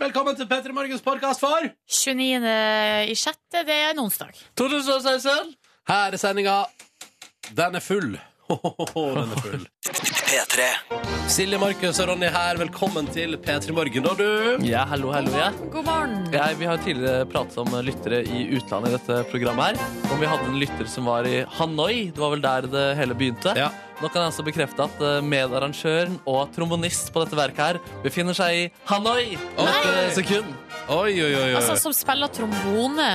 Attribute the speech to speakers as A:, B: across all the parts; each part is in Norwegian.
A: Velkommen til P3 Morgens podkast for
B: 29. i sjette, det er en onsdag.
A: 2016. Her er sendinga. Den er full. Den er full.
C: P3.
A: Silje, Markus og Ronny her. Velkommen til P3 Morgen, da, du.
C: Ja, hallo, hallo, ja.
B: God morgen.
C: Jeg, vi har tidligere pratet om lyttere i utlandet i dette programmet her. Om vi hadde en lytter som var i Hanoi. Det var vel der det hele begynte.
A: Ja.
C: Nå kan jeg altså bekrefte at eh, medarrangøren og trombonist på dette verket her befinner seg i Hanoi dette
A: Nei!
C: sekund.
A: Oi, oi, oi. oi.
B: Altså, som spiller trombone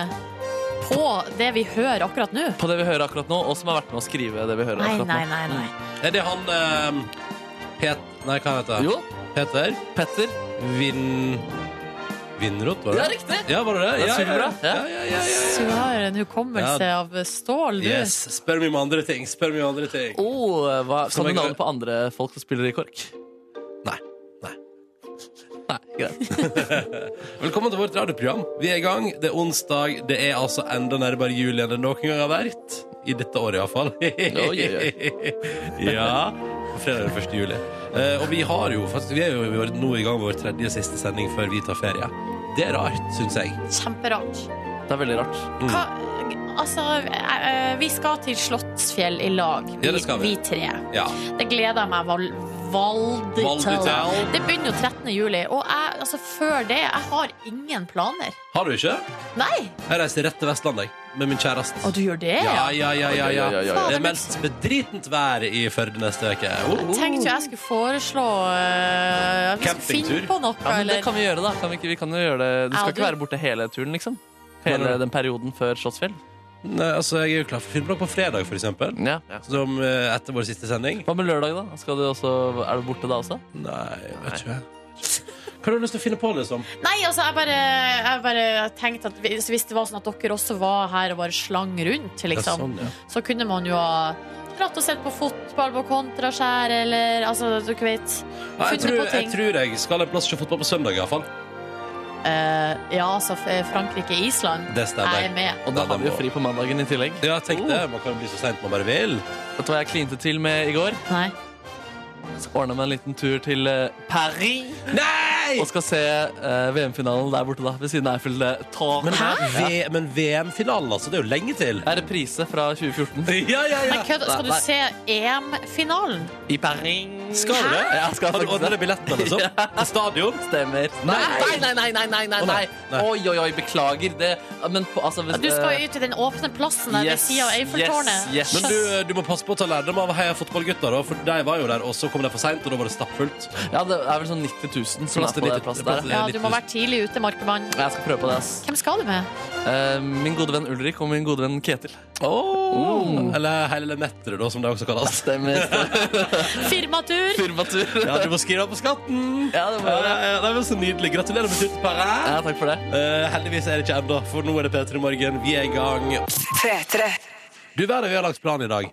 B: på det vi hører akkurat nå.
C: På det vi hører akkurat nå, og som har vært med å skrive det vi hører
B: Nei,
C: akkurat
B: nei,
C: nå.
B: nei. nei.
A: Mm. Er det han eh, Pet... Nei, hva heter han?
C: Jo,
A: Peter
C: Petter.
A: Vin... Vinrot, var
C: Det
A: det?
C: er riktig!
A: Ja, var det det?
C: Det er superbra.
A: ja, ja, ja, ja, ja.
B: Så du har en hukommelse av stål, du.
A: Yes. Spør meg om andre ting. Spør meg om andre ting.
C: Oh, hva,
A: Som
C: kan du
A: jeg-
C: navnet på andre folk som spiller i KORK?
A: Nei. Nei.
C: Nei, greit.
A: Velkommen til vårt radioprogram. Vi er i gang. Det er onsdag. Det er altså enda nærmere jul enn det noen gang har vært. I dette året, iallfall.
C: oi,
A: ja. på Fredag er det 1. juli. Eh, og vi har jo faktisk, vi er jo vi er nå i gang med vår tredje siste sending før vi tar ferie. Det er rart, syns jeg.
B: Kjemperart.
C: Det er veldig rart.
A: Mm.
B: Hva, altså, eh, eh, vi skal til Slottsfjell i lag, vi,
A: Ja, det skal vi.
B: vi tre.
A: Ja.
B: Det gleder jeg meg val valdig
A: Valdig
B: til.
A: til.
B: Det begynner jo 13. juli, og jeg, altså, før det jeg har ingen planer.
A: Har du ikke?
B: Nei!
A: Jeg reiser rett til Vestlandet jeg, med min kjæreste.
B: Og du gjør det?
A: Ja, ja, ja, ja, ja.
C: Oi, oi, oi, oi.
A: Det er meldt bedritent vær i Førde neste uke. Oh, oh.
B: Tenkte jo jeg skulle foreslå eh, at vi skulle
A: Campingtur.
B: finne på noe,
C: Ja, men det
B: eller
C: kan vi gjøre, da. Kan vi, ikke, vi kan jo gjøre det. Du skal
B: Ja, du-
C: ikke være borte hele turen, liksom?
A: Nei,
C: Hele
A: nei.
C: den perioden før Slottsfjell?
A: Nei, altså, jeg er jo klar for filmblokk på fredag, for eksempel.
C: Ja.
A: Som eh, etter vår siste sending.
C: Hva med lørdag, da? Skal du også, er du borte da også?
A: Nei, jeg vet ikke. Hva har du lyst til å finne på, liksom?
B: Nei, altså, jeg bare, jeg bare tenkte at hvis, hvis det var sånn at dere også var her og bare slang rundt, liksom,
A: ja.
B: så kunne man jo ha dratt og sett på fotball på kontraskjær, eller altså, du vet
A: Nei, jeg,
B: Funnet
A: tror,
B: på ting.
A: jeg tror jeg skal en plass til fotball på søndag, iallfall.
B: eh, Ja, altså, Frankrike-Island.
A: Det
B: Jeg
A: stemmer.
B: er med.
C: Og da
A: Nei,
C: har
A: det
C: vi jo
A: må-
C: fri på mandagen i tillegg. Oh.
A: Ja, tenk det. Man kan jo bli så seint man bare vil.
C: Vet du hva jeg klinte til med i går?
B: Nei.
C: Ordna meg en liten tur til eh, Paris.
A: Nei!
C: Og skal se eh, VM-finalen der borte, da. Ved siden av eh, Eiffeltårnet.
A: Men, V- men VM-finalen, altså. Det er jo lenge til.
C: Det er reprise fra 2014
A: Ja, ja,
B: Nei,
A: ja.
B: kødd. Skal du
C: Nei.
B: se EM-finalen?
C: i Paris.
A: Skal du det?
C: Ja, skal
A: Har du
C: faktisk
A: ordna
C: det.
A: deg billetter, liksom? På stadion?
C: Stemmer. Nei, nei, nei, nei, nei, nei, nei,
A: Å, nei. Nei.
C: Oi, oi, oi, beklager. Det, men på, altså, hvis,
B: Du skal
C: eh,
B: jo ut i den åpne plassen der ved
C: yes,
B: sida av Eiffeltårnet.
C: yes, yes.
A: Men du, du må passe på å ta lærdom av heia fotballgutta, da, for de var jo der, og så kom de for seint, og da var det stappfullt.
C: Ja, det er vel sånn 90 000 som
A: Plass
C: er
A: til
C: på den
A: 90
C: plassen der.
B: Ja, du må være tidlig ute, Markemann.
C: Jeg skal prøve på det. ass.
B: Hvem skal du med?
C: Eh, min gode venn Ulrik og min gode venn Ketil. Mm.
A: Åh. Eller hele netteret, da, som det også kalles.
C: Stemmer.
B: Firmatur! Mm.
C: Firmatur.
A: Ja, du må skrive deg på skatten.
C: Ja, det må
A: Ja,
C: jeg gjøre.
A: ja, ja, det var så nydelig. Gratulerer med tur til Paris.
C: Ja, takk for det.
A: Eh, heldigvis er det ikke ennå, for nå er det P3 Morgen. Vi er i gang. Du verden, vi har lagt plan i dag.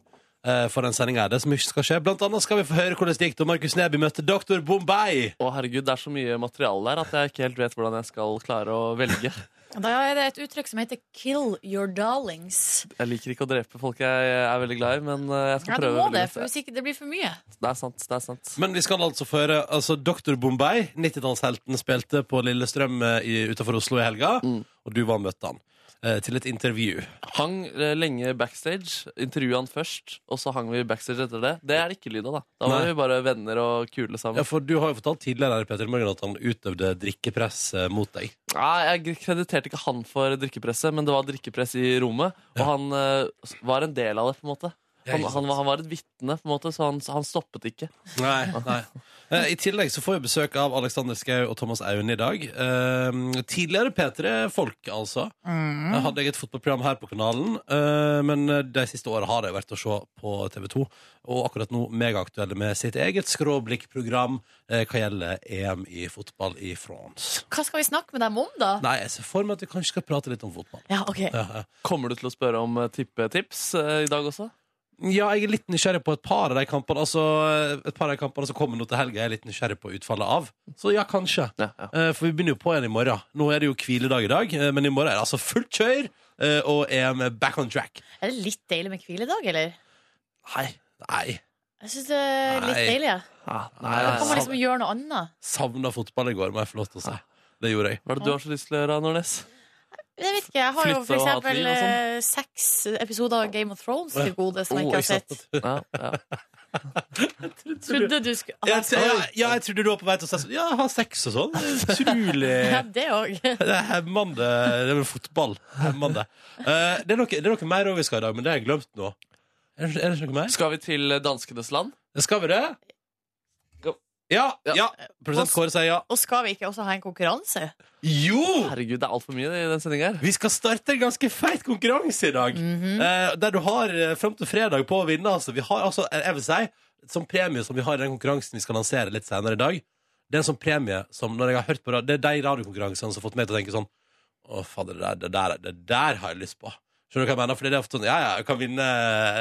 A: eh, For den sendingen her, det er så mye som skal skje Blant annet skal vi få høre hvordan det gikk Da Markus Neby møtte Dr. Bombay
C: Å, herregud, det er så mye materiale der at jeg ikke helt vet hvordan jeg skal klare å velge.
B: Da er det et uttrykk som heter 'kill your darlings'.
C: Jeg liker ikke å drepe folk jeg er veldig glad i, men eh, jeg skal
B: Ja, du
C: prøve.
B: må
C: veldig
B: det,
C: godt.
B: for hvis ikke det blir for mye.
C: Det er sant. det er sant.
A: Men vi skal altså få høre altså, Dr. Bombay, 90-tallshelten Spilte på Lillestrøm eh, i, utenfor Oslo i helga
C: Mm.
A: Og du var og møtte han eh, Til et intervju
C: Hang eh, lenge backstage. Intervjua han først, og så hang vi backstage etter det. Det er det ikke lyd av, da. Da var
A: Nei.
C: vi bare venner og kule sammen.
A: ja, For du har jo fortalt tidligere her i P3 Morgen At han utøvde drikkepress eh, mot deg
C: Nei, Jeg krediterte ikke han for drikkepresset, men det var drikkepress i rommet. Og han eh, var en del av det, på en måte.
A: Ja,
C: Han,
A: ikke
C: han, var- han var et vitne, på en måte, så han, han stoppet ikke.
A: Nei, nei. Eh, I tillegg så får vi besøk av Alexander Skau og Thomas Auen i dag. Eh, tidligere P3-folk, altså.
B: Mm.
A: Jeg hadde eget fotballprogram her på kanalen, eh, men de siste åra har det vært å se på TV2. Og akkurat nå megaaktuelle med sitt eget skråblikkprogram eh, hva gjelder EM i fotball i France.
B: Hva skal vi snakke med dem om, da?
A: Nei, jeg ser for meg at vi kanskje skal prate litt om fotball.
B: Ja, ok.
A: Ja, ja.
C: Kommer du til å spørre om eh, tippetips eh, i dag også?
A: Ja, jeg er litt nysgjerrig på et par av de kampene Altså, et par av de kampene som kommer nå til helga, er jeg litt nysgjerrig på utfallet av. Så ja, kanskje.
C: Ja, ja.
A: Eh, For vi begynner jo på igjen i morgen. Nå er det jo hviledag i dag, eh, men i morgen er det altså fullt kjør, eh, og EM er back on track.
B: Er det litt deilig med hviledag, eller?
A: Nei. Nei.
B: Jeg syns det er litt
A: Nei.
B: deilig. jeg.
C: Ah, nei, nei,
B: Kan man
C: nei.
B: liksom gjøre noe annet?
A: Savna fotball i går, må jeg få lov til å si. Det gjorde jeg.
C: Hva er det du har så lyst til å gjøre, Nordnes?
B: Jeg vet ikke, jeg har jo
C: Flytte
B: for
C: og ha
B: eksempel
C: tvil og sånn.
B: eh, seks episoder av Game of Thrones til gode som jeg
A: Oh,
B: ikke har
A: ikke
B: sett.
A: sant?
C: Ja, ja.
B: Trodde du Ah, skulle
A: Ja, jeg- ja, ja, jeg trodde du var på vei til å si sånn, Ja, ha sex og sånn. Utrolig.
B: Ja, det òg.
A: Det er hemmende. Det er vel fotball. Hemmende. Eh, det, er noe, det er noe mer òg vi skal i dag, men det har jeg glemt nå. Er det, er det noe mer?
C: Skal vi til danskenes land?
A: Skal vi det?
C: Go.
A: Ja!
C: Ja.
A: ja. Produsent Kåre sier ja.
B: Og skal vi ikke også ha en konkurranse?
A: Jo!
C: Herregud, det er altfor mye i den sendinga her. Mhm.
A: Vi skal starte en ganske feit konkurranse i dag. eh, der du har eh, frem til fredag på å vinne. Altså. Vi har altså, eh, jeg vil si, som premie som vi har i den konkurransen vi skal lansere litt senere i dag, det er en sånn premie som når jeg har hørt på radio, det er de radiokonkurransene som har fått meg til å tenke sånn Å, fader, det der, det, der, det der har jeg lyst på. Skjønner du hva jeg mener? Fordi det er ofte sånn, ja, ja, jeg kan vinne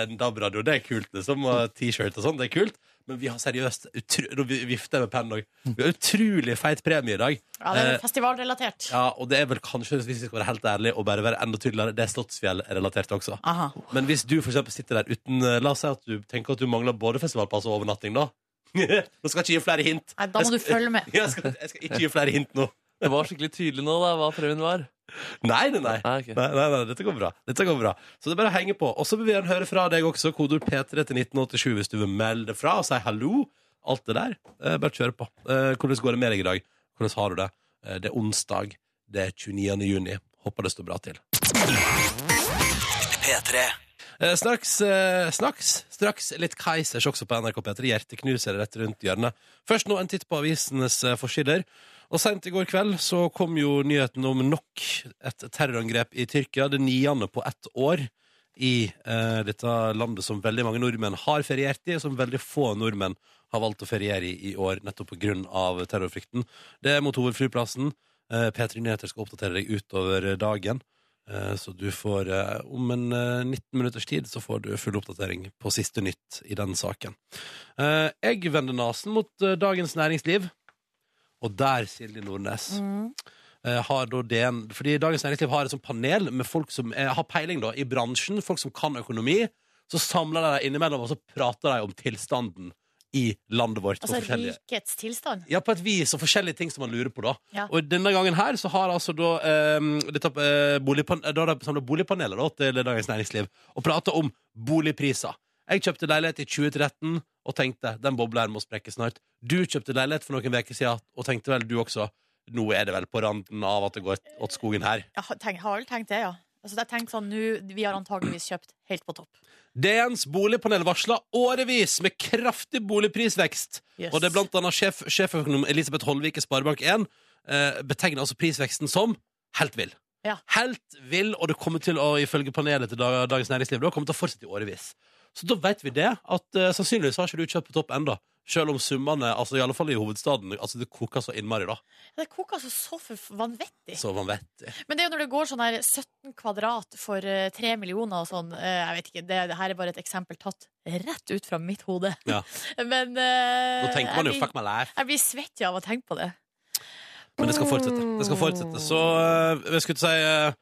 A: en DAB-radio, det er kult, liksom.
C: Mm.
A: Og T-shirt og sånn, det er kult. Men vi har seriøst utro- og vi vifter med pennen òg. Vi har utrolig feit premie i dag.
B: Ja, det
A: Eh,
B: er festivalrelatert.
A: Ja, og det er vel kanskje, hvis vi skal være helt ærlige og bare være enda tydeligere, det er Slottsfjell-relatert også.
B: Aha.
A: Men hvis du for eksempel sitter der uten eh, La oss si at du tenker at du mangler både festivalpass og overnatting, da. Nå skal jeg ikke gi flere hint.
B: Nei, da må du følge med.
A: Jeg skal, jeg skal ikke gi flere hint nå.
C: Det var skikkelig tydelig nå da, hva premien var.
A: Nei, nei, nei.
C: Ah, ok.
A: Nei, nei, nei, dette går bra. Dette går bra. Så det er bare å henge på. Og så vil vi gjerne høre fra deg også. Kodord P3 til 1987 hvis du vil melde fra og si hallo. Alt det der. Eh, bare kjør på. Eh, hvordan går det med deg i dag? Hvordan har du det? Eh, det er onsdag. Det er 29. juni. Håper det står bra til. Eh, Snaks, eh, snaks, straks litt Kaizers også på NRK P3. Hjerteknuser rett rundt hjørnet. Først nå en titt på avisenes eh, forsider. Og sent i går kveld så kom jo nyheten om nok et terrorangrep i Tyrkia. Det niende på ett år i eh, dette landet som veldig mange nordmenn har feriert i, og som veldig få nordmenn har valgt å feriere i i år, nettopp på grunn av terrorfrykten. Det er mot hovedflyplassen. Eh, P3 Nyheter skal oppdatere deg utover dagen. Eh, Så du får, eh, om en eh, 19 minutters tid, så får du full oppdatering på siste nytt i den saken. Eh, Jeg vender nasen mot eh, Dagens Næringsliv, og der, Silje Nordnes
D: Mm.
B: Mm.
A: eh, har da DN Fordi Dagens Næringsliv har et sånt panel med folk som eh, har peiling da, i bransjen, folk som kan økonomi. Så samler de dem innimellom, og så prater de om tilstanden i landet vårt. og
B: Altså
A: forskjellige
B: rikets tilstand.
A: ja, på et vis, og forskjellige ting som man lurer på da.
B: Ja.
A: Og denne gangen her så har altså da eh, dette, eh, boligpan Da har de samlet boligpaneler da, til Dagens Næringsliv og prata om boligpriser. Jeg kjøpte leilighet i 2013 og tenkte den bobla her må sprekke snart. Du kjøpte leilighet for noen uker siden og tenkte vel du også nå er det vel på randen av at det går åt skogen her.
B: Jeg har, tenkt, har vel tenkt det, ja. Altså, jeg tenkte sånn, nå, Vi har antageligvis kjøpt helt på topp.
A: DNs boligpanel varsla årevis med kraftig boligprisvekst.
B: Yes.
A: Og det er blant annet sjef, sjeføkonom Elisabeth Holvik i Sparebank 1 eh, betegner altså prisveksten som helt vill.
B: Ja.
A: Helt vill, og det kommer til å, ifølge panelet til Dag- Dagens Næringsliv, det kommer til å fortsette i årevis. Så da vet vi det, at eh, sannsynligvis har ikke du kjøpt på topp enda. Selv om summene, altså i alle fall i hovedstaden, altså det koker så innmari da.
B: Det koker altså så forf- vanvittig.
A: Så man vet det.
B: Men det er jo når det går sånn her 17 kvadrat for eh, 3 millioner og sånn eh, Jeg vet ikke, det, det her er bare et eksempel tatt rett ut fra mitt hode.
A: Ja.
B: Men eh,
A: Nå tenker man jo,
B: jeg,
A: fuck
B: blir,
A: my life.
B: jeg blir svett av å tenke på det.
A: Men det skal fortsette. Det skal fortsette. Så eh, jeg skulle til å si eh,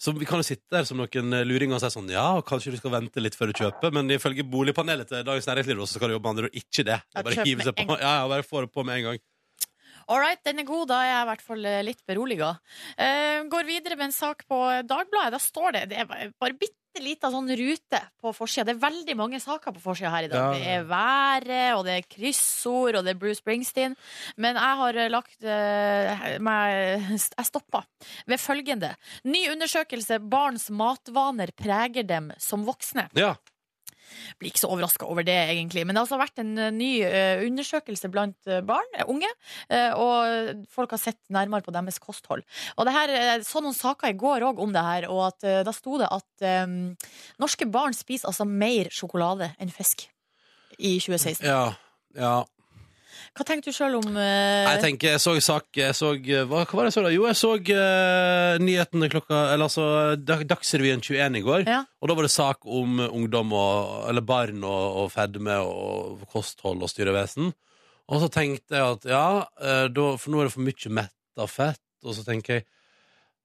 A: så vi kan jo sitte der som noen eh, luringer og si sånn Ja, kanskje du skal vente litt før du kjøper, men ifølge boligpanelet til Dagens Næringsliv så skal du jobbe med andre ord ikke det. det
B: Ja,
A: er bare
B: kjøp
A: å hive seg
B: med
A: på. Ja, ja, bare få det på med en gang.
B: All right, den er god. Da er jeg i hvert fall eh, litt beroliga. Eh, går videre med en sak på Dagbladet. Da står det Det er bare bare bitte lita sånn rute på forsida. Det er veldig mange saker på forsida her i dag.
A: Ja.
B: Det er været, og det er kryssord, og det er Bruce Springsteen. Men jeg har eh, lagt eh, meg Jeg stoppa ved følgende. Ny undersøkelse. Barns matvaner preger dem som voksne
A: Ja.
B: blir ikke så overraska over det, egentlig. Men det har altså vært en eh, ny eh, undersøkelse blant eh, barn, eh, unge, eh, og folk har sett nærmere på deres kosthold. Og det her, eh, så noen saker i går òg om det her, og at, eh, da sto det at eh, norske barn spiser altså mer sjokolade enn fisk i 2016.
A: Ja. Ja.
B: Hva tenker du sjøl om
A: Jeg
B: eh,
A: tenker, jeg så sak Jeg så eh, Hva, hva var det jeg så da? Jo, jeg så eh, nyhetene klokka Eller altså Dag- Dagsrevyen 21 i går.
B: Ja.
A: Og da var det sak om ungdom og Eller barn og, og fedme og kosthold og styrevesen. Og så tenkte jeg at ja, eh, da, for nå er det for mye metta fett. Og så tenker jeg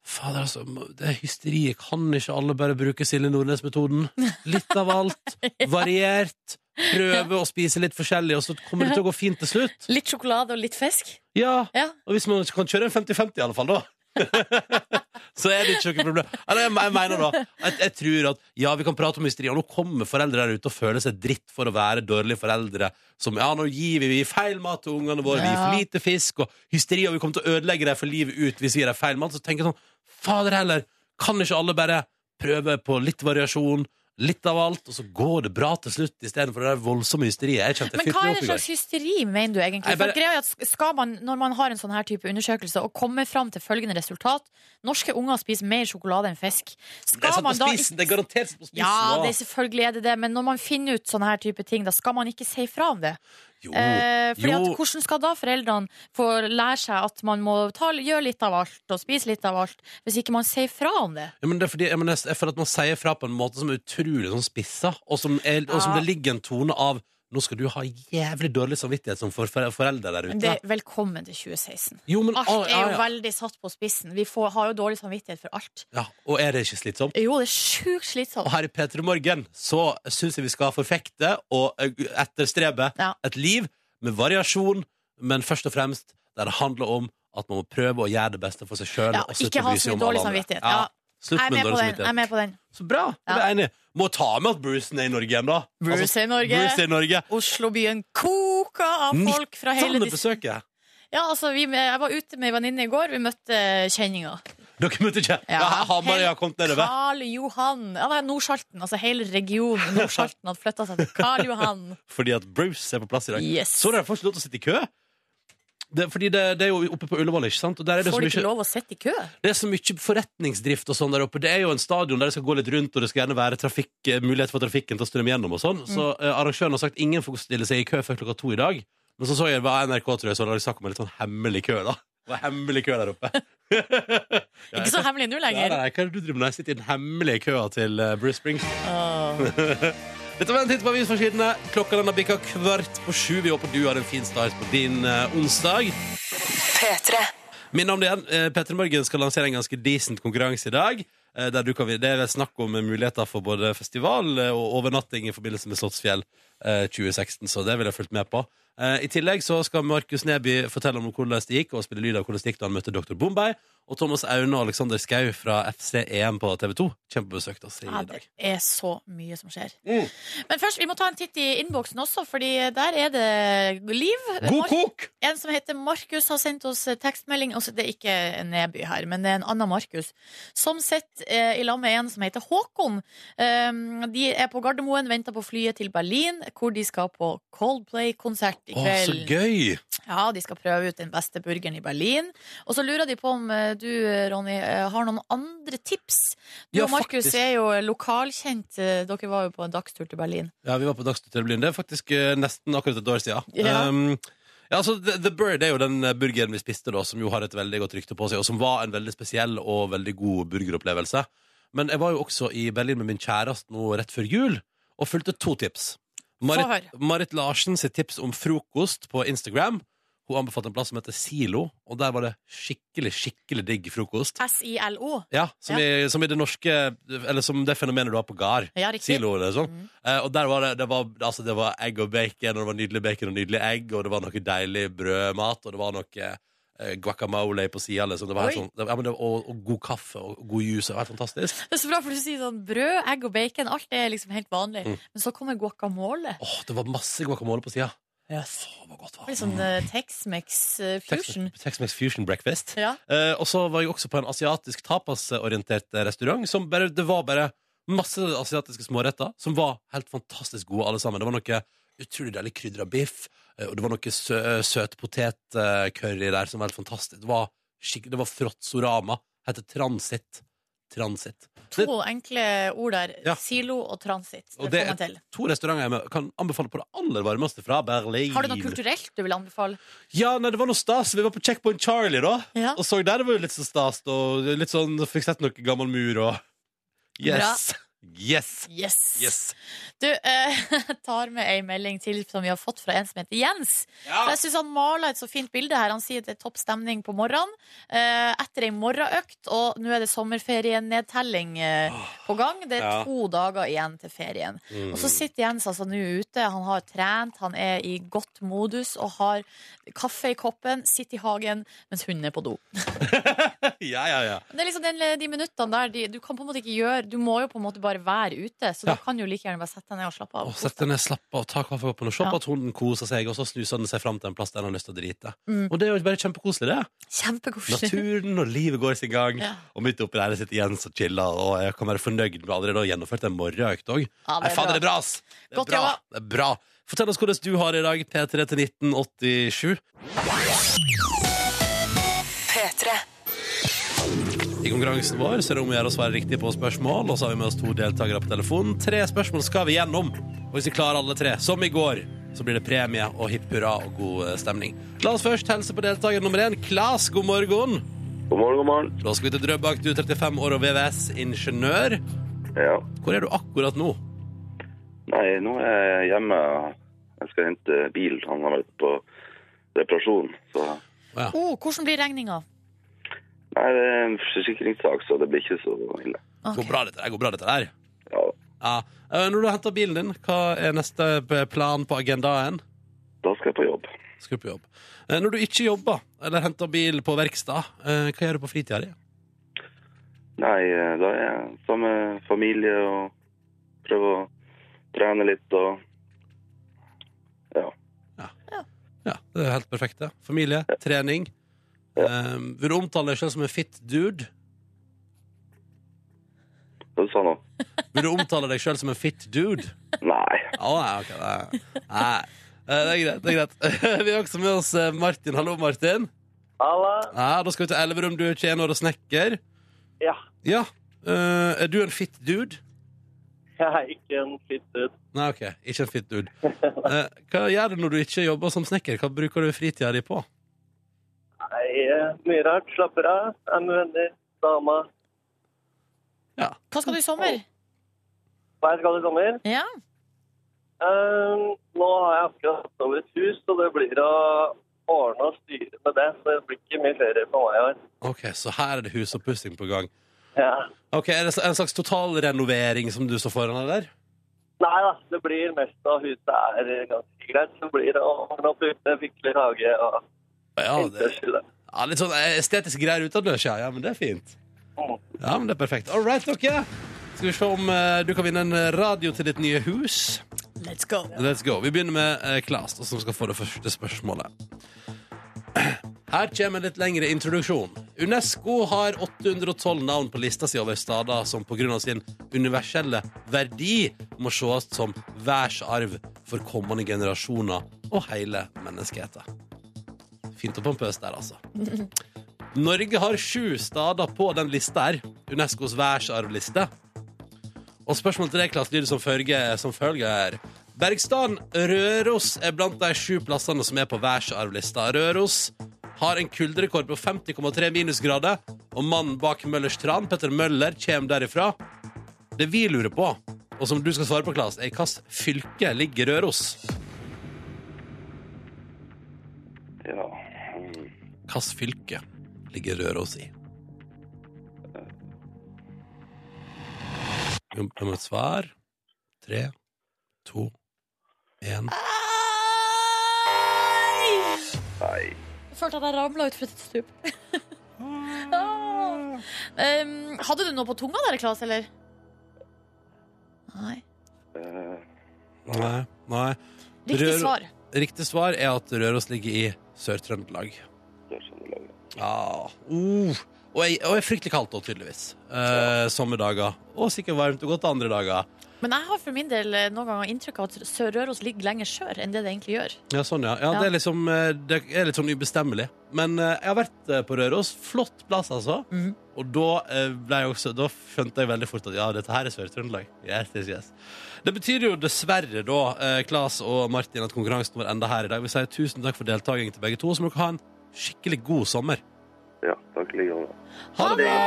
A: Fader, altså, det er hysteriet. Kan ikke alle bare bruke Silje Nordnes-metoden? Litt av alt. Variert. Prøve å spise litt forskjellig, og så kommer det til å gå fint til slutt.
B: Litt sjokolade og litt fisk.
A: Ja,
B: Ja.
A: Og hvis man kan kjøre en 50-50 i alle fall, da. så er det ikke noe problem. Eller jeg, jeg mener da jeg, jeg tror at ja, vi kan prate om hysteri, og nå kommer foreldre der ute og føler seg dritt for å være dårlige foreldre. Som ja, nå gir vi, vi gir feil mat til ungene våre, vi gir for
B: Ja.
A: lite fisk, og hysteri, og vi kommer til å ødelegge dem for livet ut hvis vi gir dem feil mat. Så tenker jeg sånn, fader heller, kan ikke alle bare prøve på litt variasjon? Litt av alt, og så går det bra til slutt, istedenfor det der voldsomme hysteriet. Jeg kjente jeg
B: Men hva
A: fyrte
B: er
A: meg
B: det
A: opp i går.
B: slags hysteri, mener du egentlig?
A: Nei, bare-
B: For greia er at skal man, Når man har en sånn her type undersøkelse og kommer fram til følgende resultat Norske unger spiser mer sjokolade enn fisk.
A: Det er sånn
B: Skal
A: satt på
B: man da ikke-
A: spisen, det er sånn garantert satt på spisen.
B: Ja,
A: da.
B: det, er selvfølgelig er det det, men når man finner ut sånne her type ting, da skal man ikke si fra om det.
A: Jo.
B: Eh, fordi at,
A: Jo.
B: hvordan skal da foreldrene få lære seg at man må ta, gjøre litt av alt og spise litt av alt, hvis ikke man sier fra om det?
A: Ja, men det er fordi, jeg, mener, jeg føler at man sier fra på en måte som er utrolig sånn spissa, og som, er, og som
B: Ja.
A: det ligger en tone av Nå skal du ha jævlig dårlig samvittighet som for, for, foreldre der ute.
B: Men det velkommen til 2016.
A: jo, men,
B: Alt
A: ah,
B: er jo
A: ja, ja.
B: veldig satt på spissen. Vi får, har jo dårlig samvittighet for alt.
A: Ja, og er det ikke slitsomt?
B: Jo, det er sjukt slitsomt.
A: Og her i P3 Morgen så syns jeg vi skal forfekte og eh, etterstrebe
B: Ja.
A: et liv med variasjon, men først og fremst der det handler om at man må prøve å gjøre det beste for seg sjøl.
B: Ja, ikke ha så mye dårlig samvittighet. Ja.
A: Slutt
B: Jeg er
A: med
B: med på
A: dårlig
B: den. Jeg er
A: samvittighet.
B: med på den.
A: Så bra!
B: Ja.
A: Det er jeg enig. i. Må ta med at Brucen er i Norge igjen, da. Altså,
B: Bruce er i Norge.
A: Bruce er i Norge.
B: Oslobyen koker av folk fra hele
A: Sanne
B: dis-
A: besøket.
B: Ja, altså, vi, Jeg var ute med ei venninne i går. Vi møtte eh, kjenninga.
A: Dere møtte ikke? Ja, Hamar har kommet nedover.
B: Karl Johan. Ja, det er Nordsalten. Altså hele regionen Nordsalten hadde flytta seg til Karl Johan.
A: Fordi at Bruce er på plass i dag.
B: Yes.
A: Så dere får ikke lov til å sitte i kø. Det, fordi det, det er jo oppe på Ullevål, ikke sant? Og der er det, så
B: Får de ikke
A: mye,
B: lov å sitte i kø?
A: det er så mye forretningsdrift og sånn der oppe. Det er jo en stadion der det skal gå litt rundt, og det skal gjerne være trafikk, eh, mulighet for trafikken til å strømme gjennom og sånn. Så
B: Mm.
A: eh, arrangøren har sagt ingen får stille seg i kø før klokka to i dag. Men så så jeg det var NRK, tror jeg, så hadde de snakk om en litt sånn hemmelig kø, da. Det var hemmelig kø der oppe.
B: Ikke så hemmelig nå
A: Nei,
B: lenger.
A: nei, hva er det du driver med? Jeg sitter i den hemmelige køa til eh, Bruce Springs.
B: Åh.
A: Dette var en titt på avisforsidene. Klokka den har bikka kvart på sju. Vi håper du har en fin start på din eh, onsdag. Minn om det igjen. Eh, Petter Morgen skal lansere en ganske decent konkurranse i dag. eh, Der du kan, det er snakk om eh, muligheter for både festival eh, og overnatting i forbindelse med Slottsfjell eh, 2016, så det vil jeg fulgt med på. Eh, I tillegg så skal Markus Neby fortelle om hvordan det gikk, og spille lyd av hvordan det gikk da han møtte Dr. Bombay. Og Thomas Aune og Alexander Skau fra FC EM på TV 2 kommer på besøk til oss i
B: Ja,
A: dag.
B: det er så mye som skjer.
A: Mm.
B: Men først, vi må ta en titt i innboksen også, Fordi der er det liv.
A: God kok!
B: En som heter Markus har sendt oss tekstmelding. Altså, det er ikke en Neby her, men det er en annen Markus. Som sitter eh, i lag med en som heter Håkon. Um, de er på Gardermoen, venter på flyet til Berlin, hvor de skal på Coldplay-konsert i
A: Å, så
B: kveld.
A: gøy!
B: ja, De skal prøve ut den beste burgeren i Berlin. Og så lurer de på om eh, du, Ronny, eh, har noen andre tips? Du
A: Ja,
B: og Markus
A: faktisk.
B: er jo lokalkjent. Eh, Dere var jo på en dagstur til Berlin.
A: Ja, vi var på Dagsnytt til Berlin. Det er faktisk eh, nesten akkurat et år siden.
B: Ja.
A: Um, ja, altså, The, The Bird er jo den eh, burgeren vi spiste, da, som jo har et veldig godt rykte på seg, og som var en veldig spesiell og veldig god burgeropplevelse. Men jeg var jo også i Berlin med min kjæreste nå rett før jul, og fulgte to tips. Marit, Marit Larsen sitt tips om frokost på Instagram. Hun anbefalte en plass som heter Silo, og der var det skikkelig, skikkelig digg frokost.
B: SILO.
A: Ja, som, I, som i det norske Eller som det fenomenet du har på gard.
B: Ja, riktig.
A: Silo, liksom.
B: Mm.
A: Eh, og der var det, det, var, altså, det var egg og bacon, og det var nydelig bacon og nydelig egg, og det var noe deilig brødmat, og det var noe eh, guacamole på sida, liksom. Det var helt
B: Oi.
A: sånn, det, ja, men det, og, og god kaffe og god juice. Det var helt fantastisk.
B: Det er så bra, for du sier sånn brød, egg og bacon. Alt er liksom helt vanlig.
A: Mm.
B: Men så kommer guacamole.
A: Åh, det var masse guacamole på sida.
B: Yes.
A: Åh, det var godt,
B: Litt
A: hva.
B: sånn eh, Tex-Mex eh, fusion.
A: Tex-Mex- Tex-Mex Fusion Breakfast.
B: Ja.
A: Eh, og så var jeg også på en asiatisk tapasorientert eh, restaurant. Som bare, det var bare masse asiatiske småretter som var helt fantastisk gode, alle sammen. Det var noe utrolig deilig krydra biff, eh, og det var noe sø søt potetcurry der som var helt fantastisk. Det var, skikk- det var Frotsorama. Hette Transit. Transit.
B: To enkle ord der.
A: Ja.
B: Silo og transit. Det
A: Og det
B: får man
A: er-
B: til.
A: To restauranter jeg med- kan anbefale på det aller varmeste fra Berlin.
B: Har du noe kulturelt du vil anbefale?
A: Ja, nei, det var noe stas. Vi var på Checkpoint Charlie, da.
B: Ja.
A: Og så der det var jo litt så stas og litt sånn, fikk sett noe gammel mur og Yes! Yes!
B: Yes!
A: Yes!
B: Du, eh, jeg tar med ei melding til som vi har fått fra en som heter Jens. For Jeg synes han maler et så fint bilde her. Han sier at det er topp stemning på morgenen. Eh, etter ei morgenøkt, og nå er det sommerferienedtelling eh, på gang. Det er
A: Ja. Mm.
B: to dager igjen til ferien.
C: Mm.
B: Og så sitter Jens altså nå ute. Han har trent, han er i godt modus og har kaffe i koppen, sitter i hagen mens hunden er på do.
A: Ja, ja, ja.
B: Det er liksom den, De minuttene der de, du kan på en måte ikke gjøre Du må jo på en måte bare være ute, så
A: Ja.
B: da kan du jo like gjerne bare sette deg ned og slappe av.
A: Og sett deg ned, slapp av, ta kaffekoppen og se på
B: Ja.
A: at hunden koser seg, og så snuser den seg fram til en plass der han har lyst til å drite.
B: Mm.
A: Og det er jo bare kjempekoselig, det.
B: Kjempekoselig.
A: Naturen og livet går sin gang.
B: Ja.
A: Og midt oppi der sitter Jens og chiller, og jeg kan være fornøyd med allerede å ha gjennomført en morgenøkt òg.
B: Ja,
A: Nei, faen, det er bra, ass! Det er
B: Godt
A: bra.
B: jobba.
A: Det er bra. Fortell oss hvordan du har det i dag, P3 til 1987. I konkurransen vår så er det om å gjøre å svare riktig på spørsmål, og så har vi med oss to deltakere på telefonen. Tre spørsmål skal vi gjennom, og hvis vi klarer alle tre, som i går, så blir det premie og hipp hurra og god eh, stemning. La oss først hilse på deltaker nummer én, Klas. God morgen.
E: God morgen, god morgen.
A: Da skal vi til Drøbak. Du er 35 år og VVS-ingeniør.
E: Ja.
A: Hvor er du akkurat nå?
E: Nei, nå er jeg hjemme. Jeg skal hente bil. Han har vært på reparasjon. Så.
B: Oh, hvordan blir regninga?
E: Nei, det er en forsikringssak, så det blir ikke så ille.
A: Går bra dette der? Går bra dette der?
E: Ja.
A: Ja. Eh, Når du henter bilen din, hva er neste p- plan på agendaen?
E: Da skal jeg på jobb.
A: Skal du på jobb? Eh, Når du ikke jobber, eller henter bil på verkstad, eh, hva gjør du på fritida di?
E: Nei, eh, da er jeg sammen med familie og prøver å trene litt og Ja.
A: Ja, det er helt perfekt, det. Familie, trening. Eh, vil du omtale deg selv som en fit dude?
E: Hva sa du nå?
A: Vil du omtale deg selv som en fit dude?
E: Nei.
A: Å, nei, ok, nei. nei. Eh, Det er greit. det er greit Vi har også med oss eh, Martin. Hallo, Martin.
F: Halla.
A: Ja, da skal vi til Elverum. Du er 21 år og snekker.
F: Ja.
A: Ja. Eh, er du en fit dude?
F: Jeg er ikke en fitte.
A: Nei, ok. Ikke en fit dude. Eh, hva gjør du når du ikke jobber som snekker? Hva bruker du fritida di på?
F: Nei, eh, mye rart. Slapper av. Er med venner. Dama.
B: Hva skal du i sommer?
F: Hva jeg skal i sommer?
B: Ja.
F: Ehm, nå har jeg akkurat hatt over et hus, så det blir å ordne og styre med det. Så det blir ikke mye ferie for meg i år.
A: Ok, Så her er det husoppussing på gang.
F: Ja.
A: Ok, Er det en slags totalrenovering som du står foran her? der?
F: Nei da, det blir mest av huset er ganske greit. Så blir det å ordne opp ute, fikle hage og
A: Ja, det,
F: innførsel.
A: ja, litt sånn estetiske greier utendørs, ja. ja. Men det er fint. Ja, men det er perfekt. All right, dere. Skal vi se om eh, du kan vinne en radio til ditt nye hus.
B: Let's go.
A: Let's go. Vi begynner med eh, Klas, da, som skal få det første spørsmålet. Her kommer en litt lengre introduksjon. Unesco har 812 navn på lista si over stader som pga. sin universelle verdi må ses som verdensarv for kommende generasjoner og hele menneskeheten. Fint og pompøst der, altså. Norge har sju stader på den lista her. Unescos verdensarvliste. Og spørsmålet til deg, Klas, lyder som følger. Som følger. Bergstaden Røros er blant de sju plassene som er på verdensarvlista. Røros har en kulderekord på 50,3 minusgrader, og mannen bak Møllers tran, Petter Møller, kommer derifra. Det vi lurer på, og som du skal svare på, Klas, er i hvilket fylke ligger Røros?
E: Ja.
A: Hvilket fylke ligger Røros i? Jeg må et svar. Tre, to, én
E: Nei.
B: Jeg følte at jeg ramla utfor et stup. Ah. Em, hadde du noe på tunga der, Klas, eller? Nei.
E: Eh,
A: Nei. Nei.
B: Riktig
A: Rør-
B: svar.
A: Riktig svar er at Røros ligger i Sør-Trøndelag.
E: det skjønner jeg.
A: Ja. Uh. Og, jeg, og jeg er fryktelig kaldt da, tydeligvis. Eh, sommerdager. Og sikkert varmt og godt andre dager.
B: Men jeg har for min del eh, noen ganger inntrykk av at Sør-Røros ligger lenger sør enn det det egentlig gjør.
A: Ja, sånn, ja. ja,
B: Ja.
A: Det, er liksom, eh, det er litt sånn ubestemmelig. Men eh, jeg har vært eh, på Røros. Flott plass, altså.
B: Mhm.
A: Og da, eh, ble jeg også, da skjønte jeg veldig fort at ja, dette her er Sør-Trøndelag. Yes, yes, yes. Det betyr jo dessverre, da, eh, Klas og Martin, at konkurransen vår ender her i dag. Vi sier tusen takk for deltaking til begge to. Så må dere ha en skikkelig god sommer.
E: Ja, takk like gjerne.
A: Ha det bra!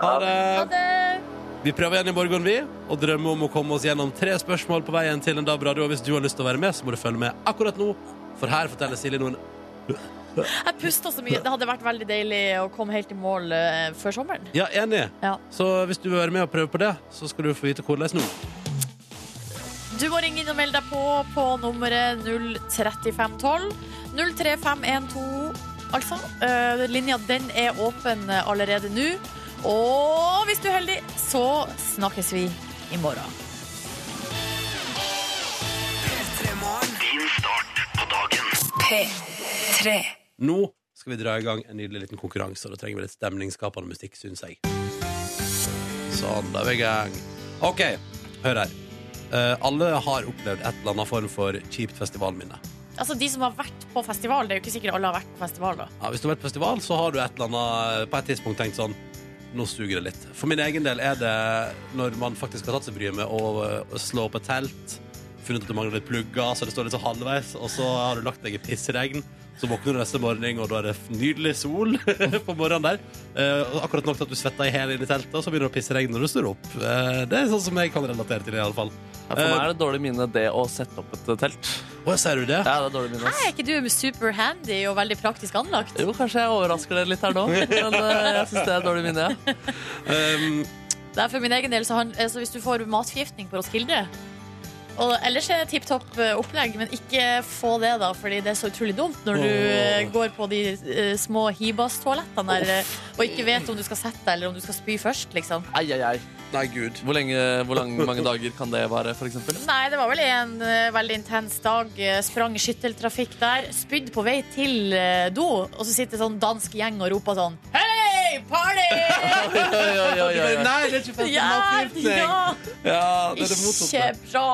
A: Ha det!
B: Ha det!
A: Vi prøver igjen i morgen, vi, og drømmer om å komme oss gjennom tre spørsmål på veien til en DAB-radio. Og hvis du har lyst til å være med, så må du følge med akkurat nå, for her forteller Silje noen
B: Jeg pusta så mye. Det hadde vært veldig deilig å komme helt i mål eh, før sommeren.
A: Ja, enig.
B: Ja.
A: Så hvis du vil være med og prøve på det, så skal du få vite hvordan nå.
B: Du må ringe inn og melde deg på på nummeret 03512. 03512, altså. Eh, linja den er åpen eh, allerede nå. Og hvis du er heldig, så snakkes vi i morgen.
A: Nå skal vi dra i gang en nydelig liten konkurranse, og da trenger vi litt stemningsskapende musikk, syns jeg. Sånn, da er vi i gang. OK, hør her. Eh, alle har opplevd et eller annet form for kjipt festivalminne.
B: Altså De som har vært på festival, det er jo ikke sikkert alle har vært på festival. da
A: Ja, hvis du har vært på festival, så har du et eller annet på et tidspunkt tenkt sånn Nå suger det litt. For min egen del er det når man faktisk har tatt seg bryet med å øh, slå opp et telt, funnet at du mangler litt plugger, så det står litt sånn halvveis, og så har du lagt deg i pissregn. Så våkner du neste morgen, og da er det f- nydelig sol på morgenen der. Eh, og akkurat nok til at du svetter i hæl inn i teltet, og så begynner det å pissregne når du står opp. Eh, det er sånn som jeg kan relatere til, i alle fall. Eh,
C: Ja, For meg er det dårlig minne det å sette opp et telt.
A: Å, ser du det?
C: Ja, det er dårlig
B: Er
C: minne. ass.
B: ikke du super handy og veldig praktisk anlagt?
C: Jo, kanskje jeg overrasker dere litt her nå, men eh, jeg syns det er dårlig minne. Ja.
A: Um,
B: Det er for min egen del så han, altså, Hvis du får matforgiftning på Roskilde og ellers er det tipp topp eh, opplegg, men ikke få det, da, fordi det er så utrolig dumt når du eh,
A: Åh.
B: går på de eh, små hibastoalettene der eh, og ikke vet om du skal sette deg eller om du skal spy først, liksom.
C: Ai, ai, ai.
A: nei, gud.
C: Hvor, lenge, hvor lang, mange dager kan det være, f.eks.?
B: Nei, det var vel en eh, veldig intens dag. Eh, Sprang i skytteltrafikk der. Spydd på vei til eh, do, og så sitter sånn dansk gjeng og roper sånn Hei, party!
C: Oi, oi, oi, oi, oi.
A: Nei, det er ikke
B: ja, ja,
A: Ja, det er det motsatte.
B: ikke bra.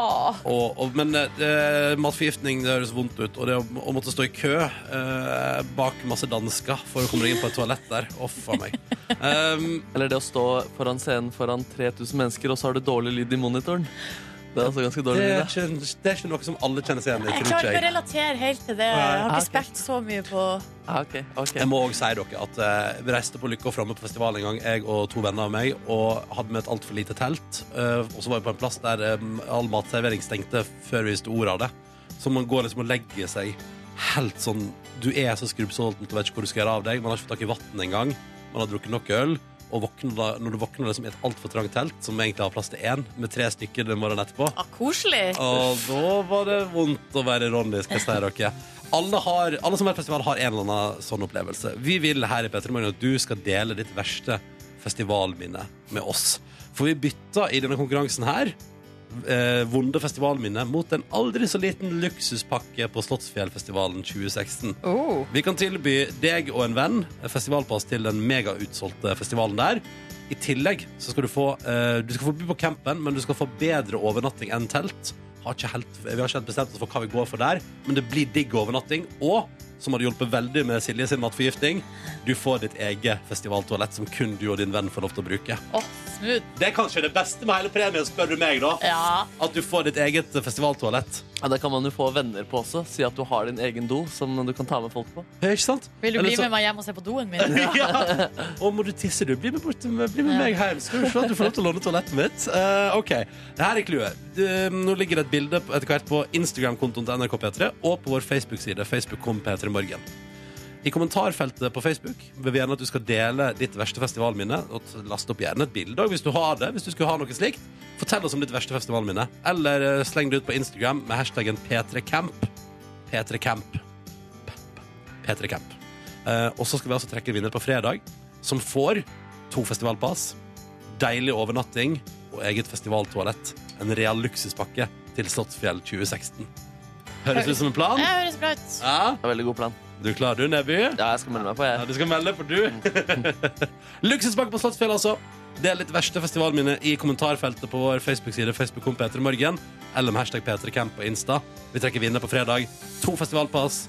A: Og, og, men eh, matforgiftning det høres vondt ut, og det å, å måtte stå i kø eh, bak masse dansker for å komme deg inn på et toalett der Å, faen meg. Um,
C: Eller det å stå foran scenen foran 3000 mennesker, og så har du dårlig lyd i monitoren. Det er altså ganske
A: det,
C: dårlig
A: er
C: lyd.
A: ikke, det er ikke noe som alle kjenner seg igjen i.
B: Jeg
A: tror
B: klarer
A: ikke
B: ikke å
A: Jeg,
B: relatere helt til det. Jeg har
C: Nei,
B: ikke
C: ok.
B: spilt så mye på
C: da. Ah, ok, ok.
A: jeg må òg si dere at eh, vi reiste på Lykke og Framme på festival en gang, jeg og to venner av meg, og hadde med et altfor lite telt. eh, og så var vi på en plass der eh, all matservering stengte før vi visste ordet av det. Så man går liksom og legger seg helt sånn Du er så skrubbsulten og vet ikke hvor du skal gjøre av deg. Man har ikke fått tak i vann engang. Man har drukket nok øl. Og våkner da, når du våkner liksom i et altfor trangt telt, som egentlig har plass til én, med tre stykker den morgenen etterpå
B: ah, Koselig.
A: Og da var det vondt å være Ronny, skal jeg si dere. Alle, har, alle som er på festival, har en eller annen sånn opplevelse. Vi vil her i Petter Morgen at du skal dele ditt verste festivalminne med oss. For vi bytta i denne konkurransen her eh, vonde festivalminne mot en aldri så liten luksuspakke på Slottsfjellfestivalen 2016.
B: Oh.
A: Vi kan tilby deg og en venn festivalpass til den megautsolgte festivalen der. I tillegg så skal du få eh, Du skal få bo på campen, men du skal få bedre overnatting enn telt. Har ikke helt, vi har ikke helt bestemt oss for hva vi går for der, men det blir digg overnatting. Og som hadde hjulpet veldig med Silje sin matforgiftning, du får ditt eget festivaltoalett som kun du og din venn får lov til å bruke.
B: Åh, smooth. Eh.
A: Det er kanskje det beste med hele premien, spør du meg, da.
B: Ja.
A: At du får ditt eget festivaltoalett.
C: Ja, det kan man jo få venner på også. Si at du har din egen do som du kan ta med folk på.
A: Ja, Ikke sant?
B: Vil du
A: Eller
B: bli
A: så-
B: med meg hjem og se på doen min?
A: ja. Og må du tisse, du? Bli med, bort, bli med
B: Ja.
A: meg hjem. Skal du se at du får lov til å låne toalettet mitt? Eh, OK. Det her er clouet. Du, Nå ligger det et bilde på- etter hvert på Instagram-kontoen til NRK P3 og på vår Facebook-side, Facebook.com P3 Morgen. I kommentarfeltet på Facebook vil vi gjerne at du skal dele ditt verste festivalminne. Og t- last opp gjerne et bilde også, hvis du har det. Hvis du skulle ha noe slikt. Fortell oss om ditt verste festivalminne. Eller eh, sleng det ut på Instagram med hashtaggen P3camp. P3camp. P3 Camp. Eh, og så skal vi altså trekke en vinner på fredag, som får to festivalpass, deilig overnatting og eget festivaltoalett. En real luksuspakke til Slottsfjell 2016. Høres ut som en plan?
B: Det høres bra ut.
A: Ja,
C: Det er veldig god plan.
A: du klarer du, Neby?
C: Ja, jeg skal melde meg på,
A: Ja,
C: jeg.
A: du skal melde, for du. Luksuspakke på Slottsfjell, altså. Del ditt verste festivalminne i kommentarfeltet på vår Facebook-side Facebook.com P3morgen eller med hashtag P3camp på Insta. Vi trekker vinner på fredag. To festivalpass,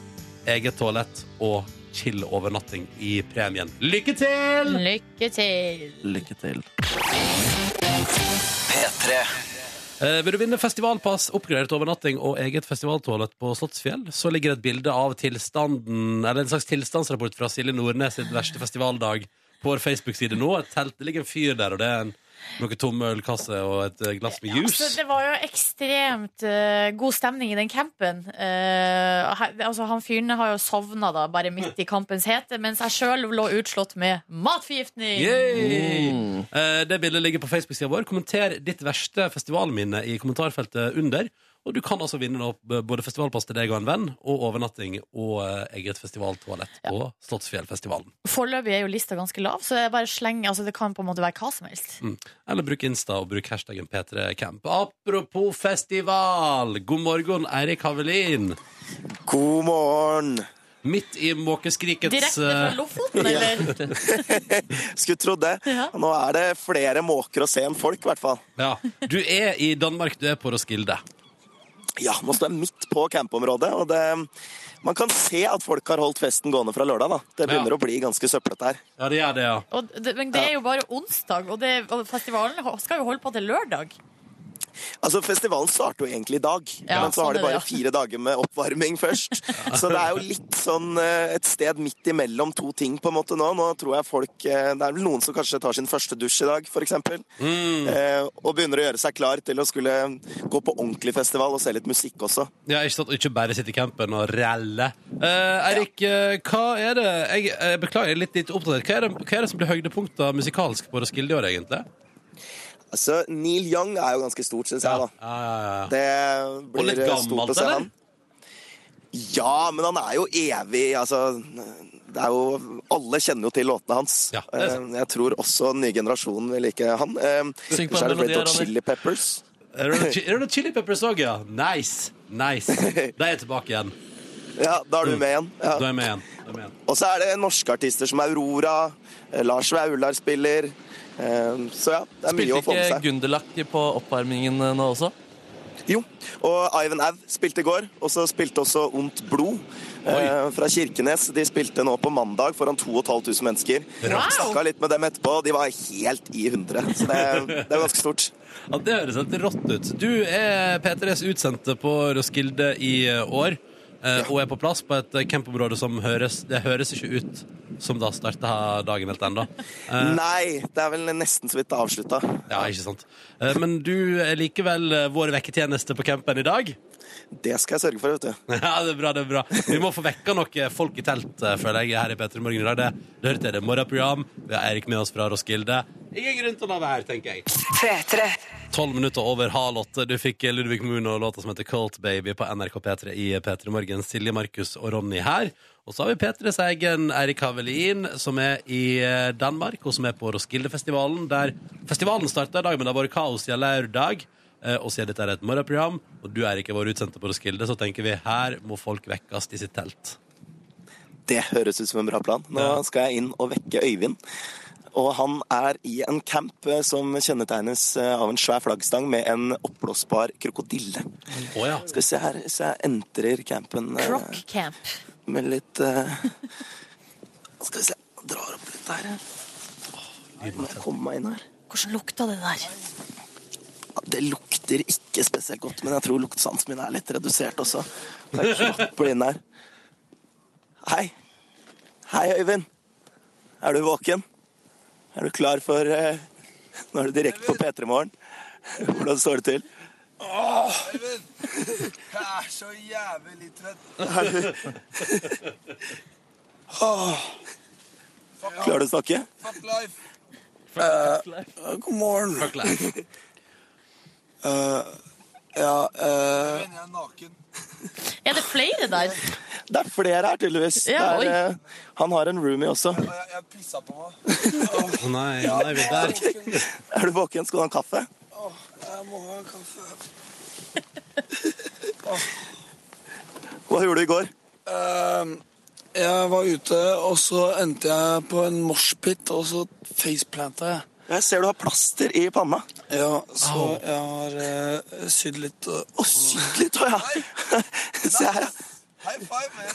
A: eget toalett og chill overnatting i premien. Lykke til!
B: Lykke til.
C: Lykke til.
A: Eh, vil du vinne festivalpass, oppgradert overnatting og eget festivaltoalett på Slottsfjell, så ligger det et bilde av tilstanden, eller en slags tilstandsrapport fra Silje Nordnes sin verste festivaldag på vår Facebook-side nå. Et telt, det ligger en fyr der, og det er en Noen tomme ølkasser og et eh, glass med
B: Altså,
A: juice.
B: det var jo ekstremt eh, god stemning i den campen. Eh, og her- altså, han fyren har jo sovna da, bare midt i kampens hete, mens jeg sjøl lå utslått med matforgiftning.
A: Yay! Eh, det bildet ligger på Facebook-sida vår. Kommenter ditt verste festivalminne i kommentarfeltet under. Og du kan altså vinne da b- både festivalpass til deg og en venn, og overnatting og eh, eget festivaltoalett på Slottsfjellfestivalen.
B: Foreløpig er jo lista ganske lav, så jeg bare slenger, altså, det kan på en måte være hva som helst.
A: Mm. Eller bruk Insta og bruk hashtaggen P3camp. Apropos festival! God morgen, Eirik Havelin.
G: God morgen!
A: Midt i måkeskrikets
B: Direkte fra
A: eh,
B: Lofoten, eller?
G: Skulle trodd det.
B: Ja.
G: Nå er det flere måker å se enn folk, i hvert fall.
A: ja. Du er i Danmark, du er på Roskilde.
G: Ja, nå står jeg midt på campområdet, og det, man kan se at folk har holdt festen gående fra lørdag. da. Det begynner
A: Ja.
G: å bli ganske søplete her.
A: Ja, det gjør det, ja.
B: Og, det, men det er jo bare onsdag, og, det, og festivalen ho- skal jo holde på til lørdag.
G: Altså, Festivalen starter jo egentlig i dag,
B: Ja,
G: men så
B: sånn
G: har
B: er
G: de
B: det,
G: bare
B: ja.
G: fire dager med oppvarming først. Så det er jo litt sånn eh, et sted midt imellom to ting på en måte nå. Nå tror jeg folk eh, Det er vel noen som kanskje tar sin første dusj i dag, f.eks. Mm. Og begynner å gjøre seg klar til å skulle gå på ordentlig festival og se litt musikk også.
A: Ja, ikke sant, og ikke bare sitte i campen og relle. Eh, Eirik, eh, hva er det jeg, jeg beklager, jeg er litt, litt oppdatert. Hva er, det, hva er det som blir høydepunkta musikalsk på Roskilde i år, egentlig?
G: Altså, Neil Young er jo ganske stort, syns jeg, da.
A: Ja, ja, ja.
G: Det blir eh,
A: Og litt
G: stort
A: gammelt,
G: å se
A: eller?
G: han. Ja, men han er jo evig Altså, det er jo Alle kjenner jo til låtene hans.
A: Ja, det er sant.
G: Eh, Jeg tror også den nye generasjonen vil like han. Eh,
C: Syng på
G: så
C: en
G: er det Red
C: melodi her,
G: Hot
C: Ronny.
G: Chili Peppers.
A: Er det noe Eh, chi- er det noe Chili Peppers òg, ja? Nice. Nice. De er tilbake igjen.
G: Ja, da er du med igjen.
A: Da er
G: Ja.
A: jeg med igjen. Da er jeg med igjen.
G: Og så er det norske artister som Aurora. eh, Lars Vaular spiller. Eh, Så ja, det er mye
C: Spilte
G: å få med
C: ikke
G: seg.
C: Gunderlach på oppvarmingen eh, nå også?
G: Jo, og Ivan Av spilte i går, og så spilte også Ondt blod eh, fra Kirkenes. De spilte nå på mandag foran 2500 mennesker.
B: Wow!
G: Snakka litt med dem etterpå, og de var helt i hundre. Så det, det er ganske stort.
A: Ja, det høres helt rått ut. Du er P3s utsendte på Roskilde i eh, år. eh, Og er på plass på et eh, campområde som høres Det høres ikke ut som det har starta dagen helt ennå.
G: Nei, det er vel nesten så vidt avslutta.
A: Eh. Ja, ikke sant. Eh, Men du er likevel eh, vår vekketjeneste på campen i dag.
G: Det skal jeg sørge for, vet du.
A: Ja, det er bra, det er bra. Vi må få vekka noe folk i telt, eh, føler jeg, her i Petter Morgen i dag. Det, det hørte jeg, det er morgenprogram. Vi har Eirik med oss fra Roskilde. Ingen grunn til å la være, tenker jeg. Tolv minutter over halv åtte. Du fikk eh, Ludvig Moon og låta som heter Cold Baby på NRK P3 i P3 Morgen. Silje, Markus og Ronny her. Og så har vi P3s egen Eirik Havelin, som er i eh, Danmark, og som er på Roskildefestivalen, der festivalen starta i dag, men det har vært kaos siden lørdag. Eh, og siden dette er et morgenprogram, og du er ikke vår utsendte på Roskilde, så tenker vi her må folk vekkes i sitt telt.
G: Det høres ut som en bra plan. Nå
A: Ja.
G: skal jeg inn og vekke Øyvind. Og han er i en camp eh, som kjennetegnes eh, av en svær flaggstang med en oppblåsbar krokodille.
A: Å ja.
G: Skal vi se her, så jeg entrer campen. eh,
B: Rock camp.
G: med litt eh, Skal vi se jeg Drar opp litt her. Må jeg komme meg inn her?
B: Hvordan lukta det der?
G: Ja, Det lukter ikke spesielt godt, men jeg tror luktesansen min er litt redusert også. Så jeg klapper inn her. Hei. Hei, Øyvind. Er du våken? Er du klar for eh, Nå er du direkte på P3 Morgen. Hvordan står det til?
H: Jeg er så jævlig trøtt.
G: Klarer du å snakke? Eh,
H: Fuck life.
G: God morgen.
A: Fuck life.
G: Ja, eh,
H: Men jeg er naken.
B: Er det flere der?
G: det er flere her, tydeligvis. Det
B: Ja,
G: er, eh, han har en roomie også.
H: Og jeg, jeg pissa på meg.
A: Å nei, nei, vi er der.
G: Er du våken? Skal du ha en kaffe?
H: Åh, jeg må ha en kaffe.
G: Hva gjorde du i går?
H: Ehm, jeg var ute, og så endte jeg på en moshpit, og så faceplanta jeg.
G: Jeg ser du har plaster i panna.
H: Ja, så jeg har eh, sydd litt og
G: Å, sykt litt, å ja. Se her, ja.
H: High five, man!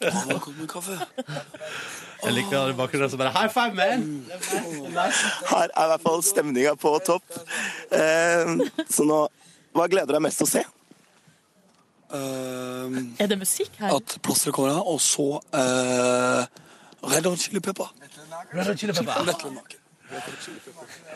H: Mamma, kom med kaffe.
A: Jeg liker det i bakgrunnen som bare High five,
H: Mm.
A: man!
G: Her er i hvert fall stemninga på topp. Eh, så nå Hva gleder du deg mest til å se?
H: Ehm,
B: Er det musikk her?
H: at plasteret kommer av, og så eh, Red Hot Chili Pepper.
A: Red Hot Chili Pepper.
H: Lettland naken.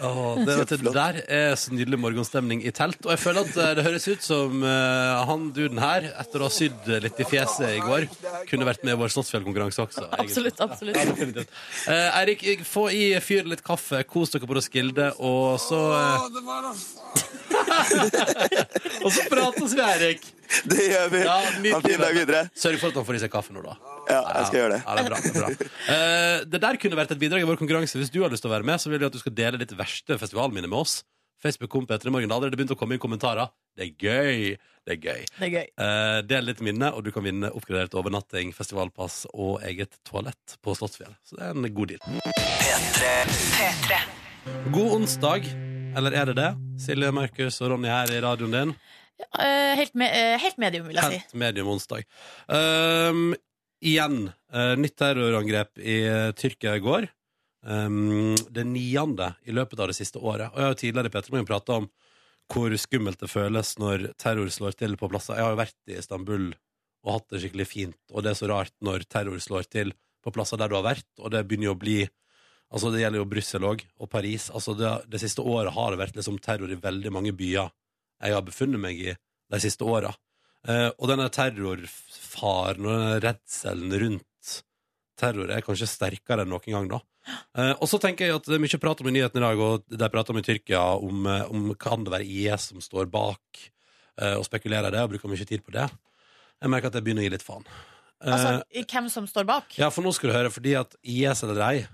A: Åh, det, vet du, der er så nydelig morgenstemning i telt. Og jeg føler at eh, det høres ut som eh, han duden her, etter å ha sydd litt i fjeset i går, kunne vært med i vår Slottsfjell-konkurranse også. egentlig.
B: Absolutt. absolutt
A: Eh, Eirik, få i fyr litt kaffe, kos dere på Roskilde, og så eh,
H: det var da faen.
A: Og så prates vi, Eirik!
G: Det gjør vi.
A: Ja, nydelig.
G: ha en fin dag videre.
A: Sørg for at han får i seg kaffe nå, da.
G: Ja, jeg skal gjøre det.
A: Ja, det, er bra, det, er bra. Eh, det der kunne vært et bidrag i vår konkurranse. Hvis du har lyst til å være med, så vil vi at du skal dele ditt verste festivalminne med oss. Facebook-kom Petter i morgen. Det har allerede begynt å komme inn kommentarer. Det er gøy! Det er gøy.
B: Det er gøy.
A: Eh, del litt minne, og du kan vinne oppgradert overnatting, festivalpass og eget toalett på Slottsfjell. Så det er en god deal. God onsdag. Eller er det det? Silje, Markus og Ronny her i radioen din.
B: Eh, helt, me eh, helt medium, vil jeg si.
A: Helt medium onsdag. Ehm, igjen. eh, nytt terrorangrep i eh, Tyrkia i går. Ehm, det niende i løpet av det siste året. Og jeg har jo tidligere i Petremorgen prata om hvor skummelt det føles når terror slår til på plasser. Jeg har jo vært i Istanbul og hatt det skikkelig fint, og det er så rart når terror slår til på plasser der du har vært, og det begynner jo å bli Altså, det gjelder jo Brussel òg, og Paris. Altså, det, det siste året har det vært liksom terror i veldig mange byer jeg har befunnet meg i de siste åra. Eh, og denne terrorfaren og denne redselen rundt terror er kanskje sterkere enn noen gang, da. Eh, og så tenker jeg at det er mye prat om i nyhetene i dag, og de prater om i Tyrkia om, eh, om kan det være IS som står bak, eh, og spekulerer i det, og bruker mye tid på det. Jeg merker at jeg begynner å gi litt faen. Eh,
B: Altså, i hvem som står bak.
A: ja, for nå skal du høre, fordi at IS eller ei,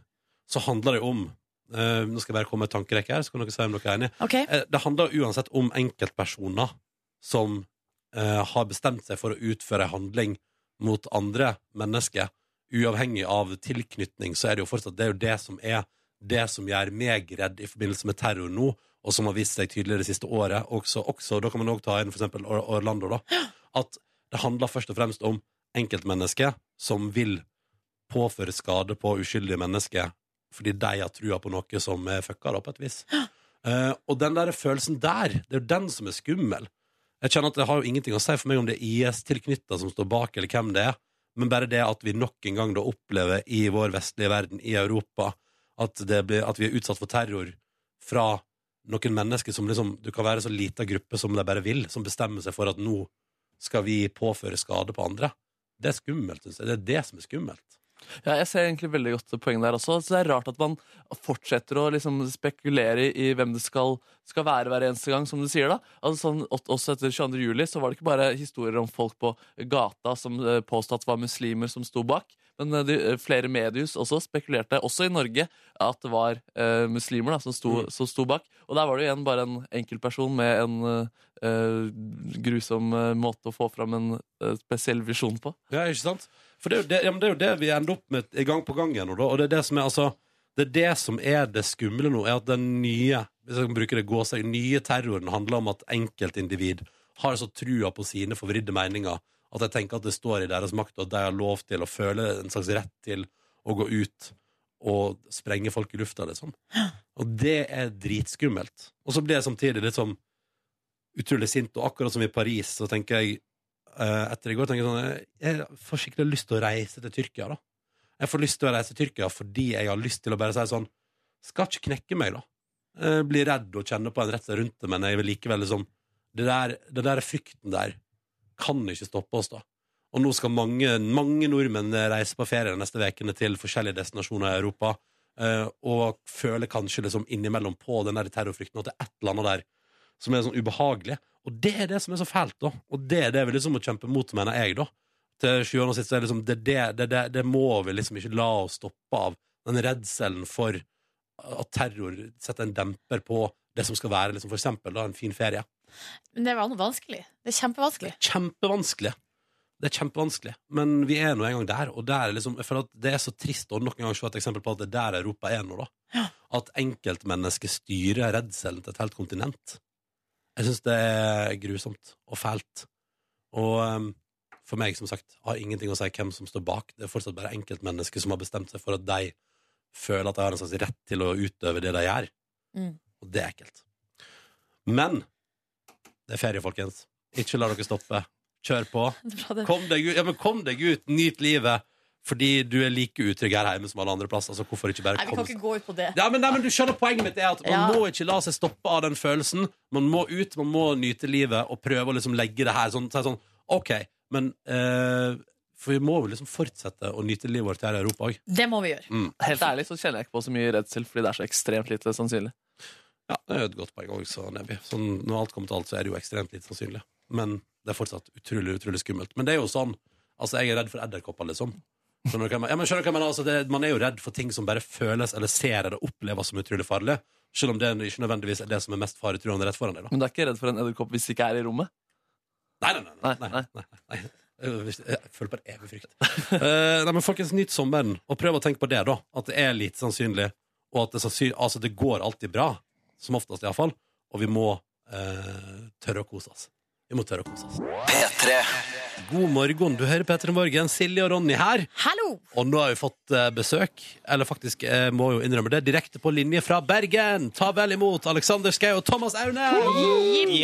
A: så handler det om eh, Nå skal jeg bare komme med en tankerekke her, så kan dere si om dere er enig.
B: Ok,
A: Eh, Det handler uansett om enkeltpersoner som eh, har bestemt seg for å utføre en handling mot andre mennesker. Uavhengig av tilknytning, så er det jo fortsatt det, er jo det som er det som gjør meg redd i forbindelse med terror nå, og som har vist seg tydeligere det siste året. Også, også, da kan man også ta inn for eksempel Or- Orlando, da. At det handler først og fremst om enkeltmennesker som vil påføre skade på uskyldige mennesker fordi de har trua på noe som er fucka, da, på et vis. Eh, og den der følelsen der, det er jo den som er skummel. Jeg kjenner at Det har jo ingenting å si for meg om det er is tilknyttet som står bak, eller hvem det er, men bare det at vi nok en gang da opplever i vår vestlige verden, i Europa, at, det blir, at vi er utsatt for terror fra noen mennesker som liksom Du kan være så lita gruppe som de bare vil, som bestemmer seg for at nå skal vi påføre skade på andre. Det er skummelt, syns jeg. Det er det som er skummelt.
C: Ja, jeg ser egentlig veldig godt poeng der også. Så det er rart at man fortsetter å liksom spekulere i hvem det skal, skal være hver eneste gang, som du sier. da. Altså sånn, ot- Også etter 22. juli så var det ikke bare historier om folk på gata som eh, påstod at det var muslimer som sto bak, men eh, de, eh, flere mediehus også spekulerte, også i Norge, at det var eh, muslimer da, som, sto, som sto bak. Og der var det jo igjen bare en enkeltperson med en eh, eh, grusom eh, måte å få fram en eh, spesiell visjon på.
A: Ja, ikke sant? For det er jo det, ja, men det, er jo det vi ender opp med i gang på gang igjen nå, da. Og det er det som er, altså, det, er det, som er det skumle nå, er at den nye hvis jeg kan bruke det gåsøy, nye terroren handler om at enkeltindivid har så trua på sine forvridde meninger at jeg tenker at det står i deres makt, og at de har lov til å føle en slags rett til å gå ut og sprenge folk i lufta, liksom. Og det er dritskummelt. Og så blir jeg samtidig litt sånn utrolig sint, og akkurat som i Paris, så tenker jeg eh, etter i går tenker jeg sånn Jeg får skikkelig lyst til å reise til Tyrkia, da. Jeg får lyst til å reise til Tyrkia fordi jeg har lyst til å bare si sånn Skal ikke knekke meg, da. Eh, Bli redd og kjenne på en redsel rundt det, men jeg vil likevel liksom det der, det der frykten der kan ikke stoppe oss, da. Og nå skal mange, mange nordmenn reise på ferie de neste ukene til forskjellige destinasjoner i Europa, eh, og føler kanskje liksom innimellom på den der terrorfrykten at det er et eller annet der som er sånn ubehagelig. Og det er det som er så fælt, da. Og det er det vi liksom må kjempe mot, mener jeg, da. Til sjuende og sist så er det liksom det, det, det, det, det må vi liksom ikke la oss stoppe av. Den redselen for at terror setter en demper på det som skal være liksom for eksempel da, en fin ferie.
B: Men det var noe vanskelig. Det er
A: Det
B: kjempevanskelig.
A: er kjempevanskelig. Det er kjempevanskelig, men vi er nå en gang der. Og der er liksom, jeg føler at det er så trist å nok en gang se et eksempel på at det er der Europa er nå. da. At enkeltmennesket styrer redselen til et helt kontinent. Jeg syns det er grusomt og fælt. Og um, for meg, som sagt, har ingenting å si hvem som står bak. Det er fortsatt bare enkeltmennesker som har bestemt seg for at de føler at de har en slags rett til å utøve det de gjør.
B: Mm.
A: Og det er ekkelt. Men det er ferie, folkens. Ikke la dere stoppe. Kjør på.
B: Det er bra, det.
A: Kom deg ut, ja, men kom deg ut, nyt livet. fordi du er like utrygg her hjemme som alle andre plasser. Altså, hvorfor ikke bare
B: Nei, vi
A: komme
B: kan ikke gå ut på det.
A: ja, men, nei, men du skjønner Poenget mitt er at man
B: Ja.
A: må ikke la seg stoppe av den følelsen. Man må ut, man må nyte livet og prøve å liksom legge det her sånn. Si sånn OK, men eh, For vi må jo liksom fortsette å nyte livet vårt her i Europa òg.
B: Det må vi gjøre.
A: Mm.
C: Helt ærlig så kjenner jeg ikke på så mye redsel, fordi det er så ekstremt lite sannsynlig.
A: Ja, det er jo et godt poeng også, Nebby. Sånn, når alt kommer til alt, så er det jo ekstremt lite sannsynlig. Men det er fortsatt utrolig, utrolig skummelt. Men det er jo sånn. Altså, jeg er redd for edderkopper, liksom. Skjønner du hva jeg mener? Ja, men skjønner du hva jeg mener? Altså, det, man er jo redd for ting som bare føles eller ser eller oppleves som utrolig farlig. Selv om det ikke nødvendigvis er det som er mest faretruende rett foran deg. da.
C: Men du er ikke redd for en edderkopp hvis det ikke er i rommet?
A: Nei, nei, nei. nei,
C: Nei,
A: nei, nei, nei. Jeg føler på en evig frykt. Eh, nei, men folkens, nyt sommeren, og prøv å tenke på det, da. At det er lite sannsynlig, og at det, sannsyn- altså, det går alltid bra. Som oftest, iallfall. Og vi må eh, tørre å kose oss. Vi må tørre å kose oss.
G: P3.
A: God morgen, du hører Petter Morgen. Silje og Ronny her.
B: Hallo!
A: Og nå har vi fått eh, besøk, eller faktisk eh, må jo innrømme det, direkte på linje fra Bergen. Ta vel imot Aleksander Schou og Thomas Aune!
B: Jibbi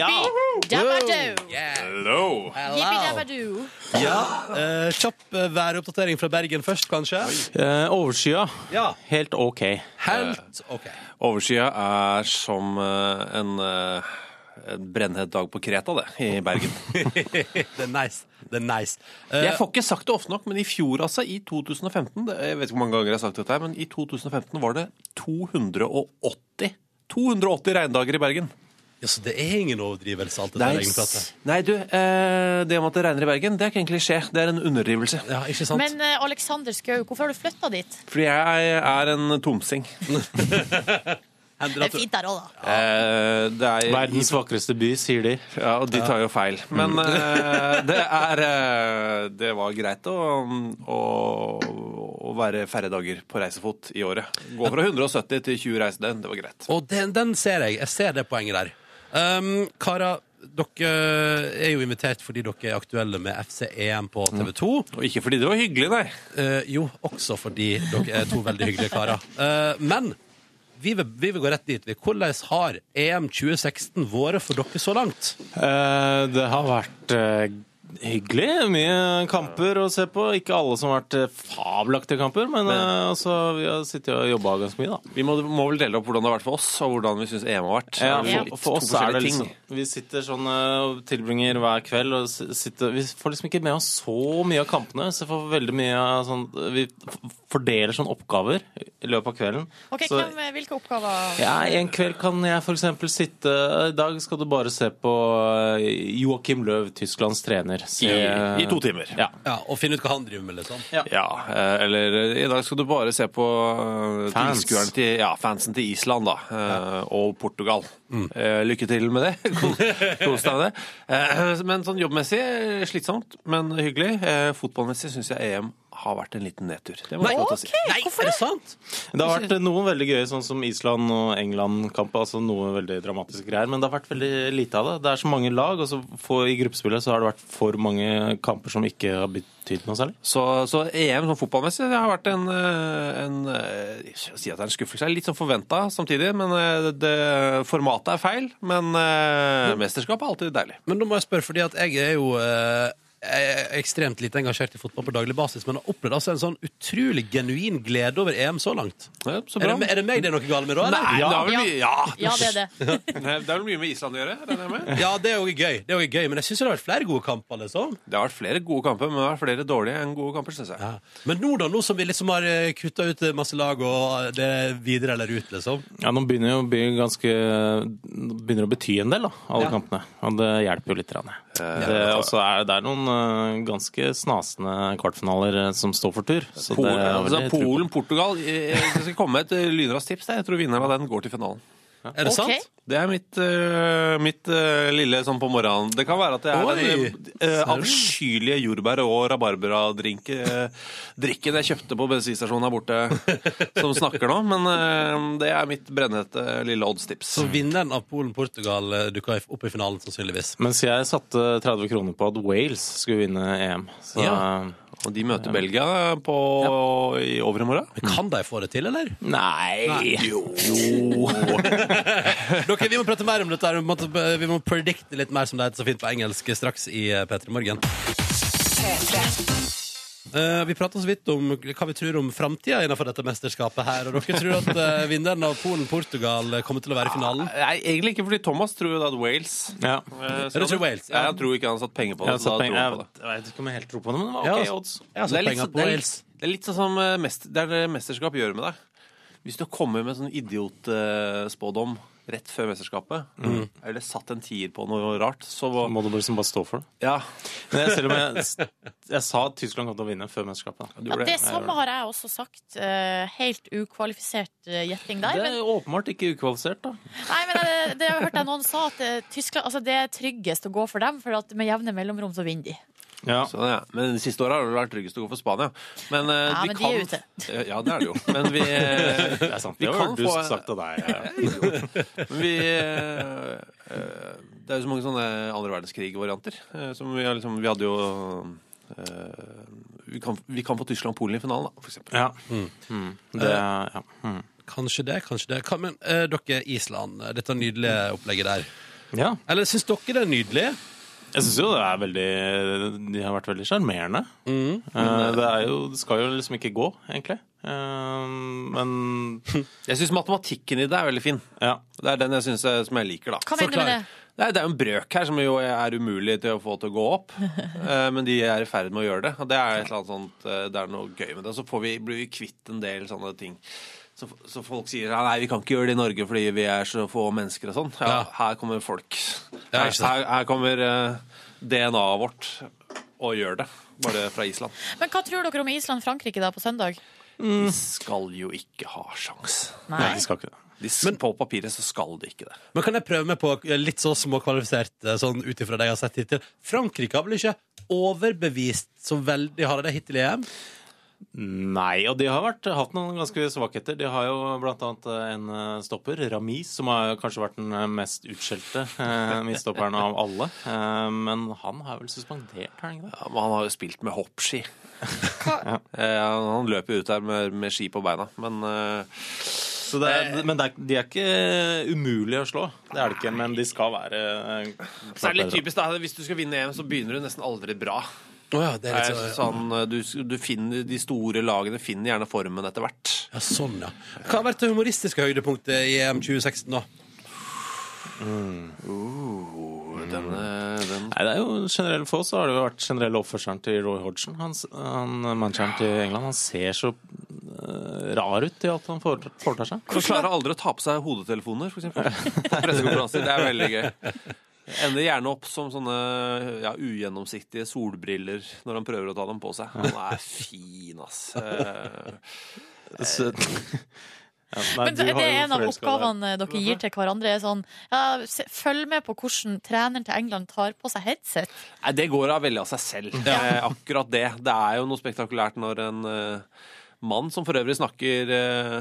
B: dabbadoo.
I: Hello!
B: Jibbi dabbadoo.
A: Ja, eh, Kjapp eh, væroppdatering fra Bergen først, kanskje?
I: Eh, overskya.
A: Ja,
I: Helt OK. Eh,
A: helt ok.
I: Overskya er som eh, en, eh, en brennhet dag på Kreta, det, i Bergen.
A: Det er nice. Det er nice. Eh,
I: Jeg får ikke sagt det ofte nok, men i fjor, altså, i 2015 det- Jeg vet ikke hvor mange ganger jeg har sagt dette, her, men i 2015 var det 280 280 regndager i Bergen.
A: ja, så det er ingen overdrivelse, alt det der egentlig pratet.
I: Nei, du, eh, det om at det regner i Bergen, det er ikke en klisjé. Det er en underdrivelse.
A: Ja, ikke sant?
B: Men eh, Alexander Skau, hvorfor har du flytta dit?
I: Fordi jeg er en tomsing.
B: Det
A: Hender
B: er
A: at du-
B: fint der òg, da.
I: Eh, det er
J: Verdens vakreste by, sier de.
I: Ja, og de tar jo feil. Men
J: Mm.
I: eh, det er eh, Det var greit å, å, å være færre dager på reisefot i året. Gå fra 170 til 20 reisende. Det var greit.
A: Og den, den ser jeg. Jeg ser det poenget der. Um, Kara, dere er jo invitert fordi dere er aktuelle med FC1 på TV 2.
I: Mm. Og ikke fordi det var hyggelig, nei.
A: Eh, jo, også fordi dere er to veldig hyggelige karer. Eh, men vi vil, vi vil gå rett dit. vi. Hvordan har EM 2016 vært for dere så langt?
J: Eh, Det har vært eh, hyggelig. Mye kamper å se på. Ikke alle som har vært eh, fabelaktige kamper, men eh, altså, vi har sittet og jobba ganske mye, da.
I: Vi må, må vel dele opp hvordan det har vært for oss, og hvordan vi syns EM har vært.
J: Ja,
I: Det er
J: for,
I: litt
J: for
I: to
J: oss er det
I: forskjellige ting.
J: liksom Vi sitter sånn eh, og tilbringer hver kveld og s- sitter Vi får liksom ikke med oss så mye av kampene. Så vi får veldig mye av sånn Vi f- fordeler sånne oppgaver i løpet av kvelden.
B: Ok,
J: Så-
B: hvem, eh, Hvilke oppgaver?
J: Ja, En kveld kan jeg f.eks. sitte I dag skal du bare se på eh, Joakim Løv, Tysklands trener. Se- eh,
I: I, I to timer.
J: Ja.
A: Ja, Og finne ut hva han driver med, liksom.
I: Ja, eh, eller eh, i dag skal du bare se på eh,
J: Fans.
I: tilskueren til ja, fansen til Island da, eh, og Portugal.
J: Mm.
I: Eh, Lykke til med det. Kos kos deg med det. Eh, Men sånn jobbmessig eh, slitsomt, men hyggelig. Eh, Fotballmessig syns jeg EM har vært en liten nedtur. Det må jeg få lov til å si.
A: Nei, er det sant?
J: Det har vært noen veldig gøye, sånn som Island og England-kamp. altså noe veldig dramatiske greier, Men det har vært veldig lite av det. Det er så mange lag, og så få, i gruppespillet så har det vært for mange kamper som ikke har betydd noe særlig.
I: Så, så EM sånn fotballmessig det har vært en, eh, en eh, Jeg skal si at det er en skuffelse. Det er Litt sånn forventa samtidig. men eh, det, Formatet er feil, men eh, mesterskapet er alltid deilig.
A: Men nå må jeg spørre, fordi at jeg er jo eh, jeg er ekstremt lite engasjert i fotball på daglig basis, men har opplevd altså en sånn utrolig genuin glede over EM så langt.
I: Ja, så
A: Er
I: bra.
A: det, er det meg det er noe galt med, da?
I: Nei,
A: eller?
I: det har vel mye Ja,
B: Ja, det er det.
I: Nei, Det er vel mye med Island å gjøre? regner jeg med?
A: Ja, det er jo gøy, det er jo gøy men jeg syns det har vært flere gode kamper, liksom.
I: Det har vært flere gode kamper, men det har vært flere dårlige enn gode kamper, syns jeg.
A: Ja. Men nå, da, nå som vi liksom har kutta ut eh, masse lag, og det er videre eller ut, liksom.
J: Ja, Nå begynner jo å bli ganske begynner å bety en del, da, alle
A: Ja.
J: kampene. Og det hjelper jo litt. grann, ja. Eh, Det, og så er, det er noen eh, ganske snasende kvartfinaler eh, som står for tur. Så det
I: Polen,
J: er
I: altså,
J: veldig tro på.
I: Polen Portugal eh, Jeg skal komme med et lynraskt tips. der. Jeg tror vinneren av den går til finalen.
A: Er det
B: Ok.
A: sant?
I: Det er mitt, eh, mitt eh, lille sånn på morgenen. Det kan være at det er den eh, avskyelige jordbær- og rabarbradrikken jeg kjøpte på bensinstasjonen her borte, som snakker nå. Men eh, det er mitt brennhete øh, lille oddstips.
A: Så vinneren av Polen-Portugal eh, dukker opp i finalen, sannsynligvis.
J: Mens jeg satte 30 kroner på at Wales skulle vinne EM. Så
A: Ja.
I: Og de møter Belgia på, i overmorgen.
J: Mm.
A: Men kan de få det til, eller?
J: Nei! Jo.
A: Dere, vi må prate mer om dette. her. Vi må, vi må predikte eh, litt mer, som det heter så fint på engelsk, straks i P3 Morgen. Eh, vi prata så vidt om hva vi tror om framtida innenfor dette mesterskapet her. Og dere tror at eh, vinneren av Polen-Portugal eh, kommer til å være i finalen?
I: Nei, egentlig ikke, fordi Thomas tror jo da at Wales
J: Ja.
I: eh,
A: Ja, du tror Wales, ja.
I: Nei, Han tror ikke han har satt penger på det.
J: Jeg,
I: så da tror han på det.
J: vet ikke om jeg helt tror på det, men det var
I: Ja,
J: ok
I: altså.
J: odds.
A: Jeg har
I: det,
A: satt
I: er litt,
A: penger på
I: det, er
A: Wales.
I: litt, det er litt sånn som eh, mest, det er det mesterskap gjør med deg. Hvis du kommer med sånn idiotspådom rett før mesterskapet, eller satt en tier på noe rart, så var-
J: Mm. Må du liksom bare stå for det.
I: Ja,
J: Men jeg, selv om jeg, jeg sa at Tyskland kom til å vinne før mesterskapet. da.
I: du
B: Ja,
I: gjorde
B: det
I: det.
B: samme har jeg også sagt. eh, helt ukvalifisert eh, gjetting der.
J: Det
B: Men,
J: er åpenbart ikke ukvalifisert, da.
B: nei, men eh, det har jeg hørt jeg noen sa, at eh, Tyskland, altså, det er tryggest å gå for dem, for at med jevne mellomrom så vinner de.
J: Ja.
I: Sånn, ja. Men de siste åra har det vært tryggest å gå for Spania. Men, eh,
B: Ja,
I: de,
B: men de
I: kan...
B: er ute.
I: Eh, Ja, det er det jo. Men vi, eh,
J: Det er sant.
I: Vi
J: Det
I: kan
J: var dust
I: få-
J: sagt av deg. Ja.
I: men vi eh, eh, Det er jo så mange sånne andre verdenskrig-varianter. eh, Som vi, har liksom, vi hadde jo eh, vi, kan, vi kan få Tyskland-Polen i finalen, da, for eksempel.
J: Ja. Mm. Det, ja. Mm.
A: Eh, Kanskje det, kanskje det. Hva, men eh, dere, Island, eh, dette nydelige opplegget der.
J: ja.
A: Eller syns dere det er nydelig?
J: Jeg syns jo det er veldig De har vært veldig sjarmerende.
I: Mm.
J: Eh, Det, er jo- det skal jo liksom ikke gå, egentlig. Eh, Men
I: Jeg syns matematikken i det er veldig fin.
J: ja.
I: Det er den jeg synes, eh, som jeg liker, da.
B: Hva mener du med det?
I: Nei, det er jo en brøk her som jo er umulig til å få til å gå opp, eh, men de er i ferd med å gjøre det. Og det er, et eller annet sånt, eh, det er noe gøy med det. Så får vi, blir vi kvitt en del sånne ting. Så, så folk sier ja, nei, vi kan ikke gjøre det i Norge fordi vi er så få mennesker og sånn. Ja,
A: Ja.
I: her kommer folk.
A: Ja,
I: Her,
A: ikke sant.
I: her, her kommer eh, DNA-et vårt og gjør det. Bare fra Island.
B: Men hva tror dere om Island-Frankrike da på søndag?
J: Mm.
I: De skal jo ikke ha sjans.
B: Nei.
J: Nei, de skal ikke det.
I: De, s- på papiret så skal de ikke det.
A: Men kan jeg prøve meg på eh, litt så småkvalifisert, eh, sånn ut ifra det jeg har sett hittil? Frankrike har vel ikke overbevist så veldig harde det hittil i EM?
J: Nei, og de har vært, hatt noen ganske svakheter. De har jo blant annet en eh, stopper, Ramis, som har kanskje vært den eh, mest utskjelte eh, midtstopperen av alle. Eh, Men han har vel suspendert, har han ikke det?
I: Ja, men han har jo spilt med hoppski.
B: Hva?
I: Eh, han- han løper jo ut der med, med ski på beina, men eh,
J: Så det er, men det er, de er ikke umulige å slå. Det er det ikke, men de skal være eh,
I: Så er det litt typisk da, Hvis du skal vinne EM, så begynner du nesten aldri bra.
A: Å ja, det
I: Det
A: er
I: er
A: litt så-
I: sånn, eh, du, du finner, De store lagene finner gjerne formen etter hvert.
A: Ja, sånn, ja. Hva har vært det humoristiske høydepunktet i EM 2016, da?
I: Uh, Denne, den.
J: Mm. Nei, det er jo generell For oss så har det jo vært generelle oppførselen til Roy Hodgson. Han, s- han manageren til England. Han ser så eh, rar ut i alt han foretar- foretar seg.
I: Han klarer aldri å ta på seg hodetelefoner, f.eks. På pressekonferanser. Det er veldig gøy. Ender gjerne opp som sånne ja, ugjennomsiktige solbriller når han prøver å ta dem på seg. Han er fin, ass. Eh,
J: Så, ja, nei,
B: Men
J: du
B: det
J: har
B: er
J: jo
B: en av
J: forelsket deg.
B: oppgavene dere gir til hverandre. Er sånn, ja, se- følg med på hvordan treneren til England tar på seg headset.
I: Nei, det går av veldig av seg selv. Eh, akkurat det. Det er jo noe spektakulært når en eh, mann, som for øvrig snakker eh,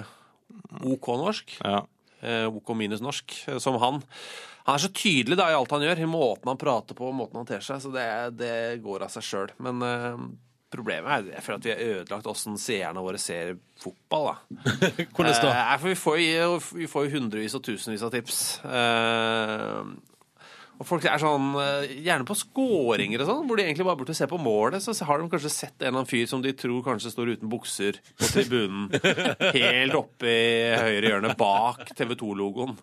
I: OK norsk,
J: Ja.
I: eh, OK minus norsk, eh, som han Han er så tydelig da i alt han gjør, i måten han prater på, måten han ter seg, så det, det går av seg sjøl. Men eh, problemet er jeg føler at vi har ødelagt åssen seerne våre ser fotball, da.
A: Hvordan
I: Eh,
A: da?
I: Nei, for vi får, jo, vi får jo hundrevis og tusenvis av tips. Eh, og folk er sånn eh, Gjerne på skåringer og sånn, hvor de egentlig bare burde se på målet. Så har de kanskje sett en eller annen fyr som de tror kanskje står uten bukser på tribunen. helt oppe i høyre hjørne bak TV 2-logoen.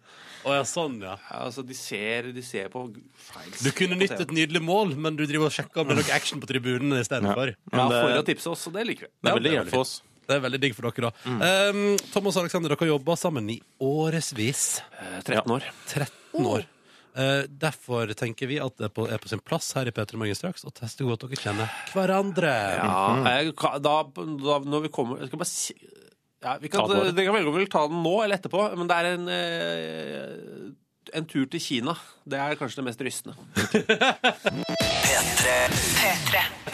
A: Å ja, sånn, ja.
I: Altså, de ser, de ser på feil
A: Du kunne nytt et nydelig mål, men du driver og sjekker om det er noe action på tribunen istedenfor.
I: Ja,
J: Men det-
I: for å tipse oss, og det liker vi.
J: eh, Det er veldig
A: Ja,
J: gøy for oss.
A: Det er veldig digg for dere, da. Um, Thomas og Alexander, dere har jobba sammen i årevis.
I: Eh, 13 år.
A: 13 år. Eh, derfor tenker vi at det er på, er på sin plass her i P3 Morgen straks å teste hvor godt dere kjenner hverandre.
I: Ja,
J: Mhm.
I: jeg, ka- da, da, når vi kommer jeg skal bare si, ja, vi kan, eh,
J: Ta det bare.
I: Dere kan velge om vi vil ta den nå eller etterpå, men det er en, eh, en tur til Kina. Det er kanskje det mest rystende.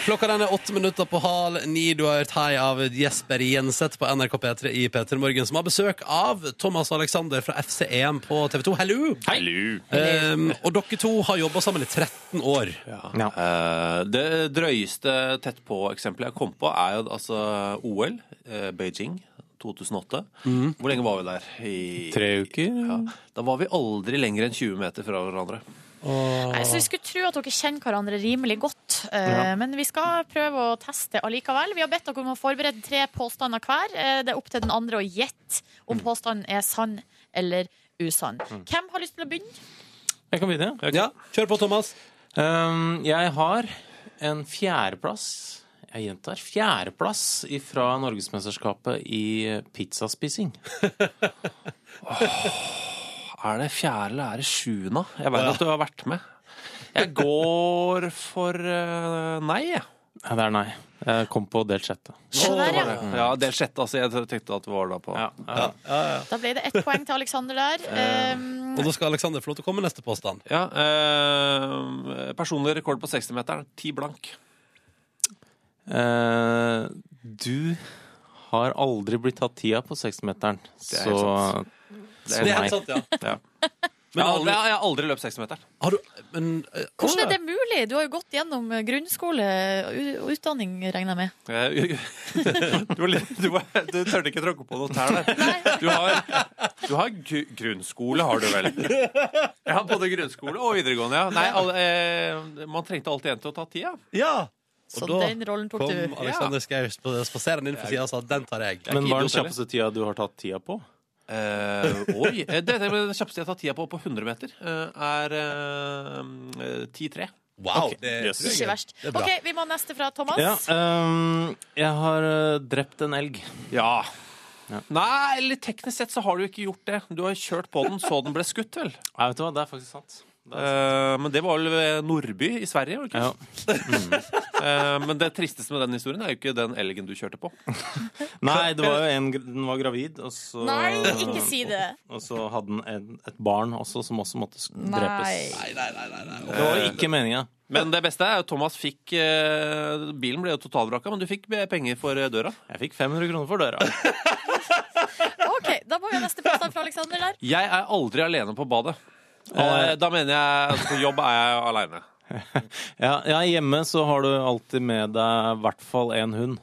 A: Klokka den er åtte minutter på hal ni. Du har hørt hei av Jesper Jenseth på NRK P3 i P3 Morgen, som har besøk av Thomas og Alexander fra FCM på TV 2. Hallo! Um, og dere to har jobba sammen i 13 år.
J: Ja.
I: Eh, det drøyeste tett på-eksempelet jeg kom på, er jo altså OL, eh, Beijing 2008. Hvor lenge var vi der? I,
J: Tre uker?
I: Ja. Da var vi aldri lenger enn 20 meter fra hverandre.
B: Nei, Så vi skulle tro at dere kjenner hverandre rimelig godt. Eh,
J: Ja.
B: Men vi skal prøve å teste allikevel. Vi har bedt dere om å forberede tre påstander hver. Eh, Det er opp til den andre å gjette om
J: Mm.
B: påstanden er sann eller usann. Hvem har lyst til å begynne?
J: Jeg kan begynne. ja.
A: Ja, kjør på, Thomas.
J: Um, jeg har en fjerdeplass Jeg gjentar fjerdeplass fra Norgesmesterskapet i pizzaspising.
I: Er det fjerde eller er det sjuende? Jeg vet at du har vært med. Jeg går for eh, nei, jeg.
J: Nei, det er nei. Jeg kom på delt sjette.
B: Der, ja.
I: Ja, del sjette, altså. Jeg tenkte at det var da på
J: Ja.
B: Da ble det ett poeng til Aleksander der. Eh,
A: Og da skal Aleksander få lov til å komme med neste påstand.
I: Ja, eh, personlig rekord på 60-meteren. Ti blank.
J: Eh, du har aldri blitt tatt tida på 60-meteren,
I: Det er
J: så
I: helt
A: Det er helt
J: nei.
A: sant, ja.
I: Ja.
A: Men
I: jeg, har
A: aldri-
I: aldri, jeg har aldri løpt 60-meteren.
A: Har du Men eh,
B: Hvordan
A: å,
B: er det mulig? Du har jo gått gjennom eh, grunnskole u- og utdanning, regner jeg med.
I: Eh, Du, var litt- du, var- du tørte ikke tråkke på noen tær der.
B: Nei.
I: Du har, du har gru- grunnskole, har du vel? Jeg har både grunnskole og videregående, ja. Nei, alle, eh, man trengte alltid en til å ta tida.
A: Ja!
B: Så
A: da
B: den rollen tok
A: Kom
B: du.
A: Aleksander Schou sp- spaserende inn på sida og sa den tar jeg.
J: Men hva er den
I: idiot,
J: kjappeste tida du har tatt tida på?
I: Eh, oi, eh, det, det, det kjappeste jeg har tatt tida på på 100 meter, eh, er eh, eh, 10-3.
A: Wow,
J: Ok,
A: det
J: yes.
A: tror jeg
B: Ikke
A: er-
B: verst.
A: Det er bra.
B: OK, vi må ha neste fra Thomas.
J: Ja, ehm, jeg har eh, drept en elg.
I: Ja.
J: Ja.
I: Nei, eller teknisk sett så har du ikke gjort det. Du har kjørt på den så den ble skutt, vel.
J: Nei, vet du hva, det er faktisk sant. Det er sant.
I: Eh, men det var vel ved Nordby i Sverige, var det ikke?
J: Ja.
I: Eh, men det tristeste med den historien er jo ikke den elgen du kjørte på.
J: Nei, det var jo en, gr- den var gravid, og så
B: Nei, ikke si det.
J: Og, og så hadde den en, et barn også, som også måtte s- drepes.
B: Nei.
J: Det var ikke meninga.
I: Eh, Men det beste er at Thomas fikk eh, Bilen ble jo totalvraka, men du fikk be- penger for eh, døra.
J: Jeg fikk 500 kroner for døra.
B: OK, da må vi ha neste påstand fra Aleksander der.
I: Jeg er aldri alene på badet. Eh, da mener jeg at på jobb er jeg aleine.
J: Ja, ja, hjemme så har du alltid med deg i hvert fall én hund.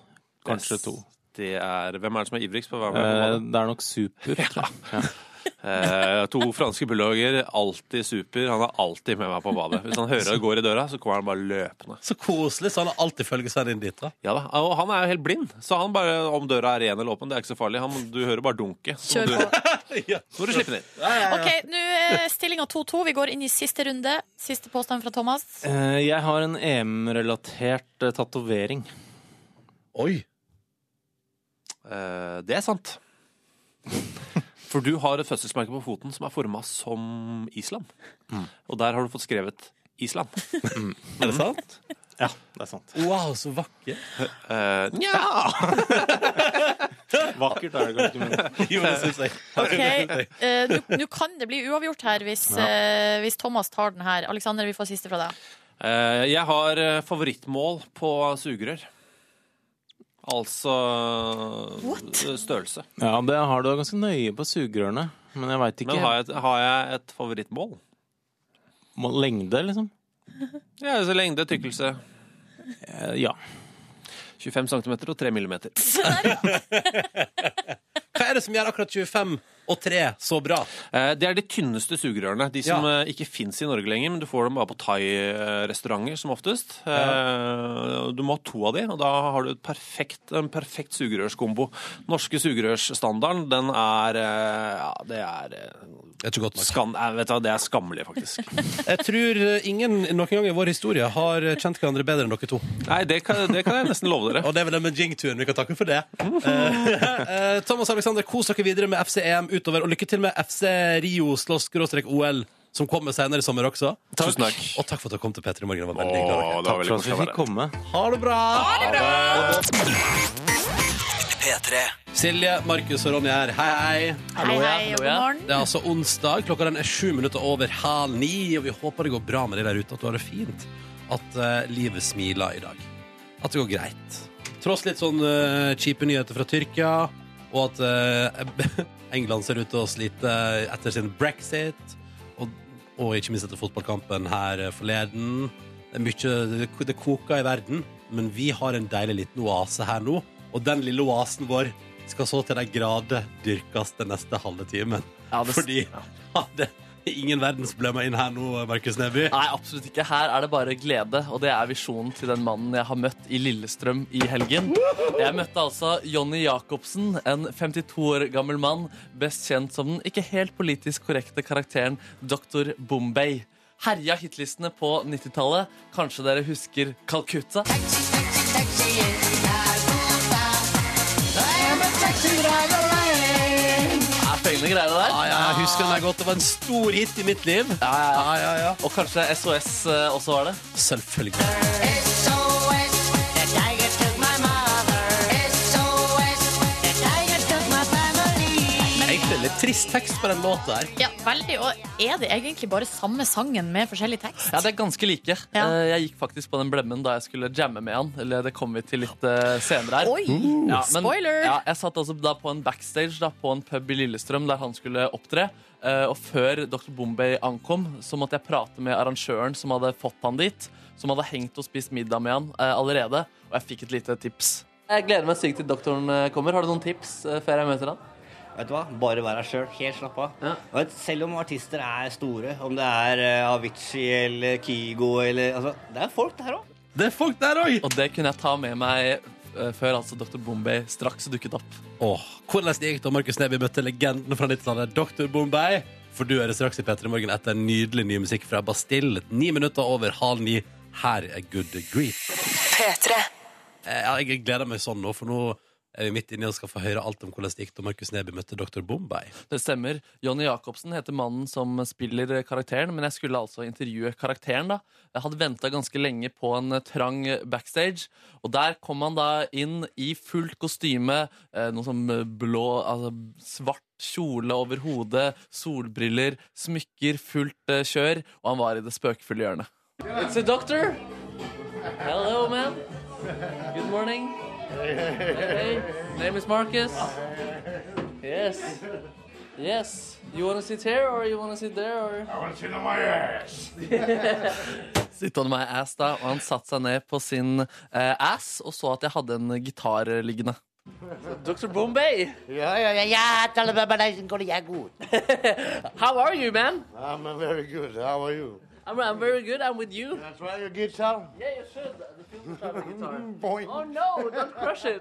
J: Kanskje to.
I: Det er, hvem er det som er ivrigst på å være med på
J: Eh,
I: badet?
J: det er nok super, tror jeg.
I: Eh, to franske bulldogger, alltid super. Han er alltid med meg på badet. Hvis han hører det går i døra, så kommer han bare løpende.
A: Så koselig, så han har alltid følgesvenn inn dit. da
I: Ja da, Og han er jo helt blind, så han bare, om døra er ren eller åpen, det er ikke så farlig. Han, du hører bare dunket. Så
B: Kjør
I: må
B: på.
I: du, må du slippe den inn.
B: OK, nå er stillinga 2-2. Vi går inn i siste runde. Siste påstand fra Thomas.
J: Eh, jeg har en EM-relatert uh, tatovering.
A: Oi!
I: Eh, det er sant. For du har et fødselsmerke på foten som er forma som Island.
J: Mm.
I: Og der har du fått skrevet Island.
A: Er det sant?
J: Ja, det er sant.
A: Wow, så vakker.
I: Eh, nja!
J: Vakkert er det kanskje, men
A: Jo, det syns jeg.
B: OK, eh, nå- nå kan det bli uavgjort her hvis, eh, hvis Thomas tar den her. Aleksander, vi får siste fra deg.
I: Eh, jeg har eh, favorittmål på sugerør. Altså eh, størrelse.
J: Ja, det har du ganske nøye på sugerørene. Men jeg veit ikke.
I: Men har jeg, et- har jeg et favorittmål?
J: Må- Lengde, liksom?
I: Ja, altså Lengde, tykkelse.
J: Eh, ja.
I: 25 cm og 3 mm.
A: Hva er det som gjør akkurat 25 og 3 så bra?
I: Eh, Det er de tynneste sugerørene. De som eh, ikke fins i Norge lenger, men du får dem bare på thai-restauranter som oftest. Eh, Du må ha to av de, og da har du et perfekt, en perfekt sugerørskombo. Norske sugerørsstandarden, den er eh, Ja, det er, eh,
A: Det er ikke godt nok.
I: skam, eh, vet du, hva, det er skammelig, faktisk.
A: Jeg tror eh, ingen noen gang i vår historie har eh, kjent hverandre bedre enn dere to.
I: Nei, det kan, det kan jeg nesten love dere.
A: Og det er vel den med jingturen vi kan takke for det. Eh, eh, Thomas og Alexander, kos dere videre med FC EM utover, og lykke til med FC Rio slåss-OL, som kommer senere i sommer også.
I: Tusen takk.
A: Og takk for at dere kom til P3 Morgen. Det var veldig hyggelig. av dere.
J: Takk for at vi fikk komme.
A: Ha det bra!
G: P3.
A: Silje, Markus og Ronny her. Hei, hei.
B: Hei, hei, og god morgen.
A: Det er altså onsdag. Klokka den er sju minutter over halv ni, og vi håper det går bra med deg der ute, at du har det fint. At eh, livet smiler i dag. At det går greit. Tross litt sånn eh, kjipe nyheter fra Tyrkia, og at eh, England ser ut til å slite etter sin brexit, og, og ikke minst etter fotballkampen her eh, forleden. Det er mye Det koker i verden, men vi har en deilig liten oase her nå, og den lille oasen vår skal så til de grader dyrkes den neste halve timen.
C: Ja, det-
A: Fordi ja, det, ingen verdensproblemer inn her nå, Markus Neby.
C: Nei, absolutt ikke. Her er det bare glede, og det er visjonen til den mannen jeg har møtt i Lillestrøm i helgen. Jeg møtte altså Jonny Jacobsen, en 52 år gammel mann, best kjent som den ikke helt politisk korrekte karakteren Dr. Bombay. Herja hitlistene på 90-tallet. Kanskje dere husker Calcutta? Er fengende greiene der?
A: Ja, ja, jeg husker den der godt. Det var en stor hit i mitt liv.
C: Ja, ja, ja.
A: Ja, ja, ja.
C: Og kanskje SOS eh, også var det?
A: Selvfølgelig. Egentlig litt trist tekst på den låta her.
B: Ja, veldig. Og er det egentlig bare samme sangen med forskjellig tekst?
C: Ja, det er ganske like.
B: Ja.
C: Eh, Jeg gikk faktisk på den blemmen da jeg skulle jamme med han. Eller det kommer vi til litt eh, senere her.
B: Oi!
C: Ja, men-
B: Spoiler!
C: Ja, jeg satt altså da på en backstage da, på en pub i Lillestrøm der han skulle opptre. Eh, og før Dr. Bombay ankom, så måtte jeg prate med arrangøren som hadde fått han dit. Som hadde hengt og spist middag med han eh, allerede. Og jeg fikk et lite tips. Jeg gleder meg sykt til doktoren eh, kommer. Har du noen tips eh, før jeg møter han?
K: Vet du hva? Bare vær deg sjøl. Helt slapp av.
C: Ja.
K: Og at Selv om artister er store, om det er eh, Avicii eller Kygo eller altså, Det er folk der òg.
A: Det er folk der òg!
C: Og det kunne jeg ta med meg eh, før altså Dr. Bombay straks dukket opp.
A: Åh, hvordan det gikk da Markus Neby møtte legenden fra 90-tallet, Dr. Bombay? For du hører straks i P3 Morgen etter nydelig ny musikk fra Bastille. Ni minutter over halv ni. Her er Good Grief. Eh, ja, Jeg gleder meg sånn nå, for nå er vi midt inne og skal få høre alt om hvordan det gikk da Markus Neby møtte Dr. Bombay.
C: Det stemmer. Jonny Jacobsen heter mannen som spiller karakteren, men jeg skulle altså intervjue karakteren, da. Jeg hadde venta ganske lenge på en eh, trang backstage, og der kom han da inn i fullt kostyme, eh, noe som eh, blå Altså svart kjole over hodet, solbriller, smykker, fullt eh, kjør, og han var i det spøkefulle hjørnet. It's a doctor. Hello, man. Good morning. Hey, name is Marcus. Yes. Yes. You wanna sit here or you wanna sit there or I wanna sit on my ass. sit on my ass, da. Og han satte seg ned på sin eh, ass og så at jeg hadde en gitar liggende. Så, Dr. Bombay,
K: Ja, ja, ja, ja. Veldig
C: how are you, man?
K: good. How are you?
C: I'm, I'm very good. I'm with you.
K: That's why you get some.
C: Yeah, you should. The people have a guitar. Oh no, don't crush it.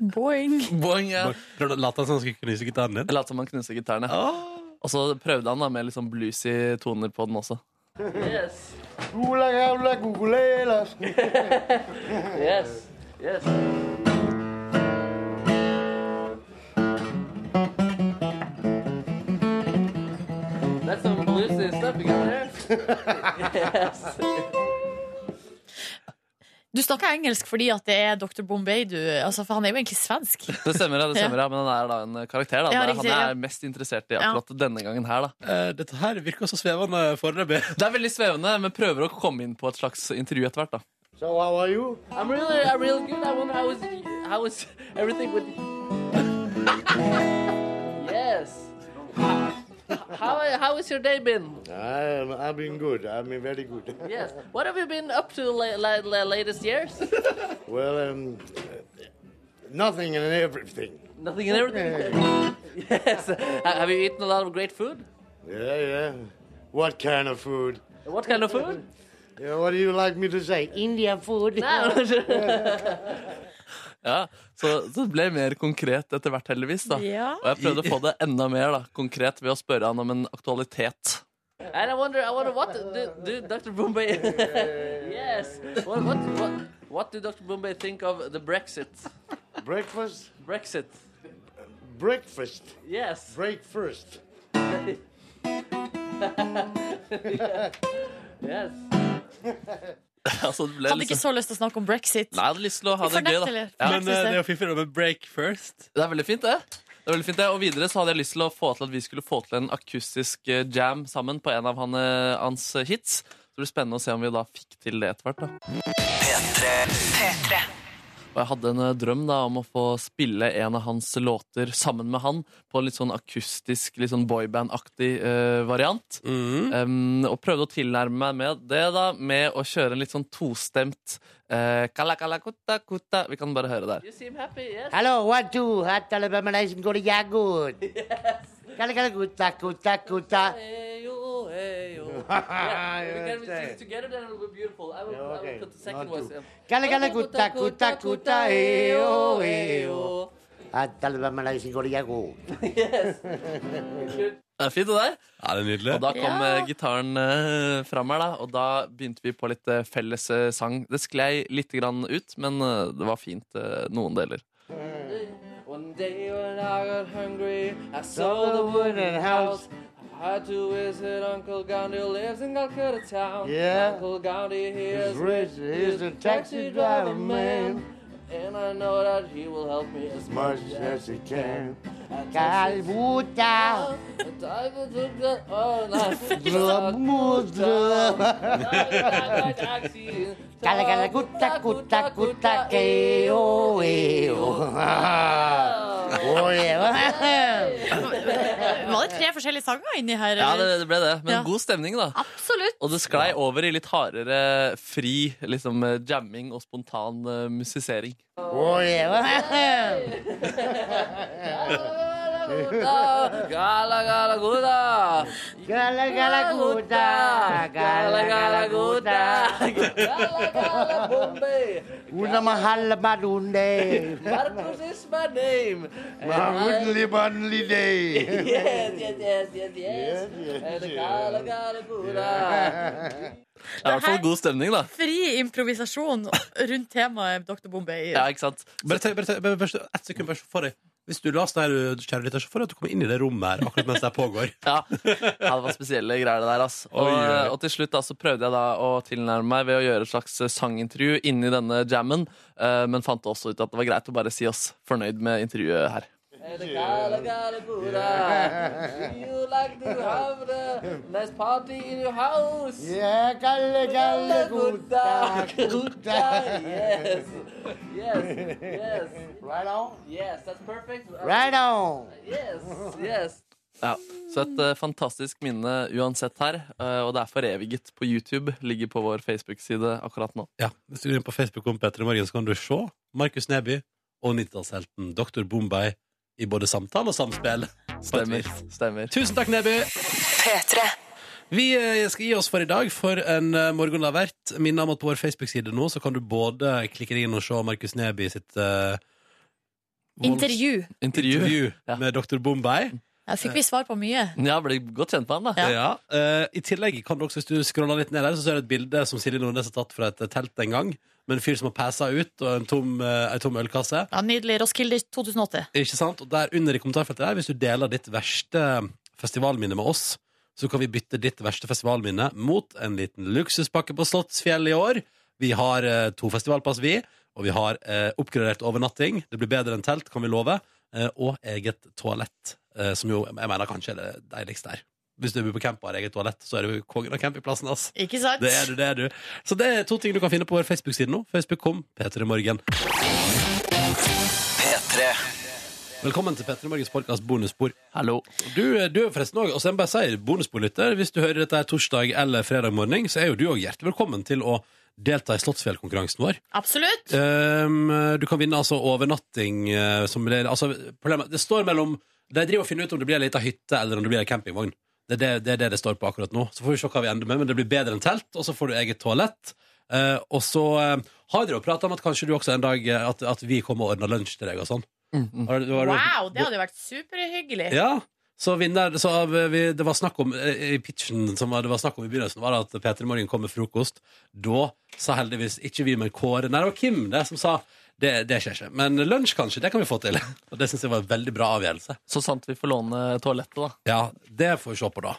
B: Boing!
C: Boing, ja.
A: Lot han som han skulle knuse gitaren din? Ah.
C: Jeg lot som han knuse gitaren. ja. Og så prøvde han da med litt sånn bluesy toner på den også. Yes. Yes. Yes. That's some bluesy stuff you got there. yes.
B: Du snakker engelsk fordi at det er Dr. Bombay, du. Altså, for han er jo egentlig svensk.
C: Det stemmer, ja, det stemmer, ja. men han er da en karakter. Da.
B: Ja,
C: Det er
B: riktig,
C: han jeg
B: ja.
C: er mest interessert i akkurat denne gangen her. Da.
A: Eh, dette her virker så svevende foreløpig.
C: Det er veldig svevende, men prøver å komme inn på et slags intervju etter hvert. da.
K: So how are you?
C: I'm really, I'm really good. I wonder how is, how is everything with. yes. How, how has your day been?
K: I'm, I've been good. I've been very good.
C: Yes. What have you been up to la- la- la- latest years?
K: Well, um, nothing and everything.
C: Nothing and everything. yes. Ha- Have you eaten a lot of great food?
K: Yeah, yeah. What kind of food?
C: What kind of food?
K: Yeah, Ya, what do you like me to say? India food.
C: Ja, så, så det ble mer konkret etter hvert, heldigvis. da.
B: Ja.
C: Og jeg prøvde å få det enda mer da, konkret ved å spørre han om en aktualitet. And I wonder, I wonder what do, do Dr. Bombay Yes. What, what, what, what do Dr. Bombay think of the Brexit?
K: Breakfast?
C: Brexit.
K: Breakfast.
C: Yes.
K: Break first.
C: yes. altså, det ble
B: Hadde ikke
C: liksom...
B: så lyst til å snakke om brexit.
C: Nei, jeg hadde lyst til å ha det
B: For
C: gøy,
B: nett,
C: da.
B: eller?
C: Ja.
B: Men, eh, det er
A: jo fiffig med break first.
C: Det er veldig fint, det. det er veldig fint det. Og videre så hadde jeg lyst til å få til at vi skulle få til en akustisk eh, jam sammen på en av han, eh, hans eh, hits. Så det blir spennende å se om vi da fikk til det etter hvert. da. Og jeg hadde en eh, drøm da om å få spille en av hans låter sammen med han på en litt sånn akustisk, litt sånn boyband-aktig eh, variant.
A: Mhm.
C: Um, og prøvde å tilnærme meg med det da, med å kjøre en litt sånn tostemt eh, kala, kala, kutta, kutta. Vi kan bare høre der.
K: Hello, what do? Hot telebamanation go to Yagood. Yes. Kala kala kuta kuta kuta.
C: Eh, jo, We can sing it together, then it will be beautiful. I will, I will put the second verse in.
L: Gala, gala, guta, guta, guta, eo, eo. e ya
C: Yes. Det er fint, det der.
A: Ja, det er nydelig.
C: Og da kom
A: Ja.
C: eh, gitaren uh, fram her, da. Og da begynte vi på litt eh, felles eh, sang. Det sklei litt grann ut, men eh, det var fint eh, noen deler.
D: One day when I got hungry, I
C: saw the wooden house.
D: I had to visit Uncle Gandhi, who lives in Calcutta town.
L: Yeah.
D: Uncle Gandhi, he
L: He's
D: is
L: rich, he's a taxi driver man,
D: And I know that he will help me as
L: much
D: much
L: as he can.
D: as
L: Kalbuta,
D: But I could do that all night.
L: glumudra.
D: Taxi.
L: Gala, gala, guta, guta, guta, eo, eo. Oh,
B: Var det tre forskjellige sanger inni her?
C: Ja, det, det ble det. Men
B: Ja.
C: god stemning, da.
B: Absolutt.
C: Og det sklei over i litt hardere fri liksom eh, jamming og spontan eh, musisering.
L: Oh,
D: Gala, gala, guta.
L: Gala, gala, guta. Gala, gala, guta. Una mahal madunde.
D: Marcus is my name. And I-
L: Mahunli banli
D: yes,
L: day.
D: yes, yes, yes, yes. And gala, gala, guta.
C: Det er i hvert fall god stemning, da.
B: Fri improvisasjon rundt temaet Dr. Bombay.
C: ikke sant?
A: Bare, tenk- bare, tenk- bare, bare, ett sekund bare for deg. Hvis du laser der, du, kjære lytter, så får du at du kommer inn i det rommet her akkurat mens det her pågår.
C: Ja. ja, det var spesielle greier det der, ass. Og, eh,
A: Oi, oi, oi.
C: og til slutt da, så prøvde jeg da å tilnærme meg ved å gjøre et slags eh, sangintervju inni denne jammen, eh, men fant også ut at det var greit å bare si oss fornøyd med intervjuet her.
D: And gala, gala, guta. Do you like to have the nice party in your house?
L: Yeah, gala, gala, guta. Guta.
D: Yes. Yes, yes. Right on? Yes, that's perfect.
C: Right on.
D: Yes, yes.
C: Ja, Så et eh, fantastisk minne uansett her, eh, og det er foreviget på YouTube. Ligger på vår Facebook-side akkurat nå.
A: Ja, Hvis du går inn på Facebook om Petter i morgen, så kan du se Markus Neby og 90-tallshelten Dr. Bombay i både samtale og samspill.
C: Stemmer, stemmer.
A: Tusen takk, Neby. Vi eh, skal gi oss for i dag, for en eh, morgen det har vært. Minn om at på vår Facebook-side nå så kan du både klikke deg inn og se Markus Neby sitt eh, volds-
B: Intervju.
C: Intervju,
A: med Dr. Bombay.
B: Ja, fikk vi svar på mye.
C: Ja, ble godt kjent med han,
A: Ja. eh, I tillegg kan du også, hvis du scroller litt ned her, så ser du et bilde som Silje Nordnes har tatt fra et eh, telt en gang, med en fyr som har passa ut, og en tom, eh, en tom ølkasse.
B: Ja, nydelig. Roskilde 2008.
A: Ikke sant? Og der under i kommentarfeltet der, hvis du deler ditt verste festivalminne med oss, så kan vi bytte ditt verste festivalminne mot en liten luksuspakke på Slottsfjell i år. Vi har eh, to festivalpass, vi, og vi har eh, oppgradert overnatting. Det blir bedre enn telt, kan vi love. Eh, og eget toalett, eh, som jo jeg mener kanskje er det deiligste her. Hvis du bor på camp og har eget toalett, så er du jo kongen av campingplassen, ass.
B: Ikke sant?
A: Det er du, det er du. Så det er to ting du kan finne på vår Facebook-side nå. Facebook.com, Peter i morgen.
G: P3.
A: Velkommen til Petter i Morgens podcast bonusspor.
C: Hallo.
A: Du, du er forresten også, og så må jeg bare si bonussporlytter, hvis du hører dette her torsdag eller fredag morgen, så er jo du også hjertelig velkommen til å delta i Slottsfjellkonkurransen vår.
B: Absolutt.
A: Ehm, du kan vinne altså overnatting eh, som det, altså, problemet, det står mellom De driver og finner ut om det blir ei lita hytte eller om det blir ei campingvogn. Det er det, det er det det står på akkurat nå. Så får vi se hva vi ender med, men det blir bedre enn telt, og så får du eget toalett. Eh, og så eh, har dere jo prata om at kanskje du også en dag eh, At, at vi kommer og ordner lunsj til deg og sånn. Har du- har du-
B: Mm, Wow, det hadde jo vært superhyggelig.
A: ja, så vinner så av, vi, Det var snakk om eh, i pitchen som var- det var snakk om i begynnelsen, var at Peter i morgen kom med frokost. Da sa heldigvis ikke vi, men Kåre Nei, det var Kim det som sa det, det skjer ikke. Men lunsj, kanskje. Det kan vi få til. Og det syns jeg var en veldig bra avgjørelse.
C: Så sant vi får låne eh, toalettet, da. Mm.
A: Ja, det får vi se på, da.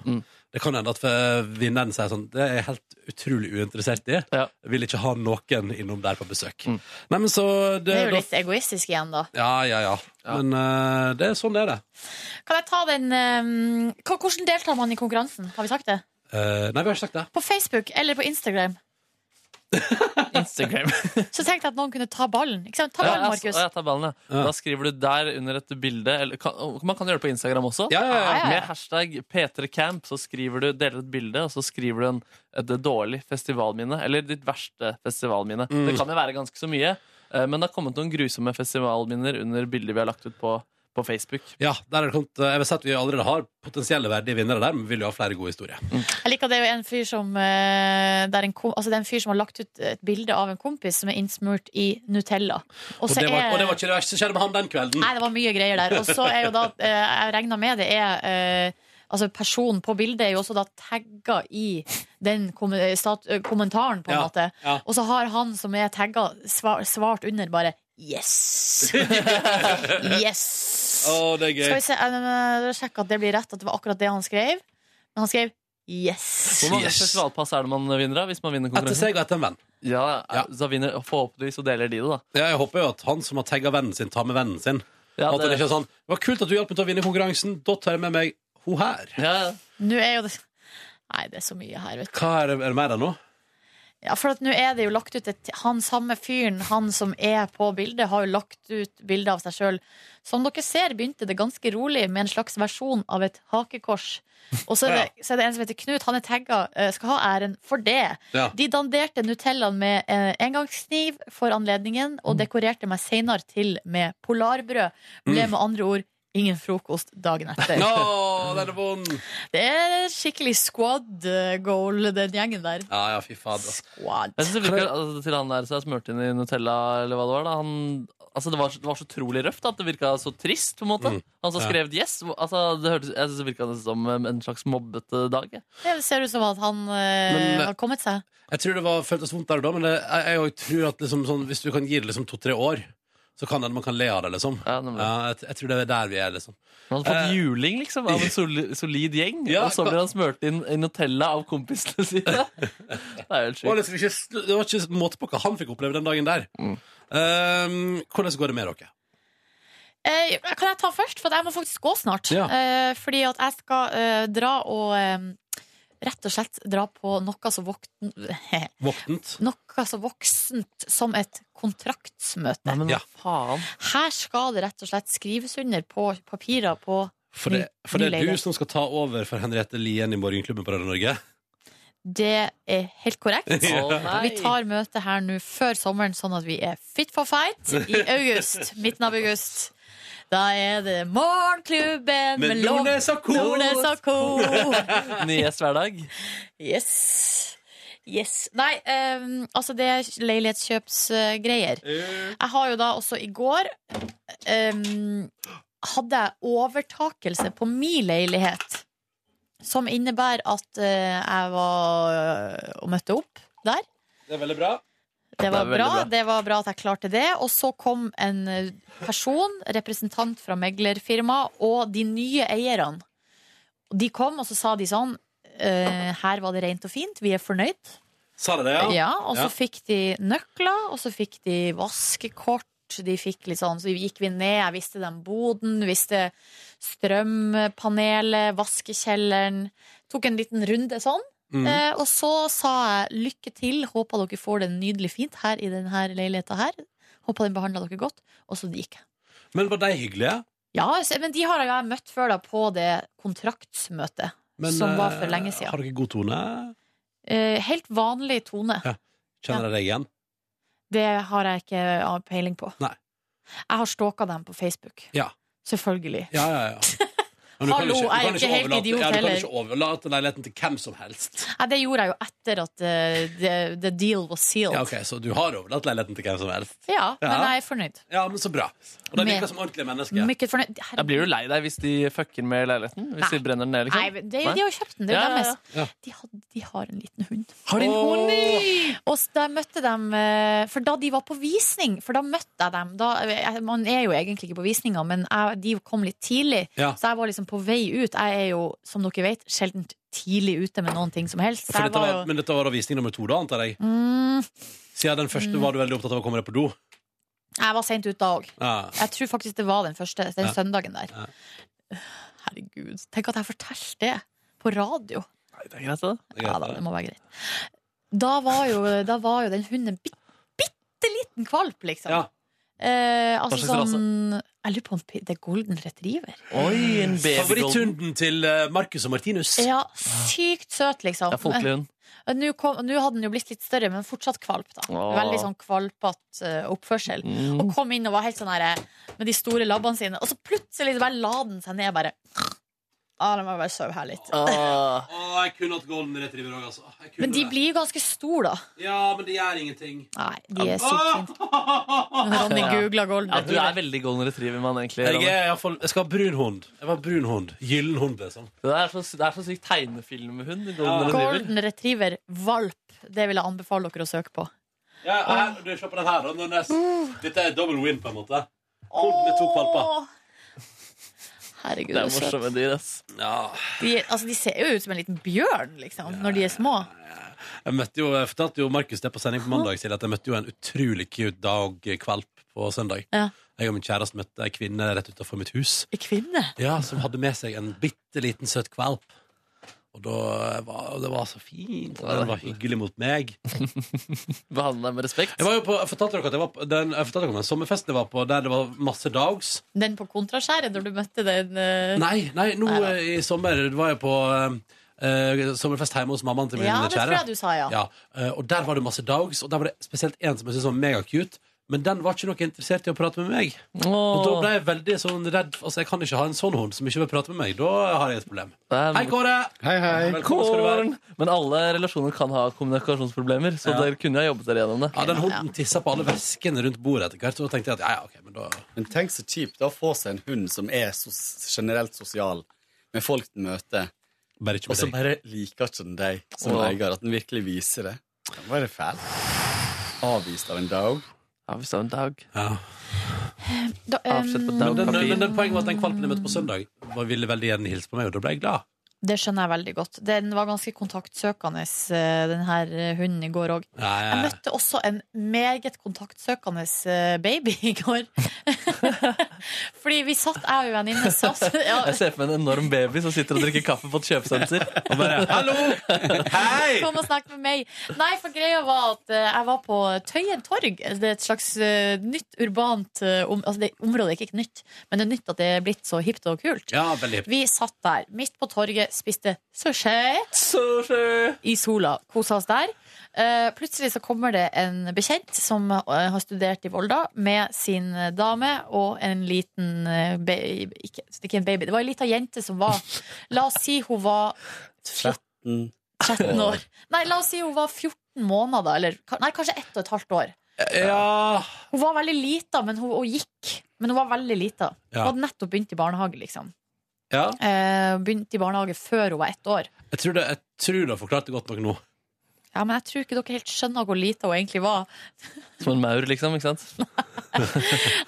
A: Det kan hende at eh, vinneren sier sånn Det er jeg helt utrolig uinteressert i. Jeg Vil ikke ha noen innom der på besøk.
C: Mm.
A: Nei, men så det,
B: Det er jo
A: da-
B: litt egoistisk igjen, da.
A: Ja, ja, ja. Men eh, det er sånn det er, det.
B: Kan jeg ta den ehm, hva- Hvordan deltar man i konkurransen? Har vi sagt det?
A: Eh, nei, vi har ikke sagt det.
B: På Facebook eller på Instagram?
C: Instagram.
B: Så tenkte jeg at noen kunne ta ballen. Ikke sant? Ta ballen,
C: ja,
B: Markus.
C: Ja, jeg tar ballen, ja. Da skriver du der under et bilde eller, kan, Man kan gjøre det på Instagram også.
B: ja, ja.
C: Med hashtag P3camp så skriver du, deler et bilde, og så skriver du en, et dårlig festivalminne. Eller ditt verste festivalminne.
A: Mm.
C: Det kan jo være ganske så mye. eh, Men det har kommet noen grusomme festivalminner under bilder vi har lagt ut på på Facebook.
A: Ja, der er det kommet, eh, jeg vil si at Vi allerede har potensielle verdige vinnere der, men vi vil jo ha flere gode historier.
B: Jeg liker at det er jo en fyr som eh, det er, en, kom- altså det er en fyr som har lagt ut et bilde av en kompis som er innsmurt i Nutella.
A: Og,
B: så
A: det var,
B: er-
A: og det var ikke det verste som skjedde med han den kvelden.
B: Nei, det var mye greier der. Og så er jo da eh, Jeg regna med det er eh, Altså Personen på bildet er jo også da tagga i den kom eh, stat eh, kommentaren, på en
M: Ja,
B: måte.
M: ja.
B: Og så har han som er tagga, svar svart under bare Yes! yes!
A: Å, det er gøy.
B: Skal vi se, eh, sjekke at det blir rett, at det var akkurat det han skrev. Men han skrev yes.
C: Hvor mange festivalpass er det man vinner, da? Hvis man vinner konkurransen?
A: Etter seg og etter en venn.
C: Ja, eh, så vinner Forhåpentligvis så deler de det, da.
A: Ja, jeg håper jo at han som har tagga vennen sin, tar med vennen sin. at det...
C: det-
A: ikke er sånn Det var kult at du hjalp meg til å vinne konkurransen, da tar jeg med meg ho her.
B: Nå er jo det Nei, det er så mye her, vet du.
A: Hva er det, er det mer der nå?
B: Ja, for at nå er det jo lagt ut et, Han samme fyren, han som er på bildet, har jo lagt ut bilde av seg sjøl. Som dere ser, begynte det ganske rolig med en slags versjon av et hakekors. Og så er det, så er det en som heter Knut. Han er tagga. eh, Skal ha æren for det.
M: Ja.
B: De danderte Nutellaen med eh, engangskniv for anledningen,
A: Mm.
B: og dekorerte meg seinere til med polarbrød. Ble
A: Mm.
B: med andre ord ingen frokost dagen etter.
A: Nå, den er vond!
B: Det er skikkelig squad eh, goal, den gjengen der.
A: Ja, ja, fy fader.
C: Jeg synes det virker altså, til han der som er smurt inn i Nutella, eller hva det var. da han, altså, det, var det var så utrolig røft at det virka så trist, på en måte.
A: Mm.
C: Han som
A: Ja.
C: skrev 'yes', hvor- altså, det hørtes, jeg synes det virka nesten som um, en slags mobbete dag. jeg.
B: Det ser ut som at han eh,
A: Men, eh,
B: har kommet seg.
A: Jeg tror det var, føltes vondt der og da, men det, jeg, jeg også tror at liksom, sånn, hvis du kan gi det liksom to-tre år, så kan det, man kan le av det, liksom. Ja, jeg, jeg tror det er der vi er, liksom.
C: Han hadde fått
A: Eh,
C: juling liksom, av en soli- solid gjeng,
A: Ja,
C: og så
A: kan-
C: blir han smurt inn i Nutella av kompisene sine. Det er helt
A: Det var,
C: sjukt.
A: liksom ikke, sl- det var ikke måte på hva han fikk oppleve den dagen der.
C: Mm.
A: Um, hvordan går det med dere?
B: Eh, kan jeg ta først? For jeg må faktisk gå snart.
A: Ja.
B: Eh, fordi at jeg skal eh, dra og eh, rett og slett dra på noe så vokten...
A: Våknet?
B: Noe så voksent som et kontraktsmøte.
A: Nei,
C: Mm.
A: men hva Ja.
C: faen?
B: Her skal det rett og slett skrives under på papirer på
A: For det,
B: ny-
A: for det
B: ny
A: er du
B: leilighet.
A: som skal ta over for Henriette Lien i Morgenklubben på Radio Norge.
B: Det er helt korrekt.
A: Å, nei.
B: vi tar møtet her nå før sommeren, sånn at vi er fit for fight i august. Midten av august. Da er det Morgenklubben
C: Med
B: Lov-
C: Nordnes og Co.
B: Nordnes og Co.
C: Nyes hver dag.
B: Yes. Yes. Nei, ehm, altså det er leilighetskjøpsgreier. Jeg har jo da også i går ehm, Hadde jeg overtakelse på min leilighet. Som innebærer at eh, jeg var eh, og møtte opp der.
A: Det er veldig bra.
B: Det var
A: Det er veldig
B: bra.
A: bra.
B: Det var bra at jeg klarte det. Og så kom en eh, person, representant fra meglerfirmaet, og de nye eierne. Og De kom, og så sa de sånn eh, Her var det rent og fint. Vi er fornøyd.
A: Sa det det, ja?
B: Ja, og så
A: Ja.
B: fikk de nøkler, og så fikk de vaskekort. De fikk litt sånn, så gikk vi ned, jeg visste den boden, visste strømpanelet, vaskekjelleren. Tok en liten runde sånn.
A: Mm.
M: Mhm.
B: Eh, og så sa jeg lykke til, håper dere får det nydelig fint her i denne leiligheta her. Håper den behandla dere godt. Og så gikk jeg.
A: Men var de hyggelige?
B: Ja, så- men de har jeg møtt før da på det kontraktsmøtet
A: Men,
B: som var
A: eh,
B: for lenge siden.
A: Har dere god tone?
B: Eh, helt vanlig tone.
A: Ja. Kjenner dere deg igjen?
B: Det har jeg ikke av peiling på.
A: Nei.
B: Jeg har stalka dem på Facebook.
A: Ja.
B: Selvfølgelig.
A: Ja, ja, ja. Men du kan
B: Hallo,
A: ikke-
B: jeg
A: du
B: er
A: kan
B: ikke helt
A: overlate-
B: idiot
A: ja, Du
B: heller.
A: kan ikke overlate leiligheten til hvem som helst.
B: Nei, det gjorde jeg jo etter at eh, the, the deal was sealed.
A: Ja, ok, Så du har overlatt leiligheten til hvem som helst?
B: Ja, men
A: Ja.
B: jeg er fornøyd.
A: Ja, men så bra. Og de
B: Med-
A: virker som ordentlige mennesker.
B: Mykket fornøyd. Herre-
C: Jeg blir jo lei deg hvis de fucker med leiligheten. Hvis de brenner den ned, liksom.
B: Nei, men det er jo- de har jo kjøpt den, det er jo deres. De, had, de har en liten hund.
C: Har de en hund? Åh!
B: Og s- da møtte dem eh, For da de var på visning, for da møtte jeg dem da, eh, jeg- Man er jo egentlig ikke på visninga, men jeg, de kom litt tidlig.
M: Ja.
B: Så jeg var liksom på vei ut. Jeg er jo, som dere vet, sjelden tidlig ute med noen ting som helst. Så
A: For
B: jeg
A: dette
B: var jo
A: var, men dette var da visning nummer to, da, antar jeg?
B: mm,
A: Siden den første
B: Mm.
A: var du veldig opptatt av å komme deg på do.
B: Jeg var seint ute da òg.
A: Ja.
B: Jeg tror faktisk det var den første, den
A: Ja.
B: søndagen der.
A: Ja.
B: Herregud, tenk at jeg forteller det på radio.
C: Det er greit, det.
B: Ja da, det må være greit. Da var jo, da var jo den hunden en bitte, bitte liten kvalp, liksom.
C: Ja.
B: Eh, altså
A: Hva slags rase?
B: sånn Jeg lurer på om det er golden retriever.
A: Favoritthunden Mm. til eh, Marcus og Martinus.
B: Ja, sykt søt, liksom.
A: Ja, folkelig hund.
B: Nå kom- nå hadde den jo blitt litt større, men fortsatt kvalp. da
M: Ah.
B: Veldig sånn kvalpete eh, oppførsel.
M: Mm.
B: Og kom inn og var helt sånn her med de store labbene sine, og så plutselig bare la den seg ned. bare Ah, la meg bare sove her litt.
A: Å, jeg kunne hatt golden retriever òg, altså. Jeg kunne
B: Men de
A: det.
B: blir jo ganske store, da.
A: Ja, men det gjør ingenting.
B: Nei, de
A: Ja.
B: er sykt fine. Ronny googler golden
C: Ja, du
B: retriever.
C: er veldig golden retriever-mann, egentlig.
A: Jeg,
C: Ronny.
A: er, i hvert fall- jeg skal ha brun hund. Jeg var brun hund. Gyllen hund, ble det sånn.
C: Det er så, det er så sykt tegnefilmhund. Golden retriever.
B: Golden retriever valp. Det vil jeg anbefale dere å søke på.
A: Ja, og her, du, se på den her. da. Den er,
B: Mm.
A: dette er double win, på en måte. Hund med to valper.
B: Herregud, Det er så søt. morsomme
C: dyr, ass.
A: Ja.
B: De, altså, de ser jo ut som en liten bjørn liksom, når de er små.
A: Jeg møtte jo, jeg fortalte jo Markus det på sending på mandag, sier at jeg møtte jo en utrolig cute dagkvalp på søndag.
B: Ja.
A: Jeg og min kjæreste møtte ei kvinne rett utenfor mitt hus.
B: En kvinne?
A: Ja, Som hadde med seg en bitte liten søt kvalp. Og da var, det var så fint. Og den var hyggelig mot meg.
C: Behandle deg med respekt.
A: Jeg, var jo på, jeg fortalte dere at jeg var på den, jeg fortalte dere om den sommerfesten jeg var på, der det var masse dogs.
B: Den på kontraskjæret, når du møtte den eh,
A: Nei, nei, nå eh, i sommer var jeg på eh, eh, sommerfest hjemme hos mammaen til min
B: Ja, det
A: kjære.
B: tror jeg du sa, ja.
A: eh, og der var det masse dogs, og der var det spesielt en som jeg syntes var megacute. Men den var ikke noe interessert i å prate med meg. Og da ble jeg veldig sånn redd. Altså, Jeg kan ikke ha en sånn hund som ikke vil prate med meg. Da har jeg et problem. Hei, Kåre! Velkommen skal du være.
C: Korn! Men alle relasjoner kan ha kommunikasjonsproblemer, så
A: Ja.
C: dere kunne jo ha jobbet dere gjennom det.
A: Ja, Den hunden tissa på alle veskene rundt bordet etter hvert, så da tenkte jeg at ja, ja, ok, men da
N: Men tenk så kjipt da å få seg en hund som er sos generelt sosial, med folk den møter,
A: og
N: så
A: deg.
N: bare liker ikke den deg som
A: Åh.
N: eier, at den virkelig viser det. Da var det fælt. Avvist av en dog.
C: Avvist av en dog.
A: Ja.
B: da, eh,
A: Men, den, men den poenget var at den valpen jeg møtte på søndag, var- ville veldig gjerne hilse på meg, og da ble jeg glad.
B: Det skjønner jeg veldig godt. Den var ganske kontaktsøkende, eh, den her eh, hunden i går òg.
A: Nei,
B: Jeg møtte også en meget kontaktsøkende eh, baby i går. Fordi vi satt, jeg og venninne satt ja,
C: Jeg ser for meg en enorm baby som sitter og drikker kaffe på et kjøpesenter. Og bare, hallo! Hei!
B: Kom og snakk med meg. Nei, for greia var at eh, jeg var på Tøyen torg. Det er et slags eh, nytt urbant eh, om, altså det, Området er ikke nytt, men det er nytt at det er blitt så hipt og kult.
A: Ja, veldig hipt.
B: Vi satt der, midt på torget, spiste sushi, i sola, kosa oss der. Eh, plutselig så kommer det en bekjent som eh, har studert i Volda, med sin eh, dame og en liten eh, baby ikke, ikke en baby, det var ei lita jente som var La oss si hun var
N: 13
B: 13 år. Nei, la oss si hun var 14 måneder, eller ka- nei, kanskje 1 og et halvt år.
A: Ja
B: Hun var veldig lita, men hun, hun gikk. Men hun var veldig lita.
A: Ja.
B: Hun hadde nettopp begynt i barnehage, liksom.
A: Ja.
B: Eh, begynt i barnehage før hun var ett år.
A: Jeg tror det, jeg tror det har forklart det godt nok nå.
B: Ja, men jeg tror ikke dere helt skjønner hvor lita hun egentlig var.
C: Som en maur, liksom. ikke sant?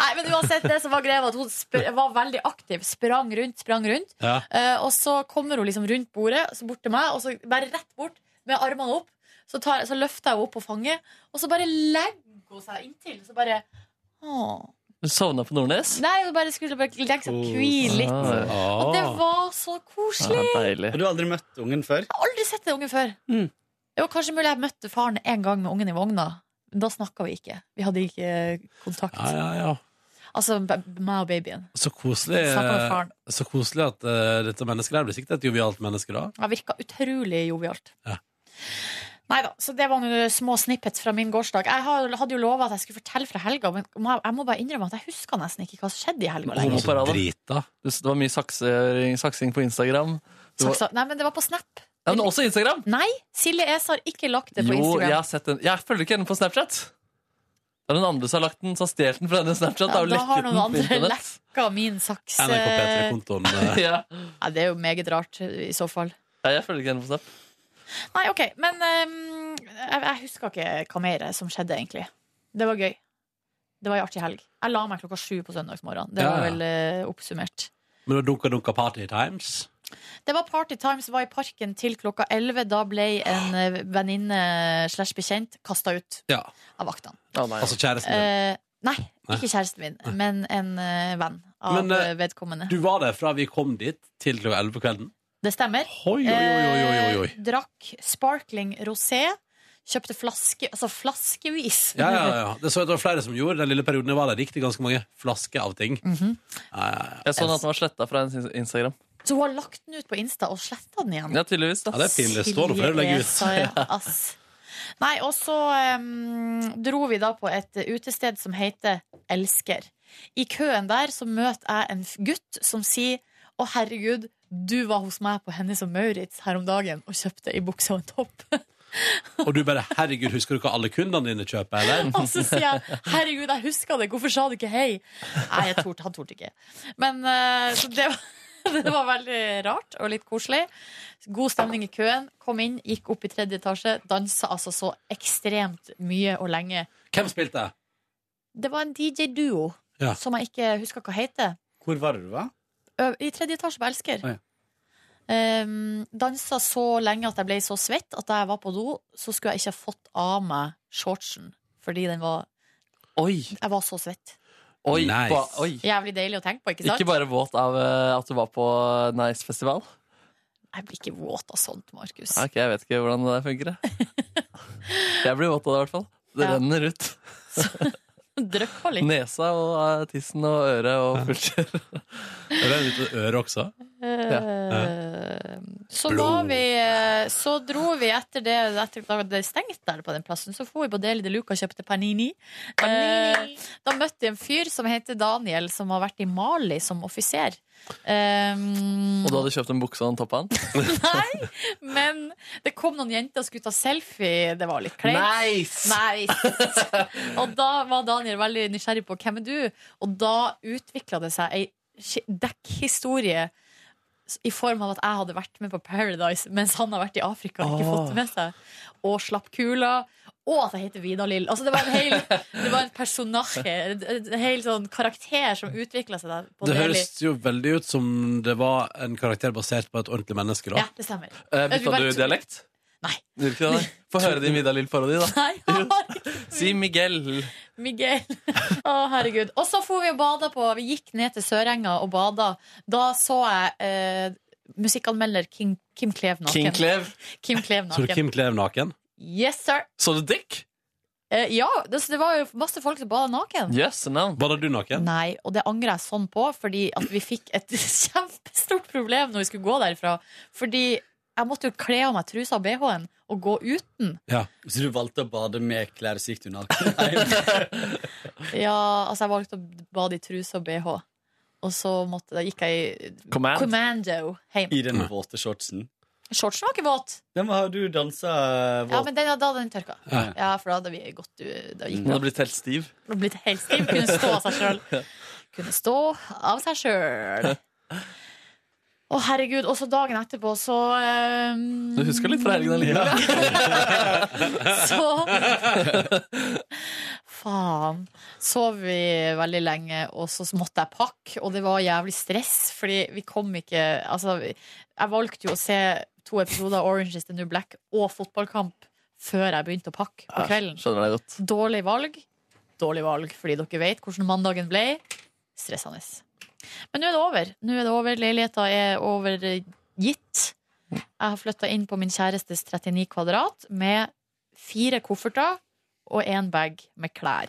B: Nei, men uansett, det som var greia, var at hun sp var veldig aktiv. Sprang rundt, sprang rundt.
C: Ja.
B: Eh, og så kommer hun liksom rundt bordet, så bort til meg, og så bare rett bort med armene opp. Så, tar, så løfter jeg henne opp på fanget, og så bare legger hun seg inntil. Så bare Åh.
C: Du sovna på Nordnes?
B: Nei, hun bare skulle bare legge seg og hvile litt.
C: Ah.
B: Og det var så koselig!
N: Har du aldri møtt ungen før?
B: Jeg har aldri sett den ungen før.
A: Mm.
B: Det var kanskje mulig jeg møtte faren en gang med ungen i vogna. Men da snakka vi ikke. Vi hadde ikke kontakt.
A: Ja, ja, ja.
B: Altså b- meg og babyen.
A: Så koselig, eh,
B: Snakk med faren.
A: så koselig at eh, dette mennesket der blir sikkert et jovialt menneske, da.
B: Jeg virka utrolig jovialt. Nei da, så det var noen små snippets fra min gårsdag. Jeg har- hadde jo lova at jeg skulle fortelle fra helga, men må- jeg må bare innrømme at jeg husker nesten ikke hva som skjedde i helga
C: Hun var
B: lenger.
C: på radaren. Du- Det var mye saksing, saksing på Instagram. Det var-
B: Saksa- Nei, men det var på Snap.
C: Ja, men også Instagram!
B: Nei, Silje Es har ikke lagt det på
C: jo,
B: Instagram.
C: jeg har sett den. Jeg følger ikke henne på Snapchat. Det er noen andre som har lagt den, som har stjålet den fra denne Snapchat.
B: Ja,
C: og
B: da har
C: lekket den
B: noen
C: på
B: andre
C: internett.
B: lekka min saks.
C: NRK P3-kontoen, eh. Ja.
B: Ja, det er jo meget rart i så fall.
C: Nei, jeg følger ikke henne på Snap.
B: Nei, OK. Men ehm, jeg, jeg husker ikke hva mer som skjedde, egentlig. Det var gøy. Det var ei artig helg. Jeg la meg klokka sju på søndagsmorgen. Det
A: Ja,
B: var
A: ja.
B: vel eh, oppsummert.
A: Men da dunka dunka Party Times.
B: Det var Party Times var i parken til klokka 11. Da ble en eh, venninne slash bekjent kasta ut
A: Ja.
B: av vaktene.
A: Altså kjæresten din.
B: Eh, nei,
A: Nei.
B: ikke kjæresten min, men en eh, venn av
A: Men, eh,
B: eh, vedkommende.
A: Du var der fra vi kom dit til klokka elleve på kvelden.
B: Det stemmer.
A: Oi, oi, oi, oi, oi, oi.
B: Eh, Drakk sparkling rosé. Kjøpte flaske, altså flaskevis.
A: Ja, ja, ja. Det så jeg det var flere som gjorde den lille perioden jeg var der. Gikk det ganske mange flasker av ting.
B: Mhm.
A: Ja, ja, ja.
C: Jeg så den at den var sletta fra hennes Instagram.
B: Så hun har lagt den ut på Insta og sletta den igjen.
C: Ja, tydeligvis. Da.
A: Ja, det er pinlig. Står det for det du legger ut?
B: Silje, ass. Nei, og så em, dro vi da på et utested som heter Elsker. I køen der så møter jeg en f- gutt som sier Å, herregud, du var hos meg på Hennes og Maurits her om dagen og kjøpte ei bukse og en topp.
A: Og du bare 'herregud, husker du hva alle kundene dine kjøper', eller?
B: Og Altså, så sier jeg 'herregud, jeg husker det, hvorfor sa du ikke hei'? Nei, jeg torde, han torde ikke. Men eh, så det var, det var veldig rart og litt koselig. God stemning i køen. Kom inn, gikk opp i tredje etasje. Dansa altså så ekstremt mye og lenge.
A: Hvem spilte?
B: Det var en DJ-duo
A: Ja.
B: som jeg ikke husker hva heter.
N: Hvor var du, va?
B: Ø- I tredje etasje på Elsker.
N: Å, ja.
B: Ehm, dansa så lenge at jeg ble så svett at da jeg var på do, så skulle jeg ikke ha fått av meg shortsen. Fordi den var
C: Oi!
B: Jeg var så svett.
C: Oi, ba, oi.
B: Jævlig deilig å tenke på, ikke
C: Ikke,
B: sant?
C: bare våt av eh, at du var på Nice festival.
B: Jeg blir ikke våt av sånt, Markus.
C: Ok, Jeg vet ikke hvordan det der funker. jeg. Jeg blir våt av det, i hvert fall. Det
B: Ja.
C: renner ut.
B: Dryppa litt.
C: Nesa og eh, tissen og øret og fullt.
A: Renner ut av øret også?
B: Eh, Så var vi eh, Så dro vi etter det Etter da det stengte der på den plassen, så dro vi på Deli de Luca og kjøpte panini. Eh, Da møtte jeg en fyr som heter Daniel, som har vært i Mali som offiser. Um,
C: Og du hadde kjøpt en bukse og en topp av den?
B: Nei, men det kom noen jenter og skulle ta selfie. Det var litt kleint.
C: Nice!
B: Nice. Og da var Daniel veldig nysgjerrig på hvem er du Og da utvikla det seg ei sk- dekkhistorie s- i form av at jeg hadde vært med på Paradise mens han har vært i Afrika og ikke
M: Ah.
B: fått det med seg. Og slapp kula. Og at jeg heter Vidar-Lill. Altså, det var en hel Det var en personasje, en- en hel sånn karakter som utvikla seg der. På
A: Det
B: Deli.
A: høres jo veldig ut som det var en karakter basert på et ordentlig menneske, da.
B: Ja, det stemmer.
A: Eh, bytta
B: Vi bare-
A: du dialekt?
C: Gjorde ikke det? Få høre din Vidar Lill-parodi, da.
B: Nei, jeg har
C: Si Miguel.
B: Miguel. Å, herregud. Og så for vi og bada på Vi gikk ned til Sørenga og bada. Da så jeg eh, musikkanmelder Kim, Kim Klev naken.
A: King Klev?
B: Kim Klev
A: Så du
B: naken.
A: Kim Klev naken?
B: Yes, sir.
C: Så du dick?
B: Eh, ja, det, så det var jo masse folk som bada naken.
C: Yes, no.
A: Bader du naken?
B: Nei, og det angrer jeg sånn på, fordi at vi fikk et kjempestort problem når vi skulle gå derfra. Fordi jeg måtte jo kle av meg trusa og BH-en og gå uten.
N: Så du valgte å bade med klær, så gikk du naken?
B: Ja, altså jeg valgte å bade i truse og BH. Og så måtte, da gikk jeg i
N: Command.
B: commando hjem.
N: I den våte shortsen?
B: Shortsen var ikke våt.
N: Den var du eh, dansa våt.
B: Ja, men den, da hadde den tørka. Ja.
N: Ja.
B: for da hadde vi gått u- Da gikk
C: Den hadde blitt helt stiv.
B: det blitt helt stiv. Kunne stå av seg sjøl. Kunne stå av seg sjøl. Å, herregud. Og så dagen etterpå, så ehm,
C: Du husker litt fra helgen allikevel?
B: Så Faen. Sov vi veldig lenge, og så måtte jeg pakke, og det var jævlig stress, fordi vi kom ikke Altså, vi- jeg valgte jo å se to episoder av Orange is the New Black og fotballkamp før jeg begynte å pakke på kvelden.
C: Skjønner deg godt.
B: Dårlig valg. Dårlig valg, fordi dere vet hvordan mandagen ble. Stressende. Men nå er det over. Nå er det over. Leiligheta er overgitt. Jeg har flytta inn på min kjærestes 39 kvadrat med fire kofferter og én bag med klær.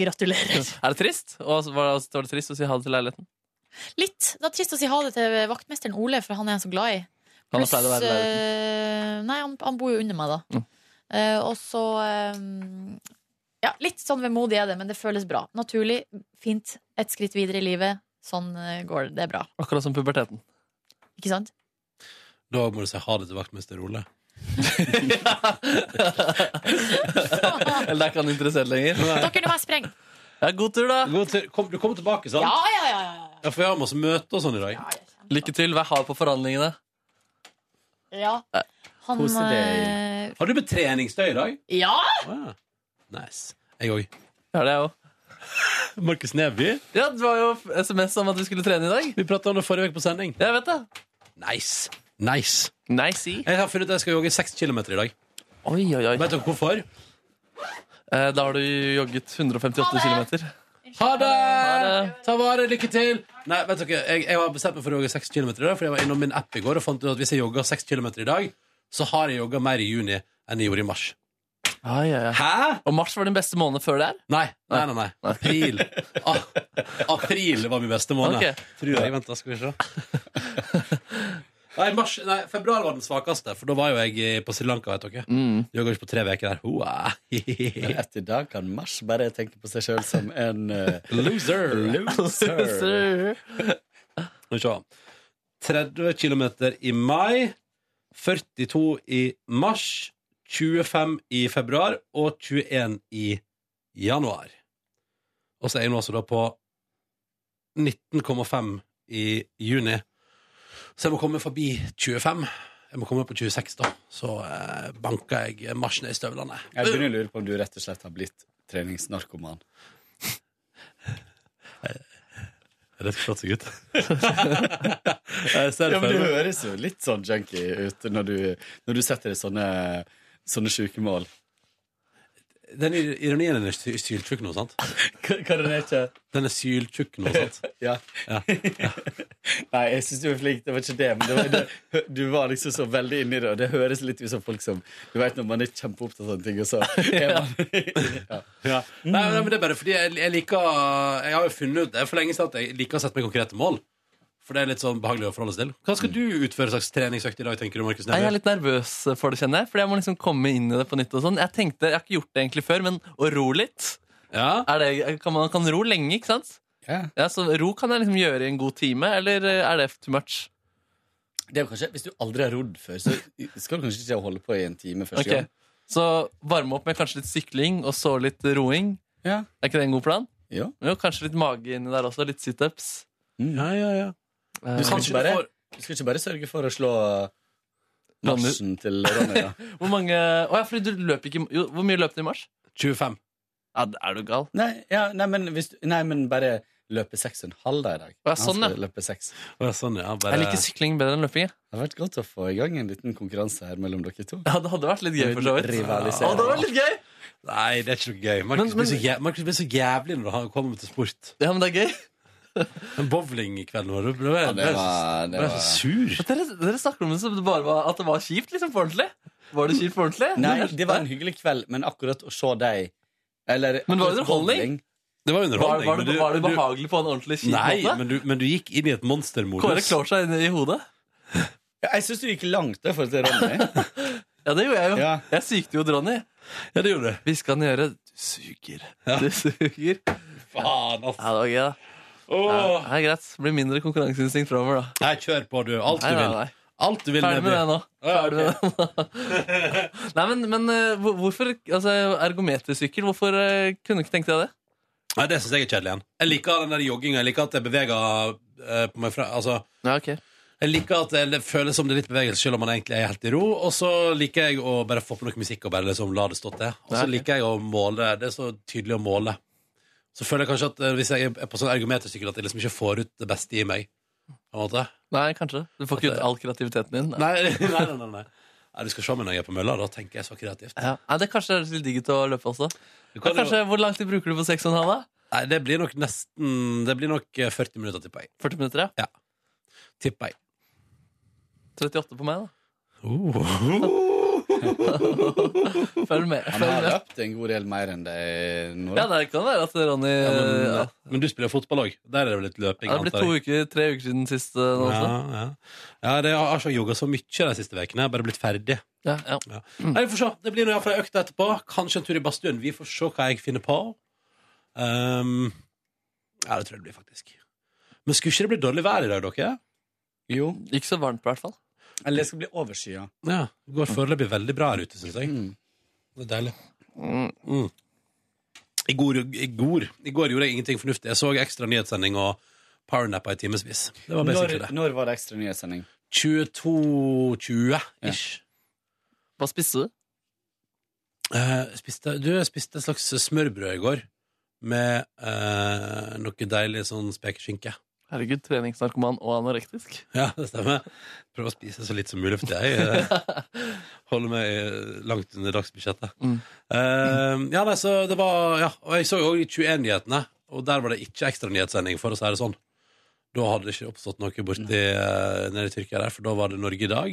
B: Gratulerer.
C: Er det trist? Og var det, altså, var det trist å si ha det til leiligheten?
B: Litt. Det er trist å si ha det til vaktmesteren Ole, for han er jeg så glad i.
C: Han pleide å være i
B: eh, Nei, han, han bor jo under meg, da. Eh, og så eh, Ja, litt sånn vemodig er det, men det føles bra. Naturlig, fint. Et skritt videre i livet. Sånn eh, går det. Det er bra.
C: Akkurat som puberteten.
B: Ikke sant?
A: Da må du si ha det til vaktmester Ole.
C: Eller det er ikke han interessert lenger.
B: Dere, nå må jeg sprenge.
C: Ja, god tur, da.
A: Kom, du kommer tilbake, sant?
B: Ja, ja, ja. ja.
A: Ja, for jeg har masse møter og sånn i dag.
C: Lykke til. Vær hard på forhandlingene.
B: Ja. Han, Eh, Kose deg. eh,
A: Har du med treningstøy i dag?
B: Ja!
A: Ah, nice. Jeg òg.
C: Ja, det er jeg òg.
A: Markus Neby.
C: Ja, det var jo SMS om at vi skulle trene i dag.
A: Vi prata om det forrige uke på sending.
C: Jeg vet det.
A: Nice. Nice.
C: Nicey.
A: Jeg har funnet ut at jeg skal jogge 6 km i dag.
C: Oi, oi, oi.
A: Vet dere hvorfor?
C: Eh, Da har du jogget 158 km.
A: Ha det! Ta vare, lykke til! Nei, vet dere, jeg, jeg har bestemt meg for å jogge 6 km i dag, for jeg var innom min app i går og fant ut at hvis jeg jogger 6 km i dag, så har jeg jogga mer i juni enn jeg gjorde i mars.
C: Hæ? Og mars var din beste måned før det her?
A: Nei, nei, nei. nei. April. Ah, april var min beste måned.
C: Ok.
A: Tror jeg. Vent, da skal vi se. Nei, mars, nei, februar var den svakeste, for da var jo jeg på Sri Lanka. vet dere
N: Mm.
A: Jeg går ikke på tre uker der. Hoa.
N: Men etter i dag kan Mars bare tenke på seg sjøl som en eh,
A: Loser.
N: loser.
A: Skal vi se. 30 km i mai, 42 i mars, 25 i februar og 21 i januar. Og så er jeg nå altså da på 19,5 i juni. Så jeg må komme forbi 25. Jeg må komme opp på 26, da. Så eh, banker jeg mars ned i støvlene.
N: Jeg begynner å lure på om du rett og slett har blitt treningsnarkoman.
A: Rett og slett, gutt.
N: ja, men
A: for
N: du
A: meg.
N: høres jo litt sånn junkie ut når du, når du setter deg sånne, sånne sjuke mål.
A: Den ir- ironien er sy- syltjukk nå, sant?
N: Hva den er ikke?
A: Den er syltjukk nå, sant?
N: ja. Nei, jeg syns du er flink. Det var ikke det. Men det var, det, du var liksom så veldig inni det, og det høres litt ut som folk som Du vet når man er kjempeopptatt av sånne ting, og så er man
A: Ja.
C: Mm.
A: Nei, nei, men det er bare fordi jeg, jeg liker Jeg har jo funnet ut det er for lenge siden at jeg liker å sette meg konkrete mål. For det er litt sånn behagelig å forholde seg til. Hva skal du utføre slags treningsøkt i dag, tenker du, Markus
C: Mm. Nei, jeg er
A: Neby?
C: litt nervøs for det, kjenner jeg. Fordi jeg må liksom komme inn i det på nytt. og sånn Jeg tenkte, jeg har ikke gjort det egentlig før, men å ro litt er det, kan Man kan ro lenge, ikke sant?
N: Ja.
C: Så ro kan jeg liksom gjøre i en god time, eller er det too much?
N: Det er jo kanskje, Hvis du aldri har rodd før, så skal du kanskje ikke holde på i en time første
C: Ok.
N: gang.
C: Så varme opp med kanskje litt sykling, og så litt roing. Er ikke det en god plan?
N: Ja. Mm.
C: Jo, kanskje litt mage inni der også. Litt situps. Eh,
A: Ja, ja, ja.
N: Du skal, ikke bare, du skal ikke bare sørge for å slå Larsen til Ronny, da.
C: Hvor mange Å ja, fordi du løp ikke jo, Hvor mye løp du i mars?
A: 25.
C: Ja, er du gal?
N: Nei, ja, nei, men, hvis, du- nei men bare løpe seks og en halv da i dag.
C: Å, ja,
N: Han skal
C: sånn, ja. sånn,
N: Løpe seks.
A: Sånn, bare-
C: Jeg liker sykling bedre enn løping. jeg.
N: Det hadde vært godt å få i gang en liten konkurranse her mellom dere to.
C: Ja, det hadde vært litt gøy, for så vidt.
N: Rivalisering.
C: Ja, det hadde vært litt gøy.
A: Nei, det er ikke noe gøy. Markus blir, så jæ- Markus blir så jævlig når han kommer til sport.
C: Ja, men det er gøy.
A: Men bowlingkvelden vår, du ble, ja,
N: det var- det var-
A: så sur.
C: Dere, dere snakker om det som det bare var, at det var kjipt, liksom, for ordentlig. Var det kjipt for ordentlig?
N: Nei, det var en hyggelig kveld, men akkurat å se deg eller,
C: Men det var
N: akkurat
C: underholdning.
N: bowling-
A: Det var underholdning.
C: Var, var, det,
A: men du-
C: var det
A: du-
C: behagelig på en ordentlig kjip
A: Nei,
C: måte?
A: men du, men du gikk inn i et monstermodus.
C: Kåre klår seg inn i hodet.
N: Ja, Jeg syns du gikk langt da, i forhold til Ronny.
C: Ja, det gjorde jeg jo. Jeg sykte jo Ronny.
A: Ja, det gjorde du.
C: Hviska han i øret. Du suger. Du suger.
A: Faen, ass.
C: Ja, det var gøy, da. Ja, det er greit. Det blir mindre konkurranseinstinkt framover, da.
A: Nei, kjør på, du. Alt du
C: Nei, nei,
A: vil.
C: nei.
A: Alt du vil,
C: Ferdig med det nå.
A: Neby.
C: Ferdig med det nå. Nei, men, men eh, hvor- hvorfor altså, ergometersykkel? Hvorfor eh, kunne du ikke tenkt deg det?
A: Nei, det syns jeg er kjedelig igjen. Jeg liker den der jogginga. Jeg liker at jeg beveger eh, på meg fra Altså Jeg liker at det- det føles som det er litt bevegelse, selv om man egentlig er helt i ro. Og så liker jeg å bare få på noe musikk og bare liksom la det stå til. Og så
C: Ja, ok.
A: liker jeg å måle. Det er så tydelig å måle. Så føler jeg kanskje at eh, hvis jeg er på sånn ergometersykkel, at jeg liksom ikke får ut det beste i meg. På en måte.
C: Nei, kanskje. Du får ikke ut all kreativiteten din.
A: Nei, nei, nei, nei, nei. Nei, Du skal se meg når jeg er på mølla. Da tenker jeg så kreativt.
C: Ja. Nei, det kanskje er litt digg ut å løpe også.
A: kan
C: Men kanskje, Hvor lang tid bruker du på 6,5, da?
A: Nei, det blir nok nesten Det blir nok eh, 40 minutter, tipper jeg.
C: 40 minutter,
A: ja? Tipper jeg.
C: 38 på meg, da.
A: Oh.
C: Følg med.
N: Han
C: Følg
N: har
C: med.
N: løpt en god del mer enn deg nå.
C: Ja, det kan være at Ronny
A: Ja, men,
C: ja.
A: men du spiller fotball òg. Der er det vel litt løping?
C: Det blir
A: antar
C: to
A: jeg.
C: uker, tre uker siden sist. eh, Nå,
A: Ja,
C: også.
A: ja. ja det, jeg har ikke jogga så mye de siste ukene. Jeg har bare blitt ferdig.
C: Ja, ja.
A: Nei, vi får se. Det blir noe fra økta etterpå. Kanskje en tur i badstuen. Vi får se hva jeg finner på. Ehm, ja, det tror jeg det blir, faktisk. Men skulle ikke det bli dårlig vær i dag, dere?
N: Jo.
C: Ikke så varmt, i hvert fall.
N: Eller det skal bli overskya.
A: Ja, Det går foreløpig veldig bra her ute, syns jeg.
N: Mm.
A: Det er deilig. Mm. I, går, i, går, I går gjorde jeg ingenting fornuftig. Jeg så ekstra nyhetssending og powernappa i timevis. Det var
N: Når,
A: basically det.
N: når var det ekstra nyhetssending?
A: 22-20-ish.
C: Hva spiste du?
A: Eh, spiste, du jeg spiste et slags smørbrød i går med eh, noe deilig sånn spekeskinke.
C: Herregud, treningsnarkoman og anorektisk.
A: Ja, det stemmer. Prøv å spise så litt som mulig, for jeg eh, holder meg eh, langt under dagsbudsjettet. Eh, ja, nei, så det var Ja, og jeg så jo òg 21-nyhetene, og der var det ikke ekstra nyhetssending, for å si det sånn. Da hadde det ikke oppstått noe borti eh, nede i Tyrkia der, for da var det Norge i dag.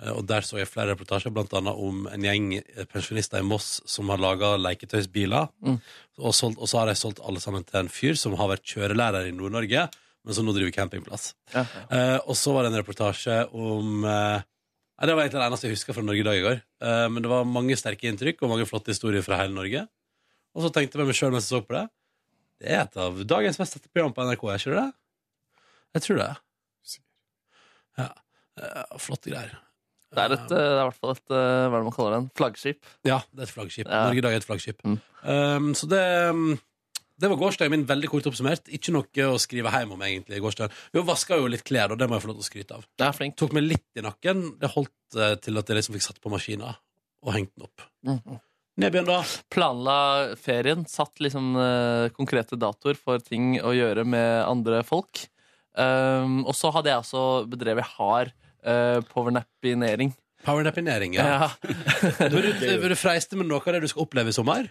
A: Eh, Og der så jeg flere reportasjer, blant annet om en gjeng eh, pensjonister i Moss som har laga leketøysbiler.
C: Mm.
A: Og, solgt, og så har de solgt alle sammen til en fyr som har vært kjørelærer i Nord-Norge, men som nå driver campingplass. Eh, og så var det en reportasje om eh, nei, Det var egentlig det eneste jeg huska fra Norge i dag i går. Eh, men det var mange sterke inntrykk og mange flotte historier fra hele Norge. Og så tenkte jeg meg sjøl mens jeg så på det. Det er et av dagens mest sette program på NRK, er ikke det? Jeg tror det. Ja. Eh, flotte greier.
C: Det er, et, eh, det er i hvert fall et eh, hva er det man kaller det, en flaggskip.
A: Ja, det er et flaggskip.
C: Ja. Mm.
A: Norge i dag er et flaggskip. Um, så det, um, det var gårsdagen min, veldig kort oppsummert. Ikke noe å skrive hjem om, egentlig. gårsdagen. Jo, vaska jo litt klær, og det må jeg få lov til å skryte av.
C: Det er flink.
A: Tok meg litt i nakken. Det holdt eh, til at jeg liksom fikk satt på maskina og hengt den opp. Nedbjørn, da?
C: Planla ferien. Satt liksom eh, konkrete datoer for ting å gjøre med andre folk. Um, og så hadde jeg også bedrevet hard uh, powernappinering.
A: Powernapinering, ja. Vil du, vil du freiste med noe av det du skal oppleve i sommer?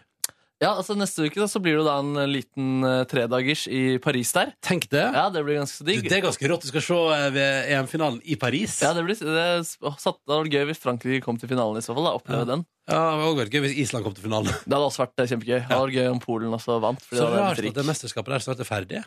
C: Ja, altså Neste uke da, så blir det da en liten eh, tredagers i Paris der.
A: Tenk det.
C: Ja, Det blir ganske så digg.
A: Det er ganske rått. Du skal se eh, ved EM-finalen i Paris.
C: Ja, det blir det, åh, satt, det var gøy hvis Frankrike kom til finalen i så fall. da, Oppleve den.
A: Ja, Det hadde også vært gøy hvis Island kom til finalen.
C: Det hadde også vært eh, kjempegøy. Det hadde vært gøy om Polen også vant.
A: Så
C: fordi det hadde vært
A: rart
C: dritgøy.
A: at det mesterskapet der snart er ferdig.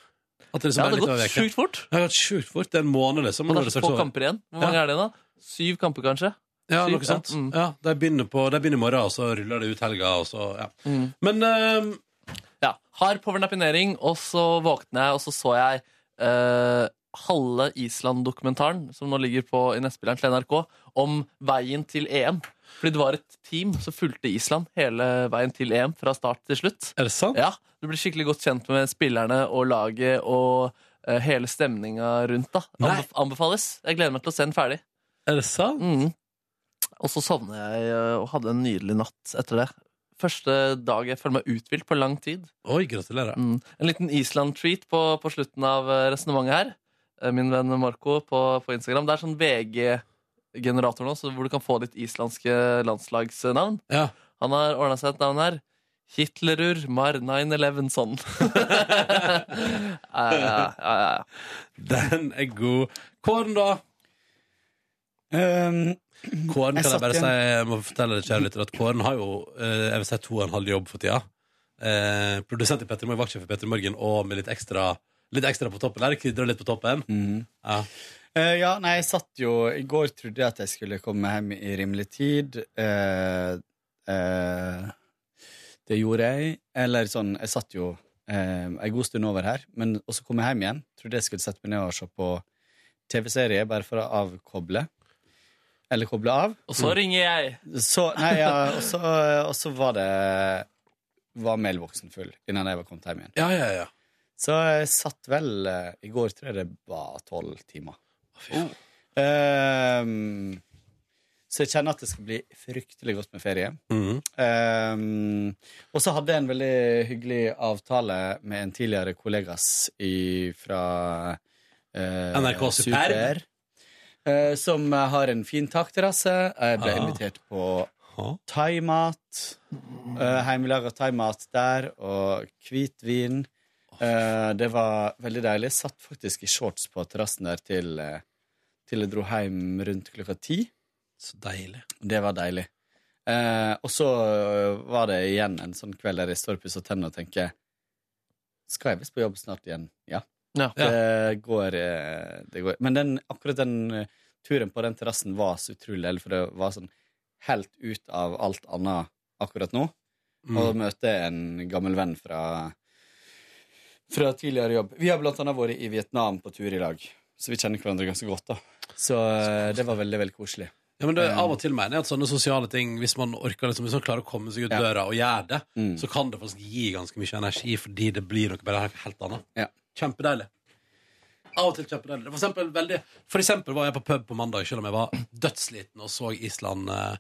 A: At det, liksom
C: Ja,
A: er
C: det
A: litt av
C: har
A: en
C: gått
A: veke.
C: sjukt fort.
A: Det har gått sjukt fort. Det er en måned, liksom.
C: Men
A: Nå er
C: det er
A: det
C: så
A: straks
C: få
A: over.
C: kamper igjen. Hvor mange
A: Ja.
C: er det, da? Syv kamper, kanskje?
A: Ja,
C: Syv,
A: noe sånt.
C: mm.
A: Ja, de begynner, på, de begynner i morgen, og så ruller det ut helga, og så ja.
C: Mm.
A: Men ehm,
C: Ja. Hard powernapinering, og så våkner jeg, og så så jeg eh, halve Island-dokumentaren som nå ligger på i nettspilleren til NRK, om veien til EM. Fordi det var et team som fulgte Island hele veien til EM, fra start til slutt.
A: Er det sant?
C: Ja, Du blir skikkelig godt kjent med spillerne og laget og eh, hele stemninga rundt. da Anbef Anbefales. Jeg gleder meg til å se den ferdig.
A: Er det sant?
C: Mm. Og så sovnet jeg eh, og hadde en nydelig natt etter det. Første dag jeg føler meg uthvilt på lang tid.
A: Oi, gratulerer.
C: Mm. En liten Island-treat på, på slutten av resonnementet her. Eh, Min venn Marco på, på Instagram. Det er sånn VG-generator nå, så hvor du kan få ditt islandske landslagsnavn.
A: Ja.
C: Han har ordna seg et navn her. Hitlerur Mar 9-11-son. ja, ja, ja, ja. Mm.
A: Den er god. Kåren, da? Kåren
N: Ehm, jeg
A: kan jeg
N: satt
A: bare
N: igjen-
A: si Jeg må fortelle deg, kjære lytter, at Kåren har jo eh, Jeg vil si to og en halv jobb for tida. Eh, produsent i Petter Morgen, vaktsjef i Petter Morgen, og med litt ekstra, litt ekstra på toppen. Der krydrer litt på toppen. Ja.
N: Eh, ja, nei, jeg satt jo I går trodde jeg at jeg skulle komme hjem i rimelig tid. Eh, eh, det gjorde jeg. Eller sånn Jeg satt jo eh, en god stund over her, men og så kom jeg hjem igjen. Trodde jeg skulle sette meg ned og se på TV-serie, bare for å avkoble. Eller koble av.
C: Og så ringer jeg.
N: Så, nei, ja, og så, og så var det Var mailboksen full innan jeg var kommet hjem igjen.
A: Ja, ja, ja.
N: Så jeg satt vel eh, I går tror jeg det var tolv timer. Ehm, så jeg kjenner at det skal bli fryktelig godt med ferie.
A: Mhm.
N: Ehm, og så hadde jeg en veldig hyggelig avtale med en tidligere kollegas i, fra eh,
A: NRK Superb.
N: eh, som har en fin takterrasse. Jeg ble
A: Ah.
N: invitert på thaimat. Uh, Hjemmelaga thaimat der, og hvitvin. Eh, det var veldig deilig. Jeg satt faktisk i shorts på terrassen der til, eh, til jeg dro hjem rundt klokka ti.
A: Så deilig.
N: Det var deilig. Eh, og så eh, var det igjen en sånn kveld der jeg står og pusser tennene og tenker Skal jeg visst på jobb snart igjen? Ja.
C: Ja.
N: Det, går, eh, det går Men den, akkurat den eh, turen på den terrassen var så utrolig deilig, for det var sånn helt ut av alt annet akkurat nå.
A: Mm.
N: Og møte en gammel venn fra fra tidligere jobb. Vi har blant annet vært i Vietnam på tur i lag, så vi kjenner hverandre ganske godt. da. Så eh, det var veldig, veldig koselig.
A: Ja, men det,
N: Eh.
A: Av og til mener jeg at sånne sosiale ting, hvis man orker liksom, hvis man klarer å komme seg ut
N: Ja. Mm.
A: døra og gjøre det, så kan det faktisk gi ganske mye energi, fordi det blir noe bare helt annet. Kjempedeilig. Av og til kjempedeilig. For eksempel, veldig, for eksempel var jeg på pub på mandag, selv om jeg var dødsliten og så Island eh,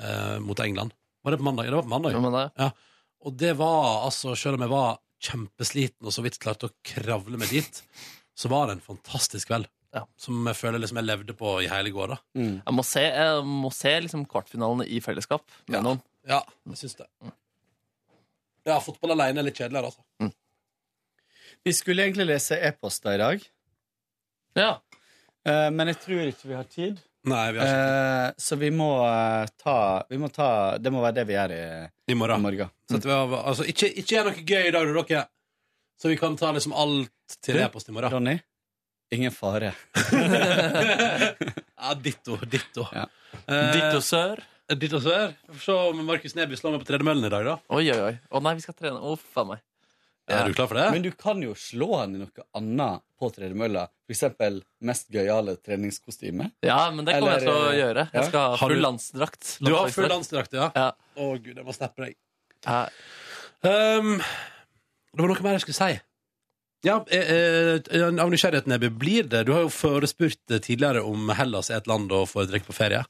A: eh, mot England. Var det på mandag? Ja, Det var på mandag. Ja. Og det var altså, selv om jeg var kjempesliten og så vidt klarte å kravle meg dit, så var det en fantastisk kveld. Som jeg føler liksom jeg levde på i hele går. da
C: Mm. Jeg må se, jeg må se liksom kvartfinalene i fellesskap med noen. Mm.
A: Ja, jeg syns det. Ja, fotball alene er litt kjedeligere, altså.
N: Vi skulle egentlig lese e-poster i dag.
C: Ja.
N: men jeg Eh, tror ikke vi har tid.
A: Nei, vi har ikke
N: Eh, så vi må, eh, ta, vi må ta Det må være det vi gjør i,
A: I morgen.
N: Mm.
A: Setter vi av, altså, ikke, ikke gjør noe gøy i dag, du, dere. Så vi kan ta liksom alt til
N: Du,
A: e-post i morgen.
N: Ronny, ingen fare.
A: ja, ditto, ditto. Eh,
C: Ditto sør.
A: Ditto sør. Får se om Markus Neby slår meg på tredemøllen i dag, da.
C: Oi, oi, oi. Å nei, vi skal trene. Å, faen meg.
A: Er du klar for det?
N: Men du kan jo slå han i noe annet på tredemølla. For eksempel mest gøyale treningskostyme.
C: Ja, men det kommer jeg til å
N: Eller,
C: gjøre.
N: ja.
C: Jeg skal ha
N: Har du-
C: full landsdrakt.
A: eh, Du har full landsdrakt, ja? Å, gud, jeg må snappe deg. Um, det var noe mer jeg skulle si. Ja, eh, eh, Av nysgjerrigheten, Neby, blir det Du har jo forespurt eh, tidligere om Hellas er et land å foretrekke på ferie.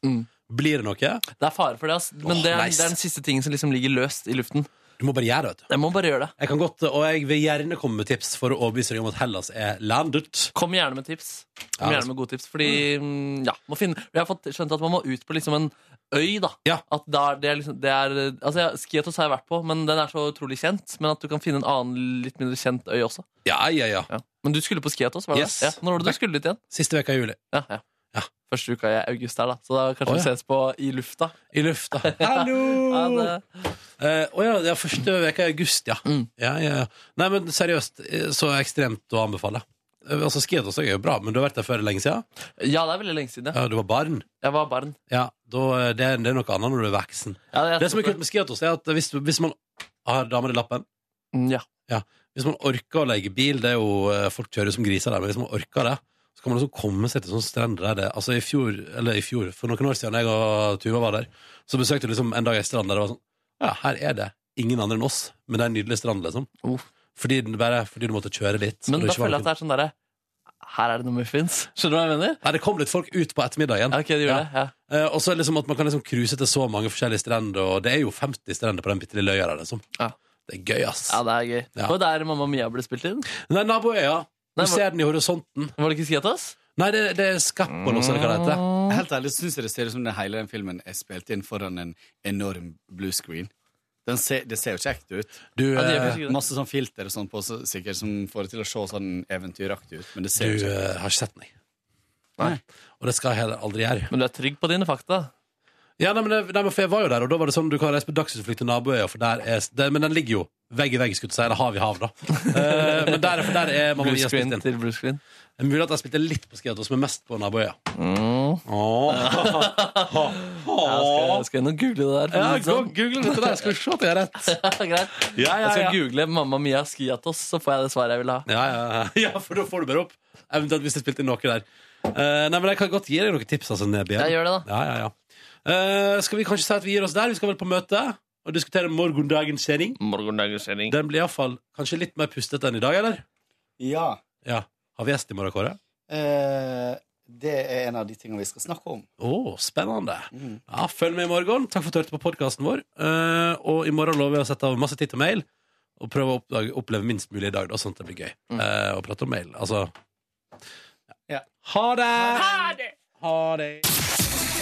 A: Blir det noe?
C: Mm. Det er fare for det, ass. Men
A: Åh,
C: det, er,
A: nice.
C: det er den siste tingen som liksom ligger løst i luften.
A: Du må bare gjøre det, vet du.
C: Jeg må bare gjøre det.
A: Jeg kan godt, og jeg vil gjerne komme med tips for å overbevise deg om at Hellas er landet.
C: Kom gjerne med tips. Kom
A: Ja, altså.
C: gjerne med gode tips Fordi mm, ja, må finne, Jeg har fått skjønt at man må ut på liksom en øy. da At da er det er liksom, det er, altså, ja, Skiatos har jeg vært på, men den er så utrolig kjent. Men at du kan finne en annen, litt mindre kjent øy også.
A: Ja, ja, ja,
C: Men du skulle på Skiatos? var det
A: Yes.
C: det? Ja, når var det
A: Back-
C: du skulle dit igjen?
A: Siste veka i juli.
C: Ja, ja. Første uka i august her, da. Så da kanskje
A: Å,
C: vi
A: ja.
C: ses på i lufta.
A: I lufta. Hallo!
C: ja, det, Mm.
A: Eh, Å ja, det er første veka i august, ja. ja, ja, ja. Nei, men seriøst, eh, så ekstremt å anbefale. Eh, Altså, Skiatos er jo bra, men du har vært der før lenge siden?
C: ja, det er veldig lenge siden.
A: Ja, du var barn?
C: Jeg var barn.
A: Ja, da, eh, det, er- det er noe annet når du er voksen.
C: Ja, jeg
A: det, som er
C: tror det.
A: kult med Skiatos, er at hvis, hvis man har damer i lappen
C: Mm, Ja.
A: Hvis man orker å leie bil, det er jo eh, folk kjører jo som griser der, men hvis man orker det, så kan man liksom komme seg til sånne strender der det Altså, i fjor, eller i fjor, for noen år siden jeg og Tuva var der, så besøkte vi liksom en dag ei strand der det var sånn Ja, her er det ingen andre enn oss, men det er en nydelig strand, liksom. Fordi, den bare, fordi du måtte kjøre dit.
C: Men da føler jeg at det er sånn derre Her er det noe muffins. Skjønner du hva jeg mener?
A: Nei, det kom litt folk ut på ettermiddagen.
C: Ja, ok, det gjorde det,
A: Eh, og så er det liksom at man kan liksom cruise til så mange forskjellige strender, og det er jo 50 strender på den bitte lille øya der, liksom. Det er gøy, ass.
C: Ja, det er gøy.
A: Ja.
C: Det var der Mamma Mia ble spilt inn.
A: Nei, naboøya. Du
C: Nei, var-
A: ser den i horisonten.
C: Var det ikke Skiatas?
A: Nei, det, det er Skappolos, eller hva det heter.
N: Helt ærlig syns jeg det ser ut som det hele den filmen er spilt inn foran en enorm blue screen. Den ser, det ser jo kjekt ut.
A: Du, Ja, det gjør eh, faktisk det.
N: masse sånn filter og sånn på, så, sikkert, som får det til å se sånn eventyraktig ut. Men det ser
A: Du
N: jo kjekt
A: eh,
N: ut.
A: har ikke sett den, jeg. Og det skal jeg heller aldri gjøre.
C: Men du er trygg på dine fakta?
A: Ja, nei, men, det- nei, men for jeg var jo der, og da var det sånn du kan reise på dagsutflukt til naboøya, for der er det, Men den ligger jo vegg i vegg, skulle jeg si, eller hav i hav, da. Eh, men der, for der er Mamma
C: Blue
A: Mia spilt
C: screen
A: inn.
C: til blue screen.
A: Det er mulig at jeg spilte litt på Skiatos, men mest på naboøya.
C: Jeg skal inn og google det der.
A: Ja, gå- google dette der, skal vi se at jeg har rett.
C: Greit.
A: Ja, ja,
C: Jeg skal
A: ja.
C: google Mamma Mia Skiatos, så får jeg det svaret jeg vil ha.
A: Ja, ja, ja. ja, for da får du bare opp. Eventuelt hvis jeg spilte inn noe der. Eh, nei, men Jeg kan godt gi deg noen tips. altså, Neby.
C: Ja, gjør det
A: Ja, ja, ja. Eh, skal vi kanskje si at vi gir oss der? Vi skal vel på møte og diskutere morgendagens sending.
C: Morgendagens sending.
A: Den blir iallfall kanskje litt mer pustete enn i dag, eller?
N: Ja.
A: Ja. Har vi gjest i morgen, Kåre?
N: Eh, det er en av de tingene vi skal snakke om. Mm.
A: Å, spennende. Ja, følg med i morgen. Takk for at du hørte på podkasten vår. Eh, og i morgen lover vi å sette av masse tid til mail, og prøve å oppdage, oppleve minst mulig i dag, da, sånn at det blir gøy.
C: Mm.
A: Eh, og prate om mail. Altså Ha det!
B: Ha det!
A: Ha det!